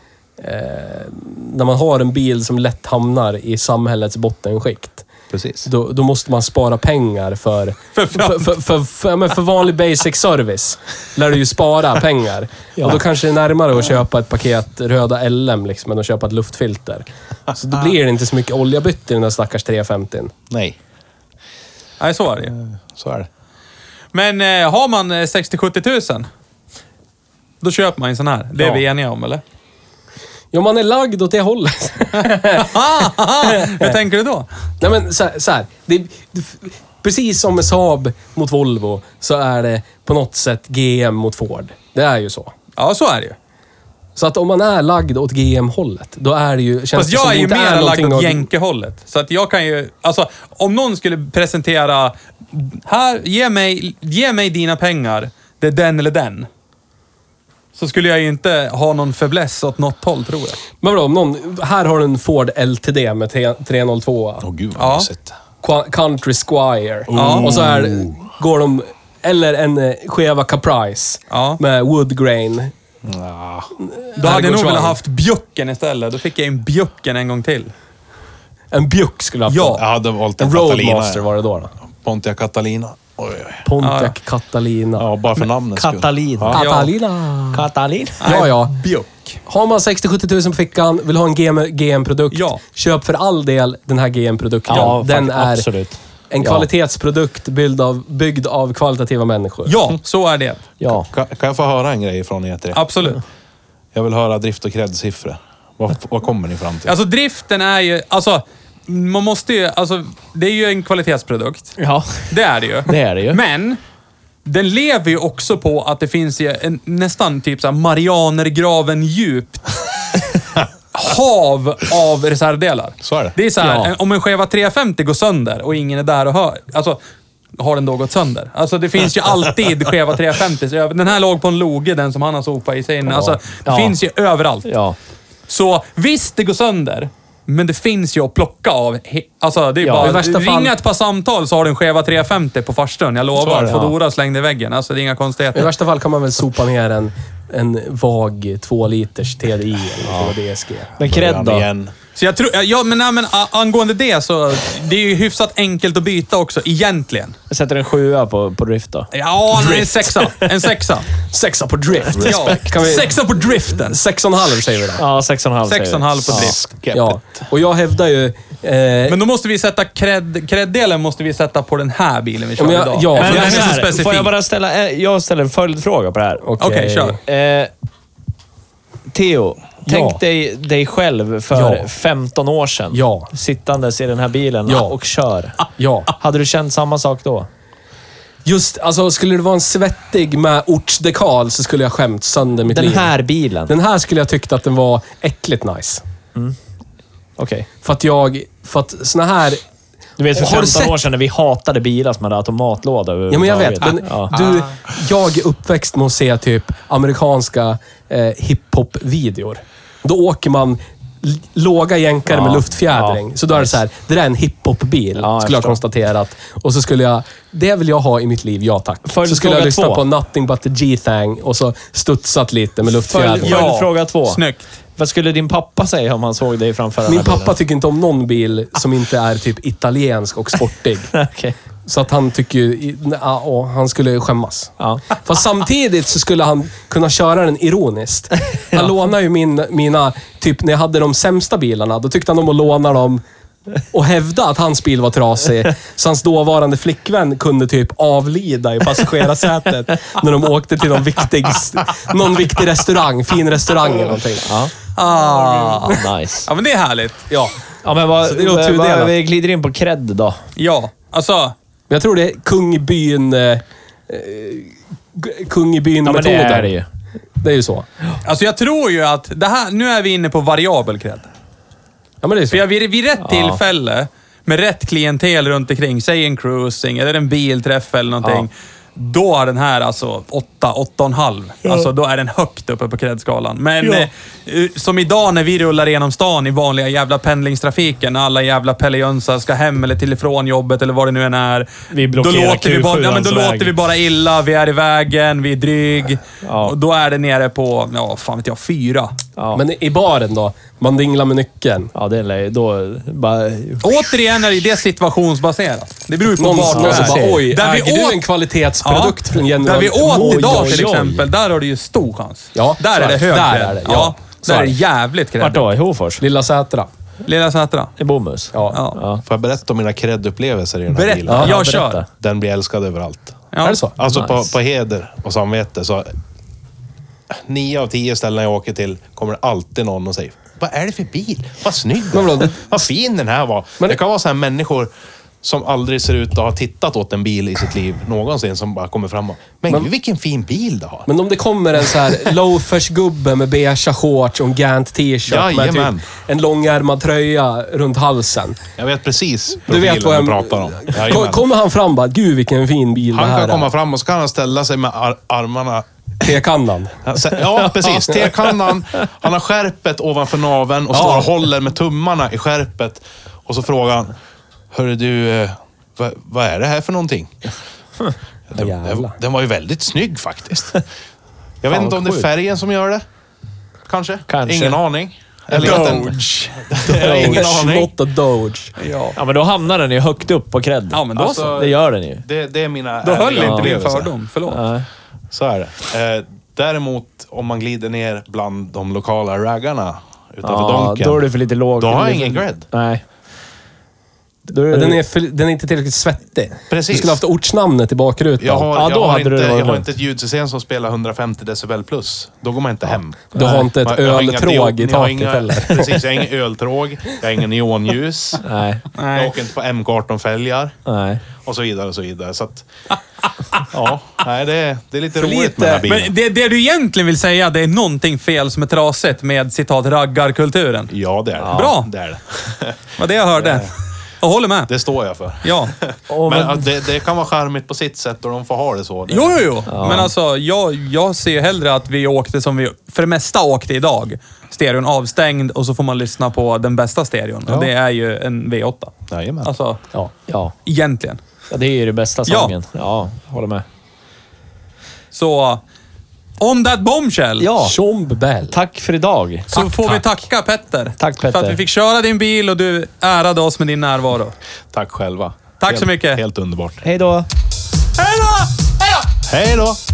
S4: Eh, när man har en bil som lätt hamnar i samhällets bottenskikt.
S2: Precis.
S4: då, då måste man spara pengar för, för, för, för, för, ja, men för vanlig basic service. Lär du ju spara pengar. Och då kanske det är närmare att köpa ett paket röda LM liksom, än att köpa ett luftfilter. Så då blir det inte så mycket olja bytt i den där stackars 350.
S2: Nej,
S3: Nej, så är det ju.
S2: så är det.
S3: Men eh, har man eh, 60-70 000, då köper man en sån här. Det är
S4: Ja.
S3: vi eniga om, eller?
S4: Ja, man är lagd åt det hållet.
S3: Hur tänker du då?
S4: Nej men så här, så här. Det, det, precis som med Saab mot Volvo så är det på något sätt GM mot Ford. Det är ju så.
S3: Ja, så är det ju.
S4: Så att om man är lagd åt GM-hållet, då är det ju... Känns
S3: Fast
S4: det som
S3: jag är
S4: det
S3: ju
S4: inte
S3: mer
S4: någonting
S3: lagd åt
S4: att-
S3: jänkehållet. Så att jag kan ju... Alltså, om någon skulle presentera... Här, ge mig, ge mig dina pengar. Det är den eller den. Så skulle jag ju inte ha någon fäbless åt något håll, tror jag.
S4: Men vadå, om någon, här har du en Ford LTD med tre- 302.
S2: Åh gud vad
S3: Ja.
S2: mysigt.
S4: Qua- Country Squire. Och så är, går de... Eller en eh, Cheva Caprice
S3: Ja.
S4: med Woodgrain.
S2: Ja.
S3: Då hade jag nog
S4: Herrgårdsvagn.
S3: velat haft bjucken istället. Då fick jag en bjucken en gång till.
S4: En Bjuck skulle jag ha
S2: Jag hade valt en
S4: En Roadmaster
S2: Catalina.
S4: var det då. då.
S2: Pontiac Catalina. Oj, oj.
S4: Pontiac
S3: Ja.
S4: Catalina.
S2: Ja, bara för namnets skull.
S5: Catalina.
S2: Ja.
S4: Catalina.
S5: Katalin?
S4: Ja, ja.
S3: Bjuck. Tack.
S4: Har man 60-70 000 på fickan, vill ha en GM GM-produkt,
S3: Ja.
S4: köp för all del den här GM-produkten.
S5: Ja,
S4: den
S5: fuck,
S4: är
S5: absolut.
S4: en
S5: Ja.
S4: kvalitetsprodukt byggd av, byggd av kvalitativa människor.
S3: Ja, så är det.
S5: Ja.
S2: Kan, kan jag få höra en grej från er tre?
S3: Absolut.
S2: Jag vill höra drift och cred-siffror. Vad, vad kommer ni fram till?
S3: Alltså driften är ju... Alltså, man måste ju... Alltså, det är ju en kvalitetsprodukt.
S5: Ja.
S3: Det är det ju.
S5: Det är det ju.
S3: Men, den lever ju också på att det finns ju en, nästan typ såhär Marianergraven djupt hav av reservdelar.
S2: Så är det.
S3: Det är såhär,
S5: Ja.
S3: om en skeva 350 går sönder och ingen är där och hör. Alltså, har den då gått sönder? Alltså det finns ju alltid skeva 350. Så jag- Den här låg på en loge, den som han har sopat i sig in. Alltså, det
S5: Ja.
S3: finns ju överallt.
S5: Ja.
S3: Så visst, det går sönder. Men det finns ju att plocka av. He- Alltså, det är
S5: Ja,
S3: bara
S5: i
S4: värsta
S3: ringa
S4: fall-
S3: ett par samtal så har du en skeva 350 på farstun. Jag
S2: Så är
S3: lovar.
S2: det, ja.
S3: Foodora slängde i väggen. Alltså, det är inga
S4: I
S3: konstigheter.
S4: värsta fall kan man väl sopa ner en, en vag 2 liters TDI eller vad det DSG.
S5: Men cred
S2: Början
S5: då?
S2: igen.
S3: Så jag tror... Ja, men, nej, men a- angående det så... Det är ju hyfsat enkelt att byta också, egentligen.
S5: Jag sätter en sjua på, på drift då.
S3: Ja, nej, en sexa. En sexa.
S4: Sexa på drift.
S3: Ja.
S4: Kan vi-
S3: Sexa på driften.
S4: Sex och en halv säger vi då.
S5: Ja, 6,5 säger
S3: Sex och en
S5: vi.
S3: halv på drift.
S2: Skeppet.
S4: Ja. Och jag hävdar ju... Eh,
S3: Men då måste vi sätta cred, cred-delen måste vi sätta på den här bilen vi kör
S4: men jag-
S3: idag.
S4: ja,
S3: För
S4: men
S3: den är
S5: Men
S3: så
S5: här,
S3: specifik.
S5: får jag bara ställa en, jag ställer en följdfråga på det här.
S3: Okej, kör.
S5: Eh, Theo, tänk dig dig själv för
S4: Ja.
S5: 15 år sedan.
S4: Ja.
S5: Sittandes i den här bilen
S4: Ja.
S5: och kör.
S4: Ja.
S5: Hade du känt samma sak då?
S4: Just, alltså skulle det vara en svettig med ortsdekal så skulle jag skämt sönder mitt
S5: Den
S4: liv.
S5: här bilen?
S4: Den här skulle jag tyckt att den var äckligt nice.
S5: Okej.
S4: För att jag... För att såna här...
S5: Du vet, för
S4: Har du
S5: 15
S4: sett-
S5: år sedan när vi hatade bilar som hade automatlåda
S4: Ja, men jag vet. Men
S5: ja.
S4: du, jag är uppväxt med att se typ amerikanska eh, hiphop-videor. Då åker man l- låga jänkare
S5: Ja,
S4: med luftfjädring.
S5: ja,
S4: så då är det så här, det där är en hiphop-bil,
S5: jag
S4: skulle jag
S5: förstår.
S4: konstaterat. Och så skulle jag, det vill jag ha i mitt liv, ja tack.
S5: Följdfråga
S4: så skulle jag lyssna
S5: två.
S4: på Nothing But The G-Thang och så studsat lite med
S5: Följd,
S4: luftfjädring.
S5: följd fråga två.
S3: Snyggt.
S5: Vad skulle din pappa säga om han såg dig framför den
S4: Min
S5: här
S4: pappa tycker inte om någon bil som inte är typ italiensk och sportig.
S5: bilen? Okej.
S4: Så att han tycker ju... i- nej, ah, åh, han skulle skämmas.
S5: Ja.
S4: Fast samtidigt så skulle han kunna köra den ironiskt. Han lånade ju min, mina... Typ när jag hade de sämsta bilarna, då tyckte han om att låna dem och hävda att hans bil var trasig. Så hans dåvarande flickvän kunde typ avlida i passagerarsätet när de åkte till någon viktig, någon viktig restaurang, fin restaurang eller någonting.
S5: Ja.
S3: Ah.
S5: Nice.
S3: Ja, men det är härligt. Ja.
S5: Ja, men vad,
S3: Så det är otudelat.
S5: vad, vi glider in på cred då.
S3: Ja. Alltså,
S4: Men jag tror det är Kungbyn... Eh, eh, Kungbyn-metoden. Det är ju så.
S3: alltså jag tror ju att det här... Nu är vi inne på variabel cred.
S4: Ja, men det är ju så.
S3: För jag, vid, vid rätt tillfälle, med rätt klientel runt omkring, säg en cruising eller en bilträff eller någonting. Då har den här alltså 8, 8,5. Alltså då är den högt uppe på kredskalan. Men eh, eh, som idag när vi rullar genom stan i vanliga jävla pendlingstrafiken, när alla jävla Pelle Jönsson ska hem eller till ifrån jobbet eller vad det nu än är.
S5: Vi
S3: då
S5: blockerar
S3: låter vi bara, ja, men Då
S5: Q7-ans
S3: låter
S5: väg.
S3: vi bara illa, vi är i vägen, vi är dryg.
S5: Ja.
S3: Och då är det nere på, ja fan vet jag, fyra.
S5: Ja.
S4: Men i baren då? Man dinglar med nyckeln.
S5: Ja, det är lä- då bara...
S3: Återigen är det situationsbaserat. Det beror ju på alltså
S4: Någon
S3: vart du
S4: som
S3: är.
S4: bara, oj,
S3: där vi
S4: äger
S3: åt-
S4: du en kvalitetsprodukt
S3: Ja,
S4: från General
S3: Där vi åt
S4: Oj,
S3: idag
S4: oj,
S3: till
S4: oj.
S3: exempel, där har du ju stor chans.
S4: Ja,
S3: där
S4: så
S3: är
S4: är
S3: det
S4: det.
S3: hög
S4: Där
S3: cred.
S4: är det, ja.
S3: ja,
S4: Så
S3: där är
S4: är
S3: det
S4: det.
S3: jävligt
S5: Vart
S3: cred.
S5: då? I Hofors?
S4: Lilla Sätra.
S3: Lilla Sätra.
S5: I Bomus?
S4: Ja.
S3: Ja.
S5: Ja.
S2: Får jag berätta om mina cred-upplevelser i den här
S3: Berätta.
S2: bilen?
S3: Ja,
S5: Ja,
S3: jag
S5: berätta.
S3: kör.
S2: Den blir älskad överallt.
S3: Ja.
S4: Är det så?
S2: Alltså på,
S5: Nice.
S2: på heder och samvete så... Nio av tio ställen jag åker till kommer det alltid någon och säger Vad är det för bil? Vad snygg den
S4: vadå,
S2: är.
S4: det-
S2: Vad fin den här var.
S4: Men-
S2: det kan vara så här människor som aldrig ser ut att ha tittat åt en bil i sitt liv någonsin som bara kommer fram och Men, gud vilken fin bil du har.
S4: Men om det kommer en så här loafers-gubbe med beigea shorts och en Gant t-shirt med
S2: Jajamän.
S4: typ en långärmad tröja runt halsen.
S2: Jag vet precis
S4: Du vet vad jag
S2: pratar om.
S4: Ko-
S2: Jajamän.
S4: Kommer han fram bara, gud vilken fin bil det
S2: Han
S4: här
S2: kan komma
S4: är.
S2: fram och så kan han ställa sig med ar armarna
S4: Tekannan.
S2: Sen- Ja, precis. Tekannan. Han har skärpet ovanför naveln och står och håller med tummarna i skärpet. Och så frågar han, hörru du, eh, vad, vad är det här för någonting? Den, den,
S4: jävlar.
S2: den var ju väldigt snygg faktiskt. Jag vet
S4: Fan,
S2: inte om det är
S4: sjukt.
S2: färgen som gör det. Kanske?
S5: Kanske.
S2: Ingen aning. Eller att den- Jag har ingen aning.
S4: Not a doge.
S5: Ja, men då hamnar den ju högt upp på cred.
S3: Ja, men då så.
S2: Alltså,
S5: Det gör den ju.
S2: det, det är mina
S3: Då höll
S2: ärliga
S3: inte min
S2: upplevelser.
S3: fördom. Förlåt.
S5: Nej.
S2: Så är det. Eh, Däremot om man glider ner bland de lokala raggarna utanför
S5: Ja,
S2: Donken.
S5: då är du för lite låg.
S2: Då har jag
S5: Du är
S2: ingen
S5: för-
S2: cred.
S5: Nej. Då är
S4: Ja,
S5: du-
S4: den, är för, den är inte tillräckligt svettig.
S2: Precis.
S4: Du skulle haft ortsnamnet i bakrutan.
S2: Jag har,
S5: Ja, då
S2: jag, har
S5: hade du
S2: inte,
S5: varit
S2: jag har
S5: lugnt.
S2: inte ett ljudsystem som spelar 150 decibel plus. Då går man inte hem.
S4: Du har inte ett
S2: Man- jag har inga
S4: öltråg
S2: diod-
S4: i
S2: jag har
S4: taket
S2: inga-
S4: heller.
S2: Precis, jag har inget öltråg. Jag har inga neonljus.
S5: Nej.
S2: Jag åker inte på M18-fälgar.
S5: Nej.
S2: Och så vidare och så vidare. Så att, ja, nej, det, är- det är lite
S4: För
S2: roligt
S4: lite.
S2: med den här bilen.
S3: Men det, det du egentligen vill säga, det är någonting fel som är trasigt med citat raggarkulturen.
S2: Ja, det är det.
S3: Bra.
S2: Det, är det.
S3: Vad det jag hörde. Jag håller med.
S2: det står jag för.
S3: Ja.
S5: Och
S2: Men
S5: men-
S2: att det, det kan vara charmigt på sitt sätt och de får ha det så. Det,
S3: Jo, jo, jo. Men alltså, jag, jag ser hellre att vi åkte som vi för det mesta åkte idag. Stereon avstängd och så får man lyssna på den bästa stereon. Och det är ju en V8.
S2: Jajamän.
S3: Alltså,
S5: Ja, ja.
S3: egentligen.
S5: ja, det är ju det bästa
S3: Ja.
S5: sången. Ja, ja håller med.
S3: Så, on that bombshell
S5: Ja,
S4: Tjombell.
S5: tack för idag.
S3: så får vi tacka Petter.
S5: Tack, Petter.
S3: För att vi fick köra din bil och du ärade oss med din närvaro.
S2: Tack själva.
S3: Tack
S2: helt,
S3: så mycket.
S2: Helt underbart.
S5: Hej då!
S3: Hej då! Hej då!
S2: Hej då!